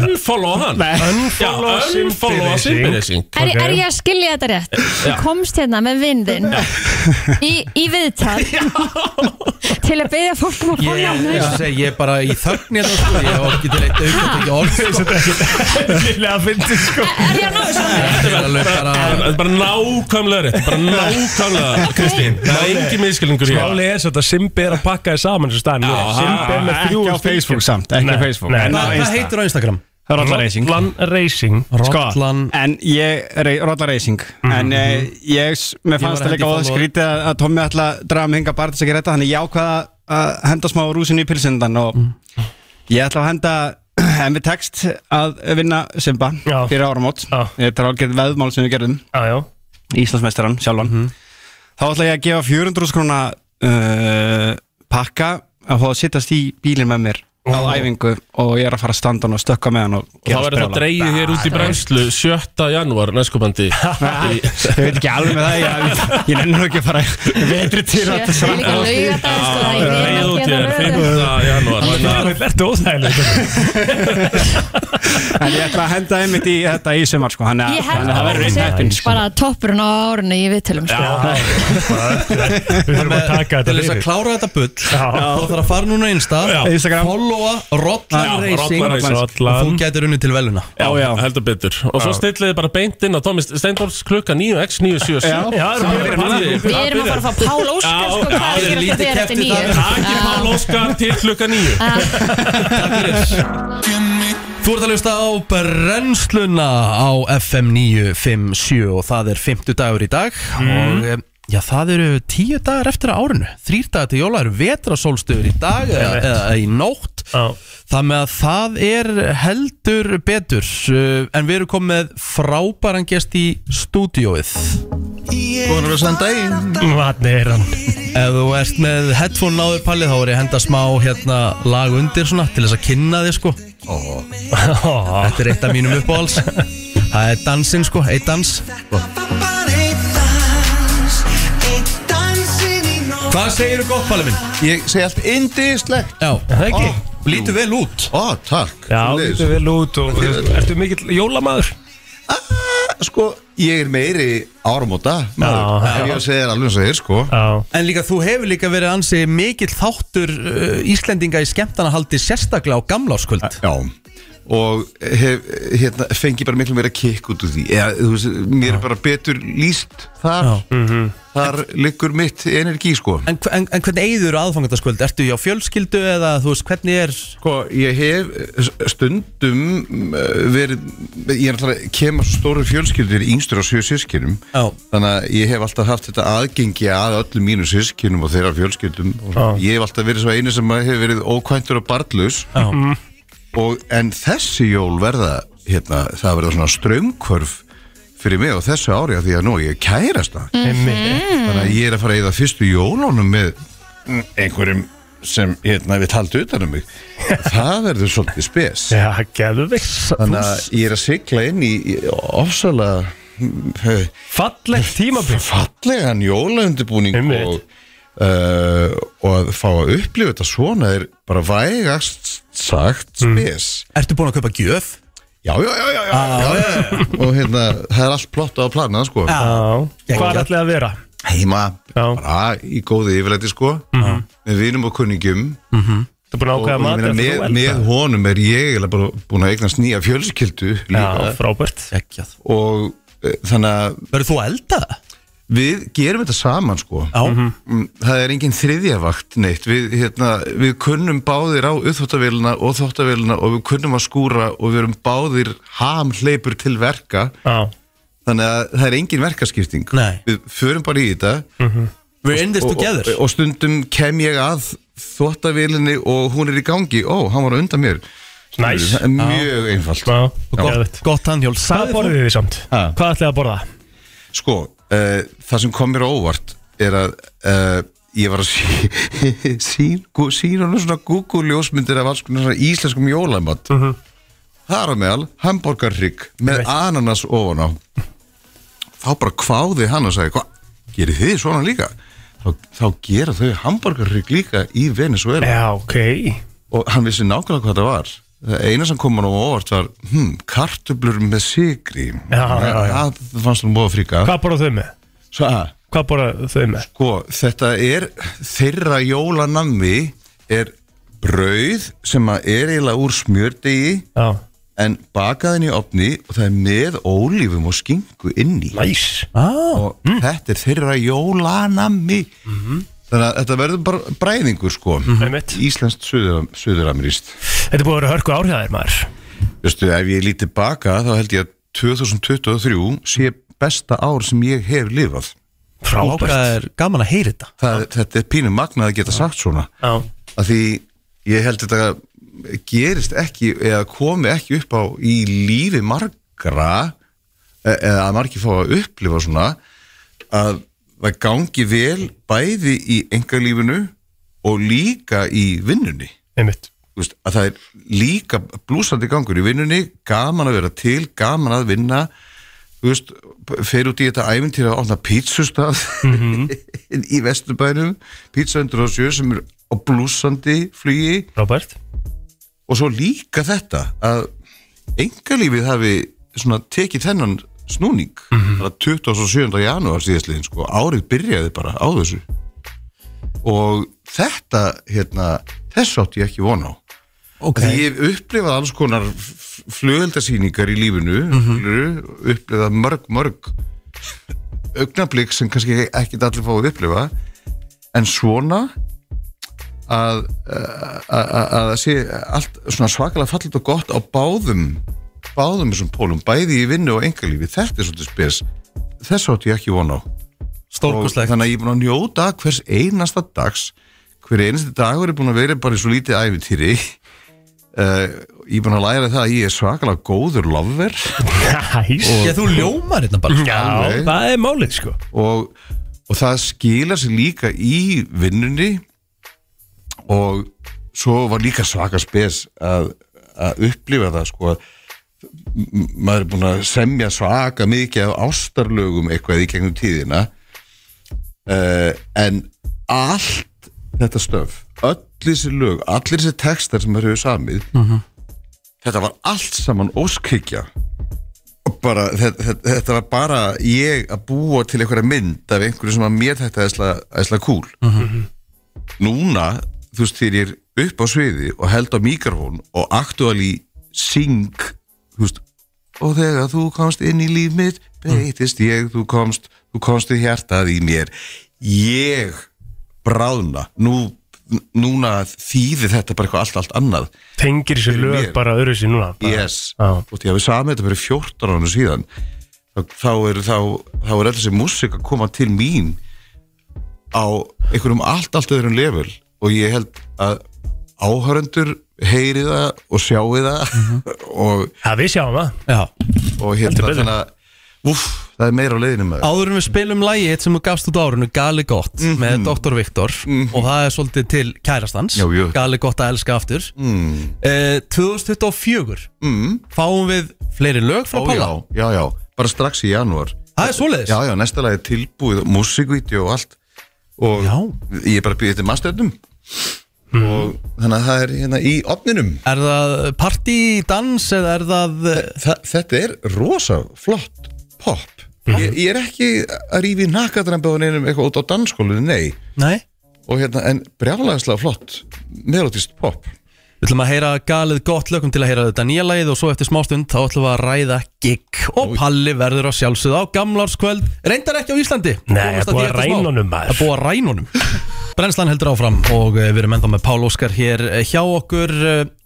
Unfollow hann
Unfollow
Já,
Simbi
unfollow
Racing.
Simbi Racing
Er, er ég að skilja þetta rétt? Þú
Já.
komst hérna með vindin í, í viðtal til að byggja fólk um að
Ég,
fóla
ég,
yeah.
segi, ég er bara í þögn hérna sko, ég á ekki til eitt auka til ekki orð sko.
Lillega fyndi sko
Er ég að ná þessu?
Þetta er alveg bara- þetta er bara nákvæmlega rétt Bara nákvæmlega, Kristín Það er engin miskilningur hér
Málið er svolítið að Simbi er að pakka þér saman þessu staðin
Já,
Simbi er með
Ekki
þrjú
á Facebook samt, ekki á Facebook. En á Hvað- hvað Insta. heitir
á Instagram?
Rolla Racing
Rottlan Racing
Rottlan
En ég, Rolla Racing
Mhm,
En eh, ég, s- mér
Ég var
fannst
að
það líka
hendi
óða
follow-
skrítið að að Tommi ætla að draga mig hinga bara til þess að gera þetta Þannig ég ákvaða að henda smá rúsin í pilsindan Og ég ætla að henda En við text að vinna Simba fyrir áramót Þetta er algjörð veðmál sem við gerðum
já, já.
Íslandsmeistaran sjálfan Þá ætla ég að gefa 400 skrona uh, pakka að fá að sittast í bílinn með mér á æfingu og ég er að fara að standa hann og stökka með hann og
Og þá verður það dreigið hér út í brennslu 7. janúar næstkupandi
Ég veit ekki alveg með það, ég, ég nennur ekki að fara vetri til að
Sjö, líka
Já,
laugardagur, sko, það er ekki vel að gera
já,
lögur.
já, janúar,
Þú
þannig
að-
En ég ætla að henda einmitt í þetta í sumar sko, þannig
Ég
að
held
þannig að það sko.
að
verður einn
það
heppin
sé bara toppurinn á árunni í viðtölum sko.
Við þurfum að taka þetta
Til þess að klára þetta bull Þá þarf að fara núna á Insta
Instagram.
Followa Rottlan
Já,
Racing
Rottlan Racing.
Og þú getur unni til veluna
Já, já, heldur betur Og svo
Já.
stillið þið bara beint inn á Tómi Steindors klukka 9 x 977
Já, já, erum við byrjað núna.
Við erum að fara að fá Pál Óskar sko, hvað
Já,
er að
já,
gera
lítið
þetta fyrir eftir
keppt í
nýju
dag. Takið Pál Óskar til klukka 9
Þú ert að hlusta á brennsluna á FM 957 og það er 50 dagur í dag og em, já, það eru 10 dagar eftir að árinu, þrýr dagar til jóla eru vetrasólstöður í dag eða,
Einmitt.
eða í nótt það með að það er heldur betur uh, en við erum komið með frábæran gest í stúdióið Góðan og sann daginn
Vatni Mm, er hann
Ef þú ert með headphone náður palli þá er ég að henda smá hérna, lag undir svona til þess að kynna þig sko Þetta er eitt af mínum uppáhalds Það er dansinn sko, eitt dans
Bara einn dans, einn dansinn í nótt
Hvað segir þú gott, Palli minn?
Ég segi allt indislegt
Já,
það ekki.
Lítur vel út Ó, takk
Já,
Svoleiðis.
lítur vel út og ertu mikill jólamaður?
Sko, ég er meiri áramóta maður, Ef ég segi þér alveg eins og þér, sko
En líka þú hefur líka verið ansi mikill þáttur uh, Íslendinga í skemmtana haldi sérstaklega á gamláskvöld
Já, og hef, hérna, fengi bara miklu meira kikk út úr því Eða, þú veist, mér er bara betur líst þar Þar liggur mitt energi, sko
En, hv- en, en hvernig eigður aðfangandaskvöld? Ertu hjá fjölskyldu eða þú veist hvernig er
Sko, ég hef eh, stundum eh, verið, ég er alltaf kemur stóru fjölskyldur yngstur á sjö sískinum þannig að ég hef alltaf haft þetta aðgengi að öllum mínu sískinum og þeirra fjölskyldum og svona. ég hef alltaf verið svo einu sem hefur verið ókvæntur og barnlaus
Mhm.
og en þessi jól verða hérna, það verða svona strömmkvörf fyrir mig á þessu ári af því að nú er ég kærast það þannig að ég er að fara að eyða fyrstu jólunum með mm, einhverjum sem hérna við taldi utan um mig það verður svolítið spes
Já, geðveikt
þannig að ég er að sigla inn í í ofsalega eh,
falleg tímabil
fallegan jólaundibúning og, uh, og að fá að upplifa þetta svona er bara vægast sagt
Mm.
spes
Ertu búin að kaupa gjöf?
Já, já, já, já, já, já, já. og hérna, það er allt plott á planað sko
Ah. Já, hvað er allir að vera?
heima, bara í góði yfirleiti sko,
Mhm.
með vinum og kunningum
Þú er búin Mhm. að ákveða
og, og ég
mat
meina,
eftir þú
með,
eldar?
með honum er ég eiginlega bara búin að eignast nýja fjölskyldu líka
Já, frábært
Ekkjað
og e, þannig að
Verður þú að elda?
Við gerum þetta saman sko
Já. Mhm.
Mm, Það er engin þriðjavakt neitt Við, hérna, við kunnum báðir á uppþóttavélina og þóttavélina og við kunnum að skúra og við erum báðir hamhleypur til verka
Já.
Þannig að það er engin verkaskipting
Nei.
Við förum bara í þetta
Mhm.
We're in this
Og- og-
together.
og, og stundum kem ég að þóttavélinni og hún er í gangi Ó, hann var á undan mér
Næs.
Það er Mjög einfalt
Já.
Gott, gott handhjól
Hvað borðið þið samt? Hvað ætlaði að borða?
Sko, uh, það sem kom mér á óvart er að uh, ég var að sí- sín gú- sína sín svona Google-ljósmyndir af alls konar svona íslenskum jólæmat mm
Mhm.
-hmm. Þar á meðal hambúrgarrygg með ananas ofan á Þá bara kváði hann og sagði, hvað, gerir þið svona líka? Þá, þá gera þau hambúrgarrygg líka í Venezuela
Já, ok
Og hann vissi nákvæmlega hvað það var Það eina sem kom hann á óvart var, hm, kartublur með Ah, sigri
Já, já, já.
Það fannst hann búið að fríka
Hvað borða þau með?
Svo að?
Hvað borða þau með?
Sko, þetta er þeirra jólanammi er brauð sem að er eiginlega úr smjördegi
Já.
en bakaðin í opni og það er með ólífum og skingu inni
Næs mm.
ah. og þetta er þeirra jólanammi
Mhm.
þannig að þetta verður bara bræðingur sko Íslenskt suður, suðuramirist
Þetta er búið að vera hörku árhæðir maður
Veistu, ef ég líti baka þá held ég að 2023 sé besta ár sem ég hef lifað
Frábært. Vá, hvað er gaman að heyra þetta
það, Þetta er pínum magnað að geta sagt svona
Já.
að því ég held þetta gerist ekki eða komi ekki upp á í lífi margra e- eða að margir fá að upplifa svona að það gangi vel bæði í engalífinu og líka í vinnunni
Einmitt.
Þú veist, að það er líka blúsandi gangur í vinnunni gaman að vera til, gaman að vinna þú veist, fer út í þetta æfintýra að opna pítsustað í vesturbænum pítsa 107 sem er á blúsandi flugi
Robert.
og svo líka þetta að engalífið hafi svona tekið þennan snúning bara 27. janúar síðastliðin sko, árið byrjaði bara á þessu og þetta hérna, þess átti ég ekki von á okay. því ég hef upplifað alls konar flugöldasýningar í lífinu mm upplifað mörg mörg augnablík sem kannski ekki allir fá að upplifa en svona að að- að að það sé allt svona svakalega fallit og gott á báðum báðum þessum pólum, bæði í vinnu og engalífi þetta er svolítið spes þess átti ég ekki von á
Stórkostlegt.
Og þannig að ég er búin að njóta hvers einasta dags hver einasti dagur er búin að vera bara í svo lítið æfintýri uh, ég er búin að læra það að ég er svakalega góður lofver
Næs
Já, þú ljómar hérna bara.
Já, það er málið sko
og, og það skila sig líka í vinnunni og svo var líka svaka spes að, að upplifa það sko M- maður er búin að semja svaka mikið af ástarlögum eitthvað í gegnum tíðina uh, eh, en allt þetta stöf öll þessi lög, allir þessi textar sem þeir eru samið þetta var allt saman óskikja bara, þetta, þetta, þetta var bara ég að búa til einhverja mynd af einhverju sem að mér þetta æsla kúl Mhm. núna, þú veist, þegar ég er upp á sviði og held á mikrofón og aktuali syng þú veist, og þegar þú komst inn í líf mitt breytist ég, þú komst þú komst í hjartað í mér ég bráðna nú, núna þýði þetta bara eitthvað allt, allt annað
Tengir þessi
Fyrir
lög
mér.
bara öðru sér núna bara.
yes, og ég hafi samið þetta fyrir 14 ánum síðan þá, þá er þá, þá er öll þessi músík að koma til mín á einhverjum allt, allt öðrum level og ég held að áhörendur heyri það og sjáu það og
Mhm. Já, við sjáum það
Já.
og
Heldur
hérna
betur.
þannig að úff, það er meira á leiðinu með
Áður en við spilum lagið eitt sem þú gafst út á árinu Gali gott með Dr. Viktor og það er svolítið til kærastans
Mhm. Jú, jú.
Gali gott að elska aftur
mm.
eh, 2024
mm.
fáum við fleiri lög
Ó,
frá Palla
já, já, já, bara strax í janúar
Það er svoleiðis?
Já, já, næsta lag er tilbúið, músikvídeó og allt og ég er bara að býða þetta masterðum og þannig að það er hérna í opninum
Er það party, dans eða er það
Þa, Þetta er rosa flott pop
Mhm.
ég, ég er ekki að rífi nakadræmbaðun einum eitthvað út á dansskólinu, nei
Nei
og hérna, en brjálæðislega flott melodist pop
Við ætlum að heyra galið gott lögum til að heyra þetta nýja lagið og svo eftir smástund þá ætlum við að ræða gig og Palli verður að sjálfsögða á gamlarskvöld reyndar ekki á Íslandi
Nei, það er búið að ræna honum, maður.
Það er búið að ræna honum Brennslan heldur áfram og eh, við erum ennþá með Pál Óskar hér eh, hjá okkur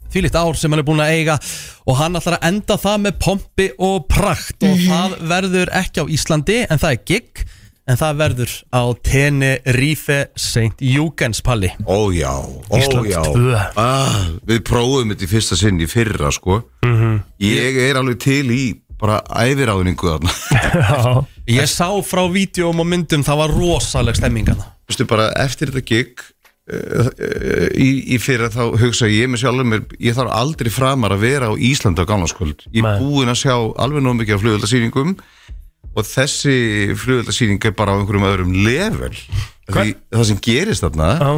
þvílitt ár sem hann er búin að eiga og hann ætlar að enda það með pompi og prakt og það verður ekki á Íslandi en það er gig en það verður á Tenerife St. Júgens Palli
Ó já, ó
Íslands
já
tvö.
ah, Við prófum þetta í fyrsta sinn í fyrra sko Ég er alveg til í bara æfiráðningu þarna
Ég sá frá vídjóm og myndum það var rosaleg stemmingana
Vistu bara eftir þetta gig uh, uh, í, í fyrra þá hugsa ég með sjálfur mér Ég þarf aldrei framar að vera á Íslandi á gamlanskvöld Ég er búinn að sjá alveg nóg mikið af flugöldasýningum og þessi flugöldasýning er bara á einhverjum öðrum level Því, Það sem gerist þarna
Já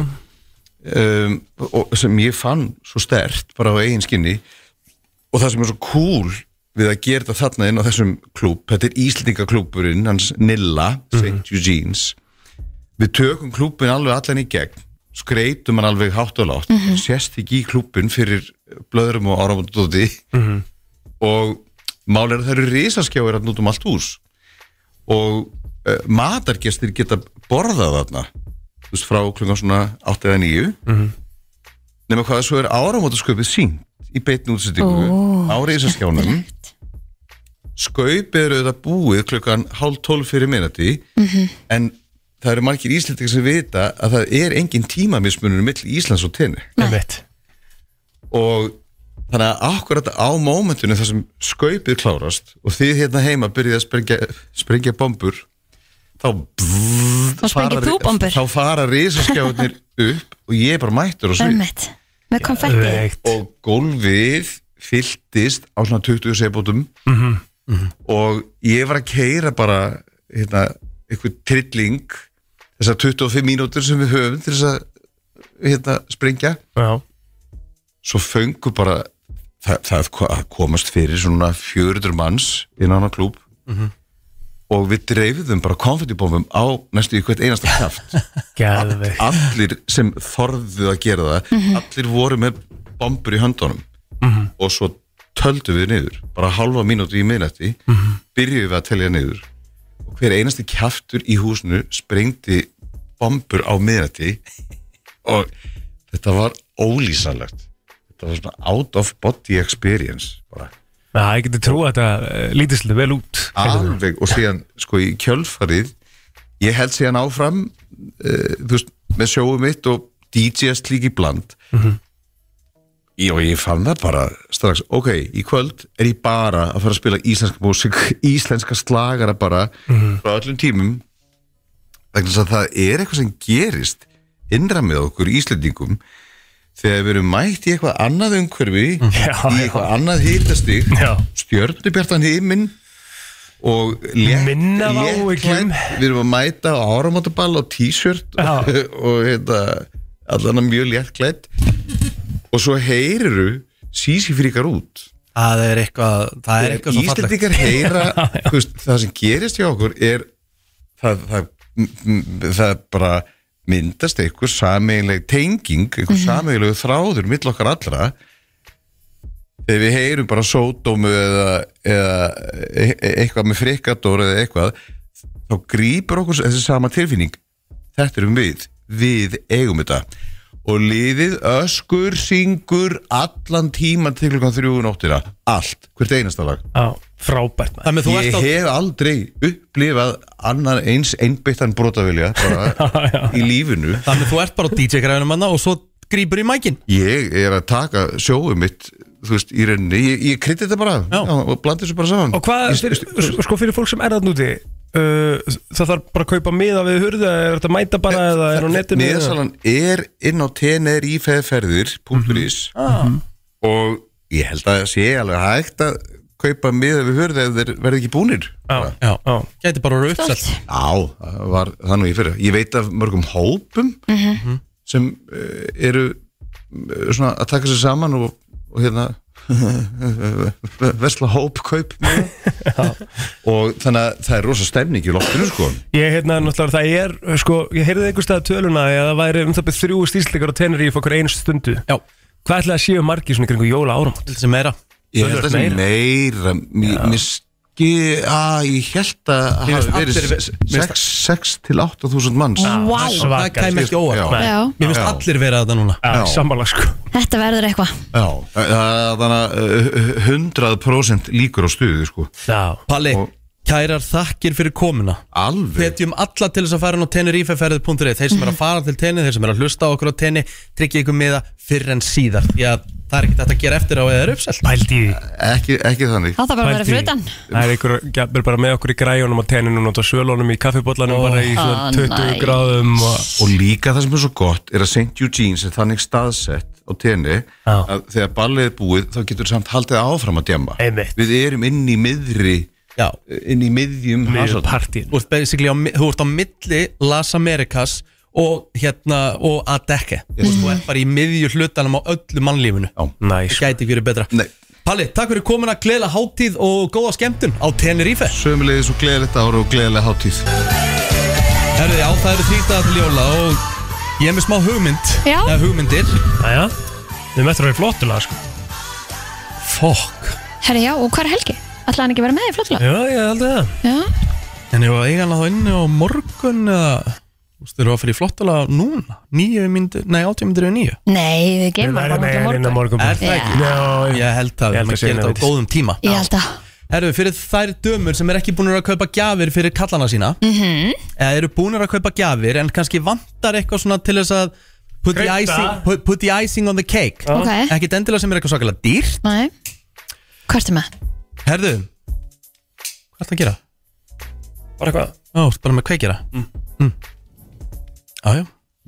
um, og sem ég fann svo stert bara á eigin skinni og það sem er svo cool við að gera þetta þarna inn á þessum klúb þetta er Íslendingaklúburinn, hans Nilla St. Eugene's við tökum klúbin alveg allan í gegn skreitum hann alveg hátt og látt
Mhm.
sérst ekki í klúbin fyrir blöðrum og áramóndóti
Mhm.
og mál er að það eru risaskjáir hann út um allt hús og uh, matargestir geta borðað þarna þú veist, frá klungan svona 8 eða 9 nema hvað svo er áramótasköpið sínt í beitni útsendingu
Ó,
á reysaskjánum skaupið eru þetta búið klukkan hálf 12 fyrir minnati en það eru margir íslendingar sem vita að það er engin tímamismunur mill Íslands og tenni
Einmitt.
og þannig að akkurat á mómentinu þar sem skaupið klárast og þið hérna heima byrjið að sprengja, sprengja bombur þá
Þá sprengir þú bombur.
þá fara risaskjáðunir upp og ég er bara mættur og svið
Ömmit, með konfetti
og gólfið fylltist á svona 20 segbótum
Mhm.
og ég var að keira bara hérna, einhver trilling þessar 25 mínútur sem við höfum til þess að hérna, springja
Já.
svo fengu bara það, það að komast fyrir svona 400 manns inn á hana klúb
Mhm.
og við dreifðum bara konfettibófum á næstu í hvert einasta kraft
Geðveikt.
allir sem þorðu að gera það
Mhm.
allir voru með bombur í höndunum
Mhm.
og svo töldu við niður bara halva mínútu í miðnætti
Mhm.
byrjuðum við að telja niður og hver einasti kjaftur í húsinu sprengdi bombur á miðnætti og þetta var ólýsanlegt þetta var svona out of body experience bara
Já, ég geti trú að þetta eh, lítið svolítið vel út
alveg og síðan sko í kjölfarið ég held síðan áfram uh, þú veist, með sjóum mitt og DJ-ast líki bland
Mhm.
Jó, ég fann það bara strax, ok, í kvöld er ég bara að fara að spila íslenska músík íslenska slagara bara
Mhm.
frá öllum tímum vegna þess að það er eitthvað sem gerist innra með okkur íslendingum þegar við erum mætt í eitthvað annað umhverfi, í eitthvað annað hýtastig stjörnubjartan himinn og létt,
Minna af áhyggjum.
við erum að mæta á áramótaball á t-shirt og, og hérna, allan að mjög léttklætt og svo heyriru sísi fríkar út
Það er eitthvað, það er eitthvað svo fallegt.
Íslendingar heyra þú veist, það sem gerist hjá okkur er það, það, m- m- það bara myndast eitthvað sameiginleg tenging eitthvað mm
Mhm.
þráður mill okkar allra þegar við heyrum bara sódómu eða, eða e- e- eitthvað með frikador eða eitthvað þá grýpur okkur þessi sama tilfinning þetta erum við, við eigum þetta og liðið öskur, syngur allan tíman til klukkan þrjúðu nóttina allt, hvert einasta lag
Já, frábært maður.
Ég hef aldrei upplifað annan eins einbyttan brotavilja bara í lífinu
Þannig þú ert bara á DJ-græðinu manna og svo grýpur í mækin
Ég er að taka sjóum mitt þú veist, í rauninni, ég, ég krytti þetta bara já. og blandi þessu bara saman
Og hvað, fyrir, sko fyrir fólk sem er þarna úti uh, það þarf bara að kaupa miða við hurðu eða er þetta að mæta bara eða er á netinu eða?
Miðasalan er inn á
Mhm.
tnrifeðferðir.is
Ah.
og ég held að það sé alveg hægt að kaupa miða við hörðu ef þeir verði ekki búnir já,
já, já. Gæti bara að vera uppsett
Já, það var það nú í fyrra Ég veit af mörgum hópum
Mhm.
sem uh, eru uh, svona að taka sér saman og, og hérna vesla hópkaup með. og þannig að það er rosa stemning í loftinu sko
Ég hérna náttúrulega, það er, sko, ég heyrði einhver stað töluna að það væri um það byrð þrjú stísleikar á Teneríf okkur einu stundu
Já
Hvað ætlaði að séu margir svona kringu jóla áramót?
Þetta sem meira
Ég held að það er meira Mér mér ski að ég held að
Mér finnst
hafi
allir-
verið
mér finnst-
6 til 8 þúsund manns
Vá. Það kæmi ekki óvart. Já.
Mér finnst allir vera þetta núna
Já.
Sammála sko
Þetta verður eitthvað
Já, það er þannig að 100% eh, líkur á stuðu sko
Já
Palli, kærar þakkir fyrir komuna
Alveg
Hvetjum alla til þess að fara inn á tenurífeferðið.rið Þeir sem er að fara til tenni, þeir sem er að hlusta á okkur á tenni Tryggja ykkur miða fyrr en síðar Því að það er ekkert hægt að gera eftir á eða er uppselt
Pældi
Ekki, ekki þannig
Það þarf bara að vera fyrir utan.
Það er einhver, gefur bara með okkur í græjunum á teninu og á svölunum í kaffibóllanum bara í svona
Ah,
20
nice.
gráðum og...
og líka það sem er svo gott er að St. Eugene's er þannig staðsett á tenni að þegar ballið er búið þá getur samt haldið áfram að djemma
Einmitt.
við erum inn í miðri
Já.
inn í miðjum hasarnum.
Þú ert basically á, mi- þú ert á milli Las Amerikas og hérna og að dekke yes. Þú ert bara í miðju hlutanum á öllu mannlífinu
Já,
nice.
Það gæti ekki verið betra
Nei.
Palli, takk fyrir komuna, gleðilega hátíð og góða skemmtun á Tenerife
Sömulegis og gleðilegt ára og gleðilega hátíð
Herðu, já, það eru þrýtaðar til jóla og ég er með smá hugmynd
Já.
Eða hugmyndir
Æja, við möttum að vera flottulega sko
Fokk
Herri já, og hvað er Helgi? Ætlaði hann ekki að vera með í flottulega?
Já, ég held að það
Já,
En ég var eiga hana þá inni á morgun eða, þú veist, þurfa að fyrir flottulega núna Nýju myndir, nei, átjum myndir er nýju
nei, við geymum
Við
hann bara
verðum eiga hann
til
inn á morgun. Er það ekki?
Já.
Ég held að
Ég held að
við erum að gera
segja
þetta á
það.
góðum tíma
Ég held að
Herru, fyrir þær dömur sem er ekki búin að kaupa gjafir fyrir kallana sína
Mhm.
eða eru búin að kaupa gjafir en kannski vantar eitthvað svona til þess að put the,
Krydda.
icing, put, put the icing on the cake
Já. Ok.
Ekkit endilega sem er eitthvað svakalega dýrt
Nei, hvað ertu með?
Herðu, hvað ertu að gera?
Bara hvað?
Ó, ertu bara með kveikjara mm. Mm. Já, já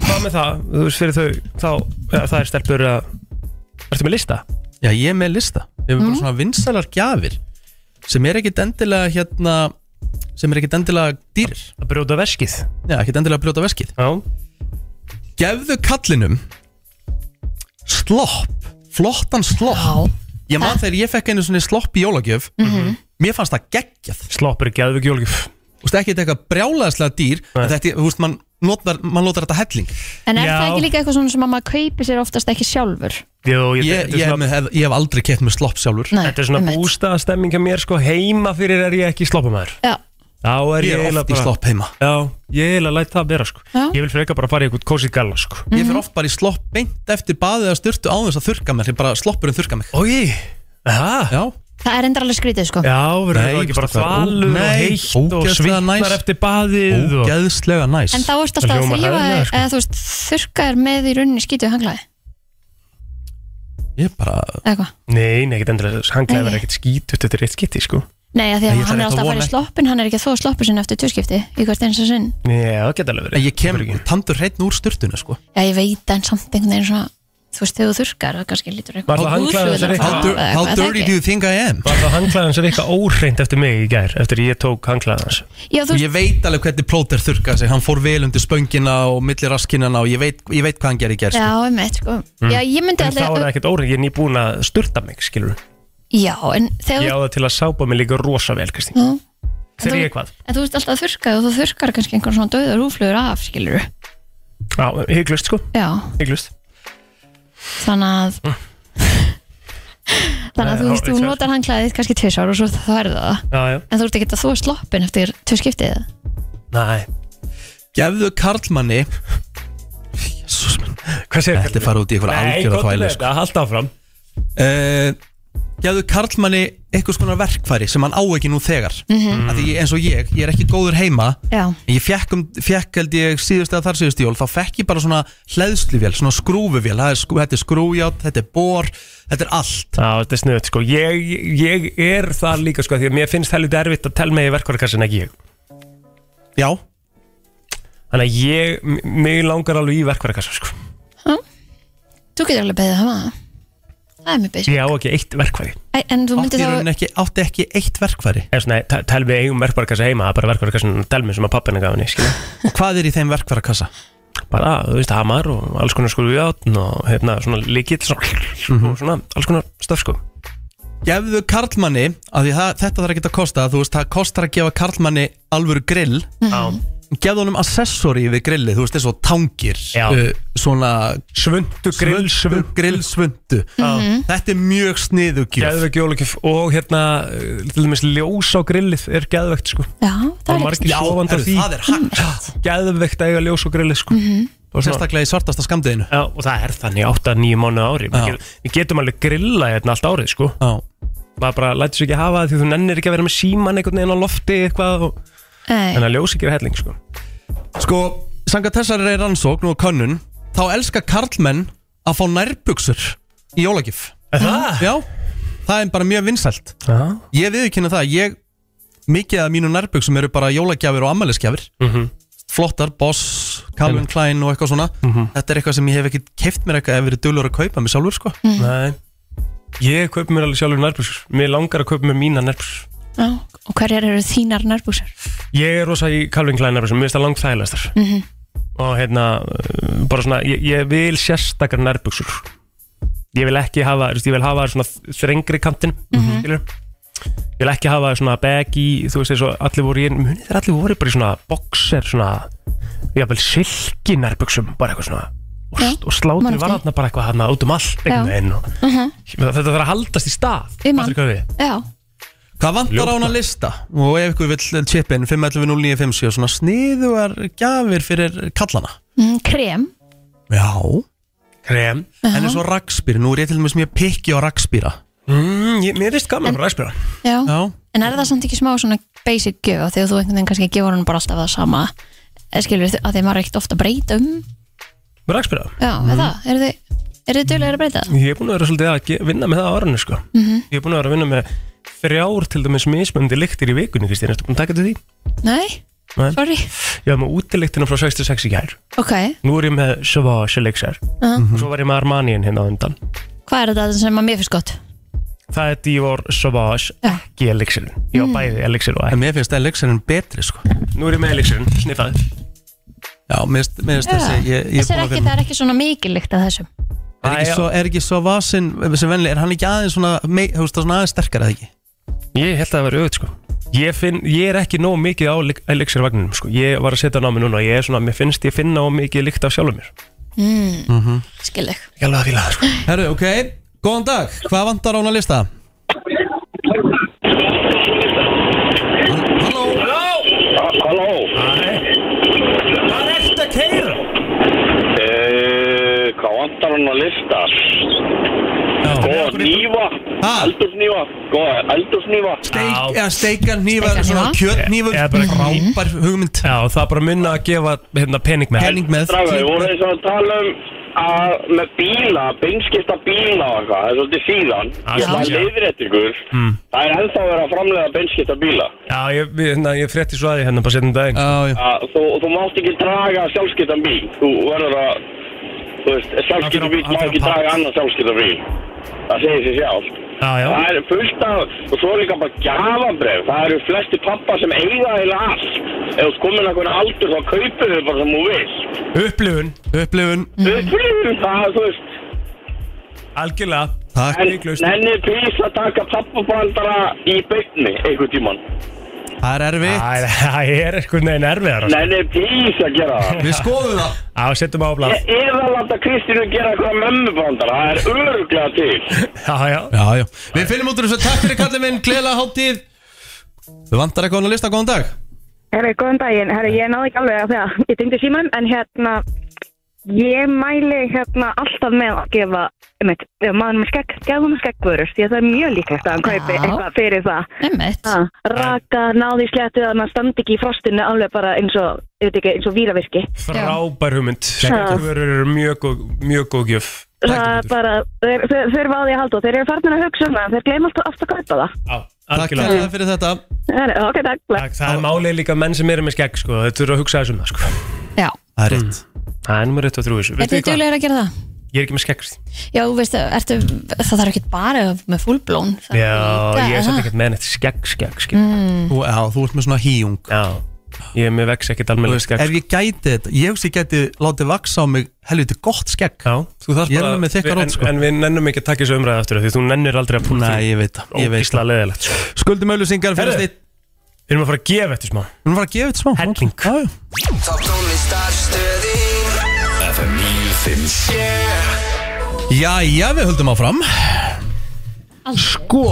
Hvað með það, þú veist fyrir þau þá, ja, það er stelpur að Ertu með lista?
Já, ég er með lista Ég er
Mm.
með bara svona vinsalar gjafir sem er ekkit endilega hérna sem er ekkit endilega dýrir
Að brjóta veskið
Já, ekkit endilega að brjóta veskið
Já
Gefðu kallinum slopp flottan slopp Já. Ég man þegar ég fekk einu svona slopp í jólagjöf
Mhm.
Mér fannst það geggjað
Slopp er geðvig jólgjöf
Þú veist ekki eitthvað brjálaðslega dýr en þetta, er- þú veist, mann notar, man notar þetta helling
En er það ekki líka eitthvað svona sem að maður kaupi sér oftast ekki sjálfur?
Jó,
ég, ég, ég, hef, ég hef aldrei kett með slopp sjálfur
Nei,
Þetta er svona
einmitt.
bústaða stemming að mér sko heima fyrir er ég ekki sloppumæður
Já,
Þá er
Ég
ég,
er
eiginlega
oft í slopp heima
Já, ég er eiginlega að læta það að bera sko
Já.
Ég vil freka bara fara í eitthvað kósið galla sko
Ég
Mhm.
fyrir oft bara í slopp beint eftir baðið að styrtu á þess að þurka mig, ég bara sloppurinn þurka mig
Ói, aha
Já,
það er endur alveg skrítið sko
Já, verður
Nei,
það ekki bara
veistu hvað,
þvalur
ó,
og
nei,
heitt og
ógeðslega
svitnar
næs.
eftir baðið og...
Ógeðslega næs
En þá ertu alltaf að eh, þrýfa þig,
sko.
eða þú veist, þurrka þér með í rauninni skítið hanglaði
Ég bara
Eða hvað?
Nei, nei, ekkert endilega, hann
Nei.
glæður ekkert skítut Þetta er eitt skiti, sko
Nei, af
Nei,
því að
ég
hann
þarf
er alltaf
eitthvað
að
að
fara í
vona.
sloppin, hann er ekki að þóa sloppin sinni eftir tjóskipti í hvert eins og sinn
Já, það geta alveg verið
Ég kem tandur hreitn úr styrtunni, sko
Já, ég veit en samt einhvern veginn svona þú veist, þegar þú þurkar það kannski lítur
Var það handklæðið sem Rikka?
you think I am?
Var það handklæðan sem Rikka óhreint eftir mig í gær Eftir ég tók handklæðan hans
Já, þú
Ég veit alveg hvernig plóter þurka sig Hann fór vel undir spöngina og milli raskinana og ég veit, ég veit hvað hann gerir í gerst
Já, einmitt, sko Já, ég myndi
Mm. Mhm. En þá er það
alltaf
ekkert óhreint, ég er nýbúin að sturta mig, skilur
Já, en
Ég
þegar
á það til að sápa mig líka rosa vel, Kristín
þú
Þegar ég hvað?
En þú veist alltaf að þurka og þú þurkar kannski einhvern svona döður húflugur af, skilur
Já, hygglust sko
Já,
Hygglust
þannig að
Hm.
Þannig að
Nei,
þú veist, þú
hárrétt hjá
notar handklæðið kannski tvisvar og svo það er það
Já, já
En þú ert ekki að þú er sloppin eftir tvö skiptið
Nei
Gefðu karlmanni Jésús minn
Hvað segir
Þetta er farið út í eitthvað algjör að þvæli sko.
að halda áfram
uh, Gefðu karlmanni eitthvað svona verkfæri sem hann á ekki nú þegar
Mhm.
Af Því eins og ég, ég er ekki góður heima
Já,
En ég fekk, um, fekk held ég síðust eða þar síðust jól Þá fekk ég bara svona hleðsluvél, svona skrúfuvél Það er skrú, Þetta er skrújátt, þetta er bor, þetta er allt
Já, þetta er snuðt sko ég, ég er það líka sko Því að mér finnst helviti erfitt að telja mig í verkvarkassin ekki ég
Já
Þannig að ég, m- mig langar alveg í verkvarkassa sko
Hm? þú getur alveg beðið hafa það Það er mjög beðið
Ég á ekki eitt verkværi
En þú myndir þá
ekki, átti ekki eitt verkværi
Eða svona, te- tel mig eigum verkvarkassa heima Það er bara verkvarkassin, tel mig sem að pappina gaf henni skilur.
Og hvað er í þeim verkværakassa?
Bara, þú veist, hamar og alls konar skrúfjátn Og hérna, svona líkill svona,
Mhm.
og svona, alls konar stöf sko
Gefðu karlmanni, af því það, þetta þarf ekki að kosta Þú veist, það kostar að gefa karlmanni alvöru grill
Mhm.
Gefðu honum accessori við grillið, þú veist, eins og tangir uh, Svona
Svundu grill,
svundu, grill, svundu.
Mhm.
Þetta er mjög sniðugjöf
Geðvegt jólugjöf og hérna uh, til dæmis ljós á grillið er geðvegt sko
Já,
og
það er
margir
Já,
sofandi á
herru,
því
það er hægt
geðvegt að eiga ljós á grillið sko
Mhm.
Og svona-
Sérstaklega í svartasta skamdeginu
Já, og það er þannig 8-9 mánuð ári Við getum- við getum alveg grilla hérna allt árið sko
Já
maður bara lætur sér ekki hafa það því þú nennir ekki að vera með síman einhvern veginn á lofti eitthvað og...
Nei.
þannig að ljós ekki er helling sko
Sko, sanga þessari rannsókn og könnun Þá elska karlmenn að fá nærbuksur í jólagjöf
Það?
Já, það er bara mjög vinsælt
Já.
Ég viðurkynna það, ég Mikið af mínu nærbuksum eru bara jólagjafir og ammælisgjafir
Mhm.
Flottar, Boss, Calvin Klein og eitthvað svona
Mhm.
Þetta er eitthvað sem ég hef ekki keift mér eitthvað Ef verið dölur að kaupa mér sjálfur sko
Nei Ég kaup mér alveg sjálfur nærbúsur Mér langar að kaupa mér mína nærbúsur
Já, og hverjar eru þínar nærbúsar?
Ég er rosa í Calvin Klein nærbúsur Mér finnst það langt þægilegastar
Mm -hmm.
og hérna uh, bara svona, ég, ég vil sérstakar nærbuksur ég vil ekki hafa þú veist, ég vil hafa þær svona þrengri kantin mm
Mhm.
ég vil ekki hafa þær svona baggy, þú veist eins og allir voru í munið þeir allir voru bara í svona boxer svona, jáfnvel silki nærbuksum bara eitthvað svona og,
Já,
og slátur
man
var
eftir.
þarna bara eitthvað hérna út um allt einhvern
Já.
veginn og, þetta þarf að haldast í stað
Ég man.
Fattar hvað við?
Já,
Hvað vantar á hana lista? Og ef ykkur vill eh, chipin 511-0957 Svona sniðuar gjafir fyrir kallana
mm, krem
Já
Krem
En eins og rakspýr, nú er ég til dæmis mjög pikki á rakspýra
mm, ég, Mér finnst gaman bara ræspira
Já.
Já.
En er það samt ekki smá svona basic gjöf af því að þú einhvern veginn kannski gefur hann bara alltaf það sama eða skilur þið að þið maður er ekkert ofta að breyta um
Ræspira
Já, mm.
Mhm.
eða, er þið, er þið duglega að breyta?
Ég er búin að vera svolítið að ge- vinna með það á árunni sko.
Mhm.
Ég er búin að vera að vinna með þrjár til dæmis mismöndi lyktir í vikunni Kristín, ertu búin að taka til því?
Nei,
Nei.
sorry
Ég var með útilyktina frá 66 í gær
Ok,
Nú er ég með Savage Elixir
Já.
og
Mhm.
Svo var ég með Armaniin hérna á undan
hvað er þetta sem að mér finnst gott?
Það er Dior Savage
Já.
ekki Elixir Ég var bæði Elixir og
En
ekki
mér finnst elixirinn betri sko
Nú er ég með Elixir, sniffað
Já, mér finnst- mér finnst þessi ég, ég
Þessi er
búin að
ekki,
finna-
það er ekki svona mikil líkt að þessum
Er ekki, svo, er ekki svo vasin sem venli, er hann ekki aðeins svona, mei, þú veist það svona aðeins sterkar eða ekki?
Ég held að það var auðvitað sko Ég, finn, ég er ekki nóg mikið á elixir vagninum sko. Ég var að setja námi núna Ég er svona, mér finnst ég finna á mikið líkt af sjálfum mér
mm,
Mm -hmm.
Skil þig
Ég alveg að fíla það sko
Herru, ok, góðan dag, hvað vantar á hún að lista?
Halló
Hvað ertu að keira?
Eh, Hvað vantar hann að lista? Góða nýva Eldursnýva Góða eldursnýva
Steik, eða steikan nýfa, svona kjötnýfur
Eða bara frábær
hugmynd
Já, og það er bara minna að gefa hérna, pening með
Stráka, ég voru eins og að tala um að með bíla, beinskipta bíla og eitthvað, það er svolítið síðan
Ah,
ég ætla að
já.
leiðrétt ykkur
Mm.
það er ennþá verið að framlega beinskipta bíla
Já, ég, við, hérna, ég frétti svo aðið hérna bara setjum daginn
Já,
að þú, þú mátt ekki draga sjálfskiptan bíl þú verður að Þú veist, sjálfskyldarvík má ekki draga annan sjálfskyldarvík. Það segir sér sjálf.
Já, já.
Það er fullt af, og svo er líka bara gjafabref. Það eru flesti pappa sem eiga heila allt. Ef þú komin að hvernig aldur þá kaupir þau bara sem þú vilt.
Upplifun Upplifun
Mhm.
Upplifun það, þú veist.
Algjörlega
Takk, Niklaus. Nenni prís að taka pappabandara í beinni einhvern tíman.
Það er erfitt Það er eitthvað neginn erfiðar
Nenni prís að gera það.
Við skoðum það sko. Já, setjum á blað
Ég er að láta Kristínu gera eitthvað mömmubandara. Það er öruglega til.
Já, já
Já, já Við finnum út úr þessu Takk fyrir kallið minn Gleila hátíð Við vantar eitthvað á þennan lista Góðan dag
Herri, góðan daginn. Herri, ég náði ekki alveg að þegar ég tengdi símanum, en hérna, ég mæli hérna alltaf með að gefa, einmitt, ef maður er með skegg, gefum skeggvörur, því að það er mjög líklegt að hann kaupi
Já.
eitthvað fyrir það.
Einmitt.
Ha, raka, náði í sléttu, þannig að standi ekki í frostinu alveg bara eins og, ég veit ekki, eins og víravirki.
Frábær hugmynd Skekkurvörur eru mjög góð Mjög góð gjöf
Það er bara, þeir þeir- þeir eru á því að halda og þeir eru farin að hugsa um það, þeir gleyma alltaf oft að kaupa það.
Já,
Takk kærlega fyrir þetta
Herri, ok, takk. bless.
Takk, það er málið líka menn sem eru með skegg sko. Þau þurfa að hugsa þessum það sko.
Já.
Það er rétt Það er nummer rétt og þrjú þessu
Er
Veitu
þið
hvað?
duglegur að gera það?
Ég er ekki með skegg Kristín.
Já, þú veist, ertu, það þarf ekki bara að vera með fullblón það-
Já, ég er
það-
samt ekkert með neitt skegg skegg skegg
Mm.
Þú, já, þú ert með svona híjung
Já Ég er með vex ekkert
Þú
almennilega
veist, ef
skegg sko.
ég gæti þetta Ég veist ég gæti látið vaksa á mig Helviti gott skegg
Já Þú
þarft Ég er alveg með þykka rót sko
En við nennum ekki að taka þessu umræði aftur af Því þú nennir aldrei að púla
Nei, ég veit það, ég veit
Ógislega leðilegt sko.
Skuldum auðlusingar fyrir
Herðu,
stitt
Við erum að fara að gefa eftir smá Við
erum að fara að gefa eftir smá
Helling
Top tónlistarstöðin
FM 957 Jæja, við höldum áfram Sko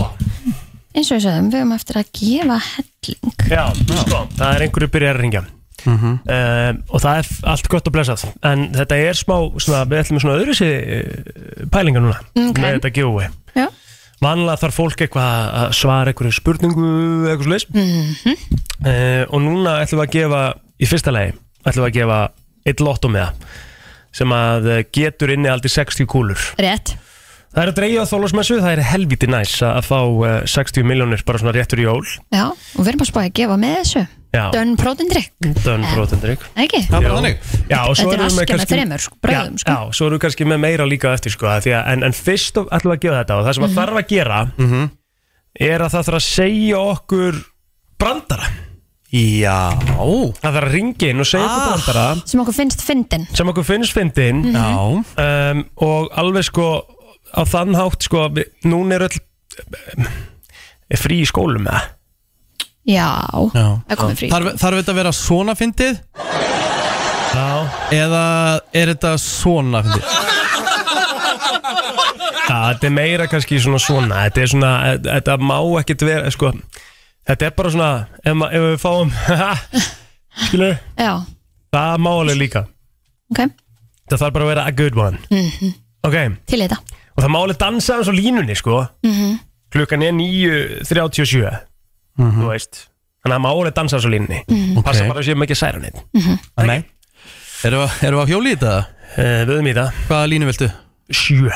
Eins og við sagðum, við höfum eftir að gefa helling
Já, sko, það er einhverju byrjar að ringja um, og það er f- allt gott og blessað en þetta er smá, svona, við ætlum með svona öðru sér pælinga núna
Ok.
með þetta giveaway
Já.
vanlega þarf fólk eitthvað að svara einhverju spurningu eða eitthvað slags
Mhm.
uh, og núna ætlum við að gefa í fyrsta lagi, ætlum við að gefa eitt lotto með það sem að eh, getur inni aldrei 60 kúlur
Rétt
Það er að dreigja á þólasmessu, það er helviti næs að að fá eh, 60 miljónir bara svona réttur í jól
Já, og við erum að spáði að gefa með þessu
Já. Mm.
Dönn prótindrykk,
Dönn brotendrygg
Eh. ekki?
Já. Já, og svo
Þetta
erum
er
við
askja með
kannski-
þremur, sko, bröðum
já, já, svo erum við kannski með meira líka eftir sko, af því að, en, en fyrst of- ætlum við að gefa þetta og það sem mm
Mhm.
þarf að gera
Mhm.
er að það þarf að segja okkur brandara Já Það þarf að ringa inn og segja
Ah.
okkur brandara
Sem okkur finnst fyndin
sem okkur finnst fyndin
Mhm.
Já um, og alveg sko á þann hátt sko, við- núna er öll er frí í skólum eða?
Já, það komið frí
Þarf, þarf þetta að vera svona fyndið?
Já
Eða er þetta svona fyndið?
Já, þetta er meira kannski svona svona Þetta er svona, eh, þetta má ekkert vera sko. Þetta er bara svona Ef, ma- ef við fáum Skilur,
Já,
það má alveg líka
ok
Það þarf bara að vera a good one
Mhm.
Ok,
Til í þetta
og það má alveg dansa eins og línunni sko.
Mhm.
Klukkan er 9.37 Þú veist Þannig að það má alveg dansa eins og línunni
Mhm.
Passa
Ok.
bara að séum ekki að særa neitt
Mhm.
Nei Erum við- erum við að hjóli í þetta?
Eh, Við höfum í það
Hvaða línu viltu?
Sjö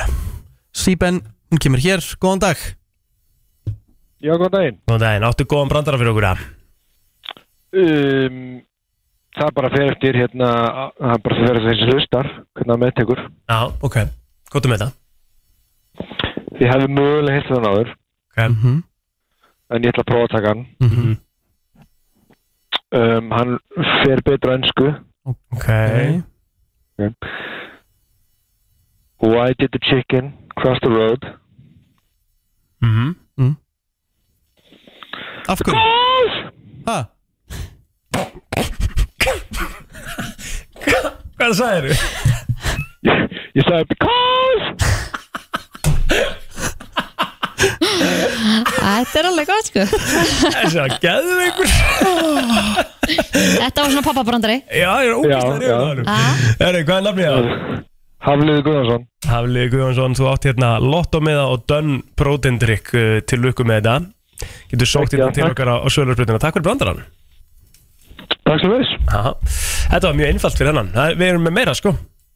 Sýben, hún kemur hér, góðan dag
Já, góðan daginn.
Góðan daginn, áttu góðan brandara fyrir okkur að
Um, það bara fer eftir hérna, það bara fer eftir þessi hlustar, hvernig það meðtekur.
Já, ok, góttum með það
Ég hefði mögulega hitt þann áður,
okay. mm -hmm.
en ég ætla að prófa að taka hann.
Mm -hmm.
Um, hann fer betra ennsku.
Ok
Why did the chicken cross the road?
Mhm.
Mm. Af hverju? Ha?
Hvað sagðir þú?
Ég sagði because
Þetta er alveg gott, sko
Þessi að geðu ykkur
Þetta var svona pappabrandari
Já, ég er ógæslega reyður Herri, hvað er nafnið það?
Hafliði Guðjónsson
Hafliði Guðjónsson, þú átt hérna lottomiða og dönn prótendrykk uh, til lukku með þetta Getur sókt
Takk,
hérna
já,
til
takk.
okkar á, á Sölursprutina Takk fyrir brandarann
Takk sem veist
Þetta var mjög einfalt fyrir hennan Það- Við erum með meira sko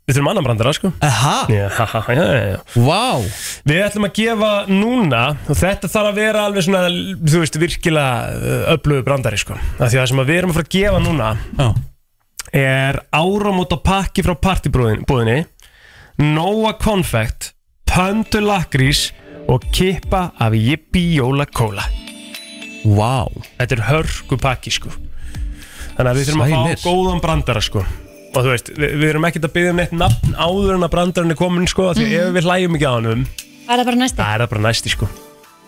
Við þurfum annan brandara sko
Aha
Já, já, já, já.
Wow.
Við ætlum að gefa núna og þetta þarf að vera alveg svona þú veist, virkilega uh, öflugu brandari sko. af því að það sem að við erum að fara að gefa núna
já.
er áramóta pakki frá partibúðinni Nóa konfekt Pöndu lakrís Og kippa af Yippie Jóla Kóla Vá wow. Þetta er hörku pakki sko Þannig að við þurfum að fá
Sælir.
góðan brandara sko Og þú veist, við, við erum ekkert að byggja um neitt nafn áður en að brandarinn er komin sko af Því
Mhm.
ef við hlæjum ekki á hann
Það er það bara næsti
Það er það bara næsti sko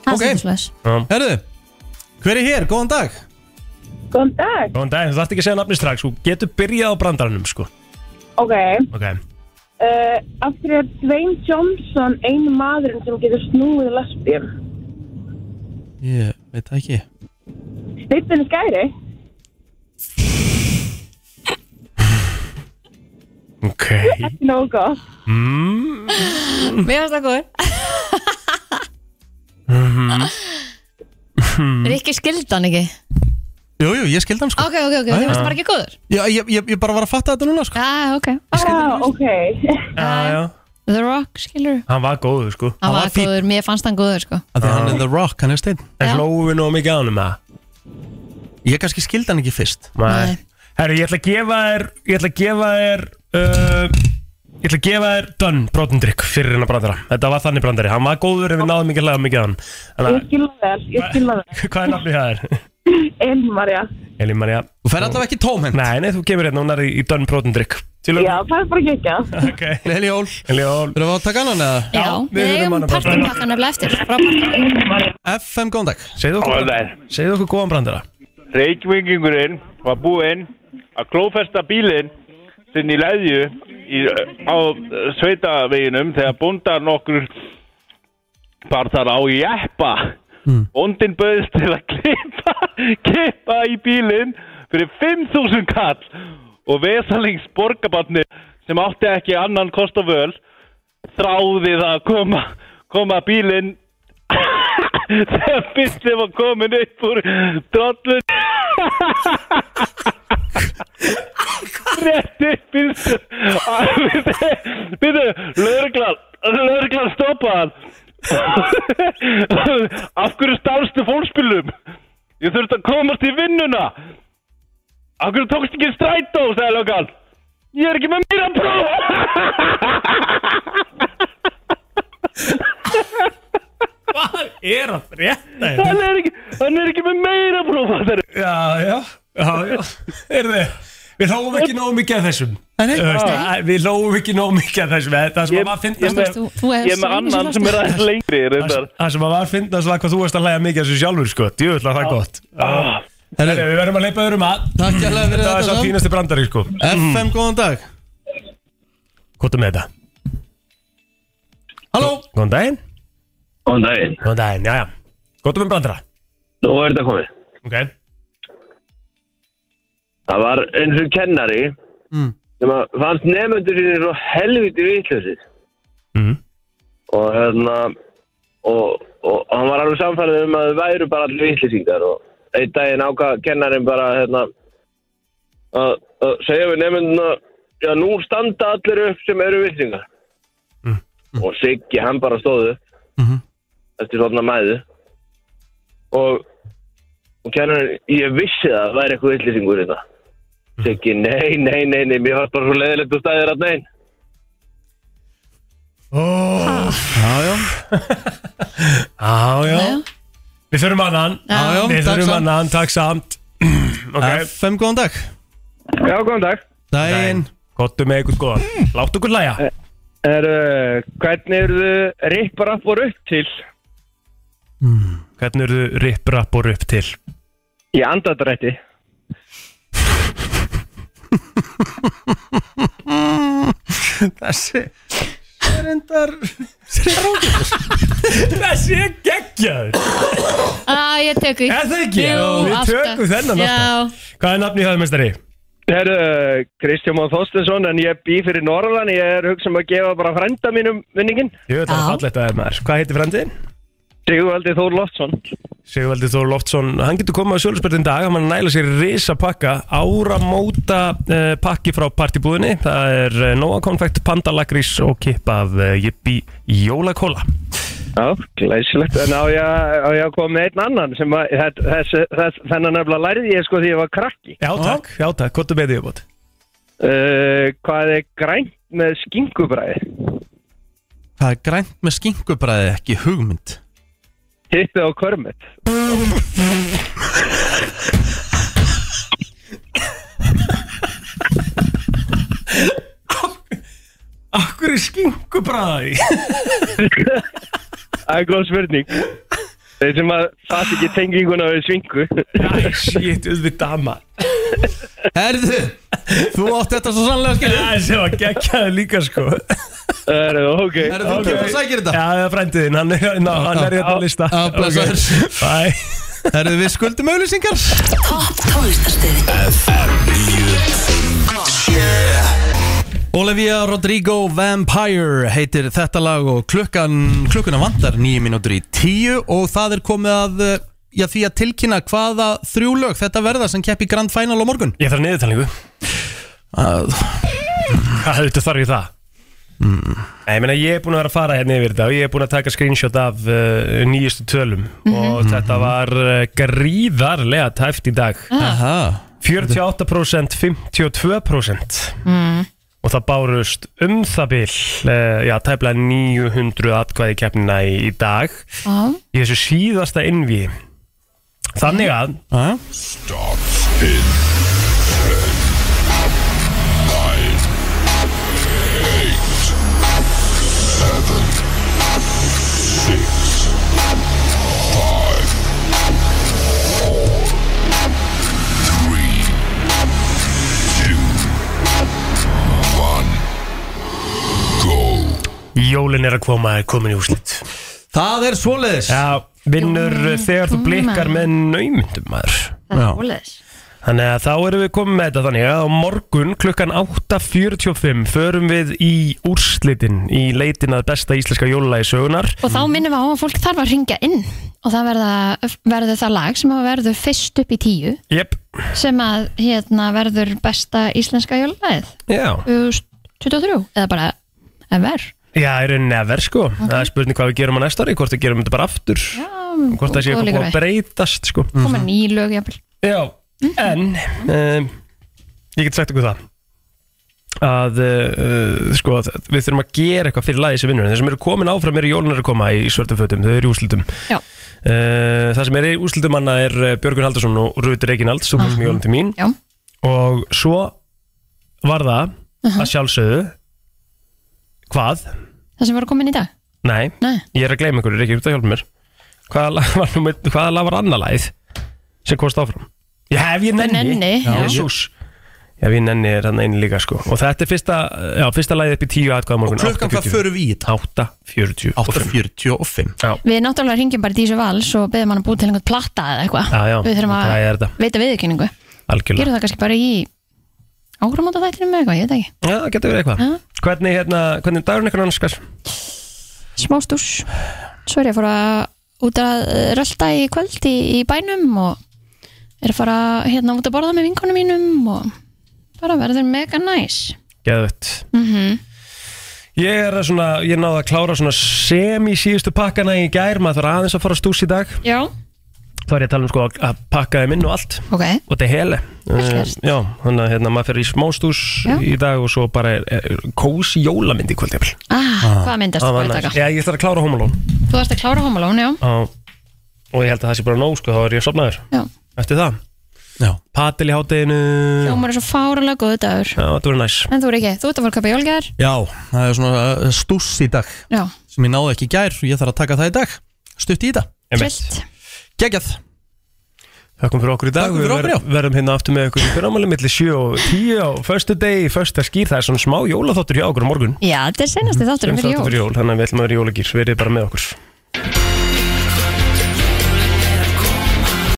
Það er okay.
Herðu, hver er hér? Góðan dag
Góðan dag
Góðan dag, þú þarft ekki að segja nafni strax Þú getur byrjað á brandaranum sko
Ok,
Ok,
uh, af hverju er Dwayne Johnson einu maðurinn sem getur snúið lesbíum?
Ég veit það ekki
Steipin skæri?
ok
Ekki nógu gott
mm.
Mér finnst það góður
Mhm. Mm.
Rikki skildi hann ekki
Hmm. Jú, jú, ég skildi hann sko
Ok, ok,
Ah,
ok, þið finnst bara ekki góður
Já, ég, ég, ég bara var að fatta þetta núna sko
Já, ok
Ah, ok
já, já.
The Rock, skilur
Hann var góður sko
Hann var góður, mér fannst hann góður sko
Af því hann er The Rock, hann er stein
En hlóðum við nóg mikið á hann um það
Ég kannski skildi hann ekki fyrst
Nei Herru, ég ætla að gefa þér Ég ætla að gefa þér uh, Ég ætla að gefa þér Dunn brotendrykk fyrir hennar brandara Þetta var þannig brandari, hann var góður en við náðum mikið hlæða mikið að hann Þannig
Ég skilða vel, ég skilða vel
að hvað er nafnið það er?
Elmarja
Elín Marja Þú fer allavega ekki tómhend Nei, nei, þú kemur hérna, hún er í, í Dunn brotendrykk
Já, það er bara ekki
Ok Heljól Heljól
Þurfum við að taka annan eða?
Já, við
erum
eigum
hann að brandara.
partinpakkan nefnilega eftir Frábært
FM, góðan dag
Segðu
okkur-
Segðu okkur góðan brandara
Reykvingurinn var búinn að klófesta bílinn sinn í leðju í, á eh, sveitaveginum þegar bóndar nokkur bar þar á jeppa mm. bóndin bauðist til að klippa kippa í bílinn fyrir 5.000 kall og vesalings borgabarni sem átti ekki annan kost og völ þráði það að koma, koma bílinn þegar bíllinn var komin upp úr drollun rétt upp í byrðu, lögreglan lögreglan stoppaðan af hverju stálstu fólkspilum ég þurfti að komast í vinnuna af hverju tókst ekki strætó sagði löggan ég er ekki með mér að prófa
Hvað er að frétta hérna?
Hann er ekki, hann er ekki með meira próf fattar
þú? Já, já, já, já Heyrðu, Við hlófum ekki nógu mikið af þessum
nei.
Þú veist,
Nei.
að- Við hlófum ekki nógu mikið af þessum eða Það sem að var
ég með-
fyndast
Þú- þú hefur ég með annan samvisku sem er aðeins lofti. lengri, reyndar.
Það- Það sem að var fyndast var hvað þú varst að hlæja mikið af þessu sjálfur sko Djúvill
Ah.
var það gott Heyrðu, Við verðum að leipa öðrum að
Takk hérlega fyrir
Þetta
þetta,
er svo
Sam.
fínasti brandari sko
FM, góðan dag
Hvort er með þetta? Halló Góðan daginn
Góðan daginn
Góðan daginn, já já Hvort er með brandara?
Nú er þetta komið
Ok
Það var eins og kennari
Mm.
sem að fannst nefnundur sínir svo helviti vitlausir
Mhm.
og hérna og, og, og hann var alveg samfærið um að þau væru bara allir vitleysingar og einn daginn ákvað kennarin bara hérna að, að segja við nefnunduna já nú standa allir upp sem eru vitleysingar
Mm.
og Siggi hann bara stóðu eftir svona mæðu og og kennarinn, ég vissi það, það væri eitthvað yllýsingur þetta. Siggi, nei, nei, nei, nei, mér fannst bara svo leiðilegt og stæðir að neinn.
oh. Já, já Já, já Við þurfum annan
Já, já,
Við
takk
þurfum
samt.
annan, takk samt okay.
FM, góðan dag
Já, góðan dag Dæin Gottu með ykkur góðan Láttu ykkur læja
Er, uh, hvernig eru þau ripparapp og rutt til?
Hvernig eru þú rip, rap og rup til?
Í andadrætti.
Þessi Serendar
Þessi er geggjaður
Á, Ah, ég teku
Er það ekki?
Jú,
Við tökum þennan
alltaf
Hvað er nafni í höfumestari?
Er, uh, Kristján Már Þorstensson, en ég bý fyrir Norrland, ég er hugsa um að gefa bara frænda mínum vinningin.
Jú, það er fallegt að það er maður Hvað heitir frændin?
Sigurvaldi Þór Loftsson.
Sigvaldi Þór Loftsson, hann getur komið á sjölusbyrðin dag hann var að næla sér risa pakka áramóta uh, pakki frá partibúðinni, það er uh, Nóa Konfekt, Panda Lakrís og kipp af uh, Jippi Jólakóla
Já, glæsilegt En á ég, á ég að koma með einn annan sem að, þess, þess, þess, þennan nefnilega lærði ég sko því ég var krakki
Já takk, já takk, hvað er með því uppátt?
Eh, uh, Hvað er grænt með skingubræði?
Hvað er grænt með skinkubræði ekki hugmynd?
Hittið á körmet
Akkur er skinkubræði
Það er góð spurning Þeir sem að fatt ekki tenginguna við svingu
Æ, shit, auðvitað maður
Herðu, þú átt þetta svo sannlega skil
Það sem var geggjaði líka sko
Herðu, ok
Herðu, þú kemur og sækir þetta?
Já, það er frendiðin, hann er, ná, hann er hérna á lista
Já, blessaður.
Bye
Herðu, við skuldum auðlýsingar
Topp tónlistarstöð
FM Olivia Rodrigo Vampire heitir þetta lag og klukkan, klukkuna vantar nýju mínútur í tíu og það er komið að eh, já, því að tilkynna hvaða þrjú lög þetta verða sem keppi Grand Final á morgun
Ég þarf niðurtalningu Hvað auðvitað þarf ég það?
Mm.
Nei, ég meina ég er búin að vera að fara hérna yfir þetta og ég er búin að taka screenshot af uh, nýjustu tölum
Mhm.
og þetta var uh, gríðarlega tæft í dag
Aha.
48% 52%
mm.
og það bárust um það bil uh, já, tæplega 900 atkvæði keppnina í, í dag
Já.
í þessu síðasta innví þannig
Ah.
að Jólin er að koma, er komin í úslit
Það er svoleiðis
Já, vinnur þegar þú blikkar með naumundum maður
Það er óleis
Þannig að þá erum við komið með þetta þannig að á morgun klukkan 8.45 förum við í úrslitin í leitin að besta íslenska jólalagi sögunar
Og þá minnum við á að fólk þarf að ringja inn og það verða, verður það lag sem að verður fyrst upp í tíu
Jep,
sem að hérna, verður besta íslenska jólalæð
já
2023 eða bara ever
Já, er einn never sko Það er spurning hvað við gerum á næsta ári, hvort við gerum þetta bara aftur já, Hvort það sé eitthvað
og
búið
líka
að breytast sko
koma ný lög jafnvel Mhm.
Já, en um, Ég get sagt ykkur það að uh, sko, að við þurfum að gera eitthvað fyrir lagi sem vinnur þeir sem eru komin áfram eru jólunar að koma í svörtum fötum þau eru í úslitum
Já.
uh, það sem er í úslitum manna er eh, Björgun Haldarsson og Rúður Reginald sem kom í jólun til mín
Mhm. Já.
og svo var það
Uh-huh.
að sjálfsögðu hvað?
það sem var að koma inn í dag
Nei,
Nei.
ég er að gleyma ykkur, Rikki, þú ert að hjálpa mér Hvaða lag var, númer- hvaða lag var annað lagið sem komst áfram? Já, ef ég nenni
nenni,
já.
já.
Jesús Ef ég nenni er hann einu líka sko Og þetta er fyrsta, já, fyrsta lagið upp í tíu atkvæða morgun
Og klukkan hvað förum
við í þetta? 8.40 8.45 Já,
við náttúrulega ringjum bara í Dísu Vals og beðum hann að búið til einhvern platta eða eitthvað
Já, já,
við þurfum að
það er þetta.
veita viðurkynningu gerum
algjörlega
það kannski bara í áramóta þættinum eða eitthvað, ég veit ekki
Já, það getur verið eitthvað
Já.
Hvernig, hérna, hvernig er dagurinn eitthvað annars skar?
smá stús svo er ég að fara út að eh, rölda í kvöld í, í bænum og er að fara hérna út að borða með vinkonum mínum og bara verður mega næs
Geðvett
mm
Ég er að svona, ég náði að klára svona sem í síðustu pakkana í gær maður þarf aðeins að fara stús í dag
já,
þá er ég að tala um sko að- að pakka þeim inn og allt
ok
og þetta er hele uh,
gert.
já, þannig að hérna, maður fer í smástús
Já.
í dag og svo bara er, er, kósi jólamynd í kvöld jafnvel.
ah, hvað myndast
Það
þú
var
að
næs.
taka?
Já, ég ætla að klára homolón
þú varst að klára homalón, já
og, og ég held að það sé bara nóg sko, þá er ég sopnaður
Já.
eftir það
já.
patil í hátteginu
hljómar er svo fárulega góðu dagur
já, þetta verður næs
en þú er ekki, þú ert að fara að kappa jólgar
Já, það er svona eh, stúss í dag
já,
sem ég náði ekki í gær og ég þarf að taka það í dag Stutt í þetta
trillt
Geggjað
Þakkum fyrir okkur í dag
Þökkum fyrir okkur, já.
Við ver- verðum hérna aftur með okkur í fyrramáli milli 7 og 10 á förstu degi, första skýr það er svona smá jólaþáttur hjá okkur á morgun
já, þetta er senasti þáttur
Sem
fyrir
þáttur
jól
fyrir jól, þannig að við ætlum að vera í jólagýr verið bara með okkur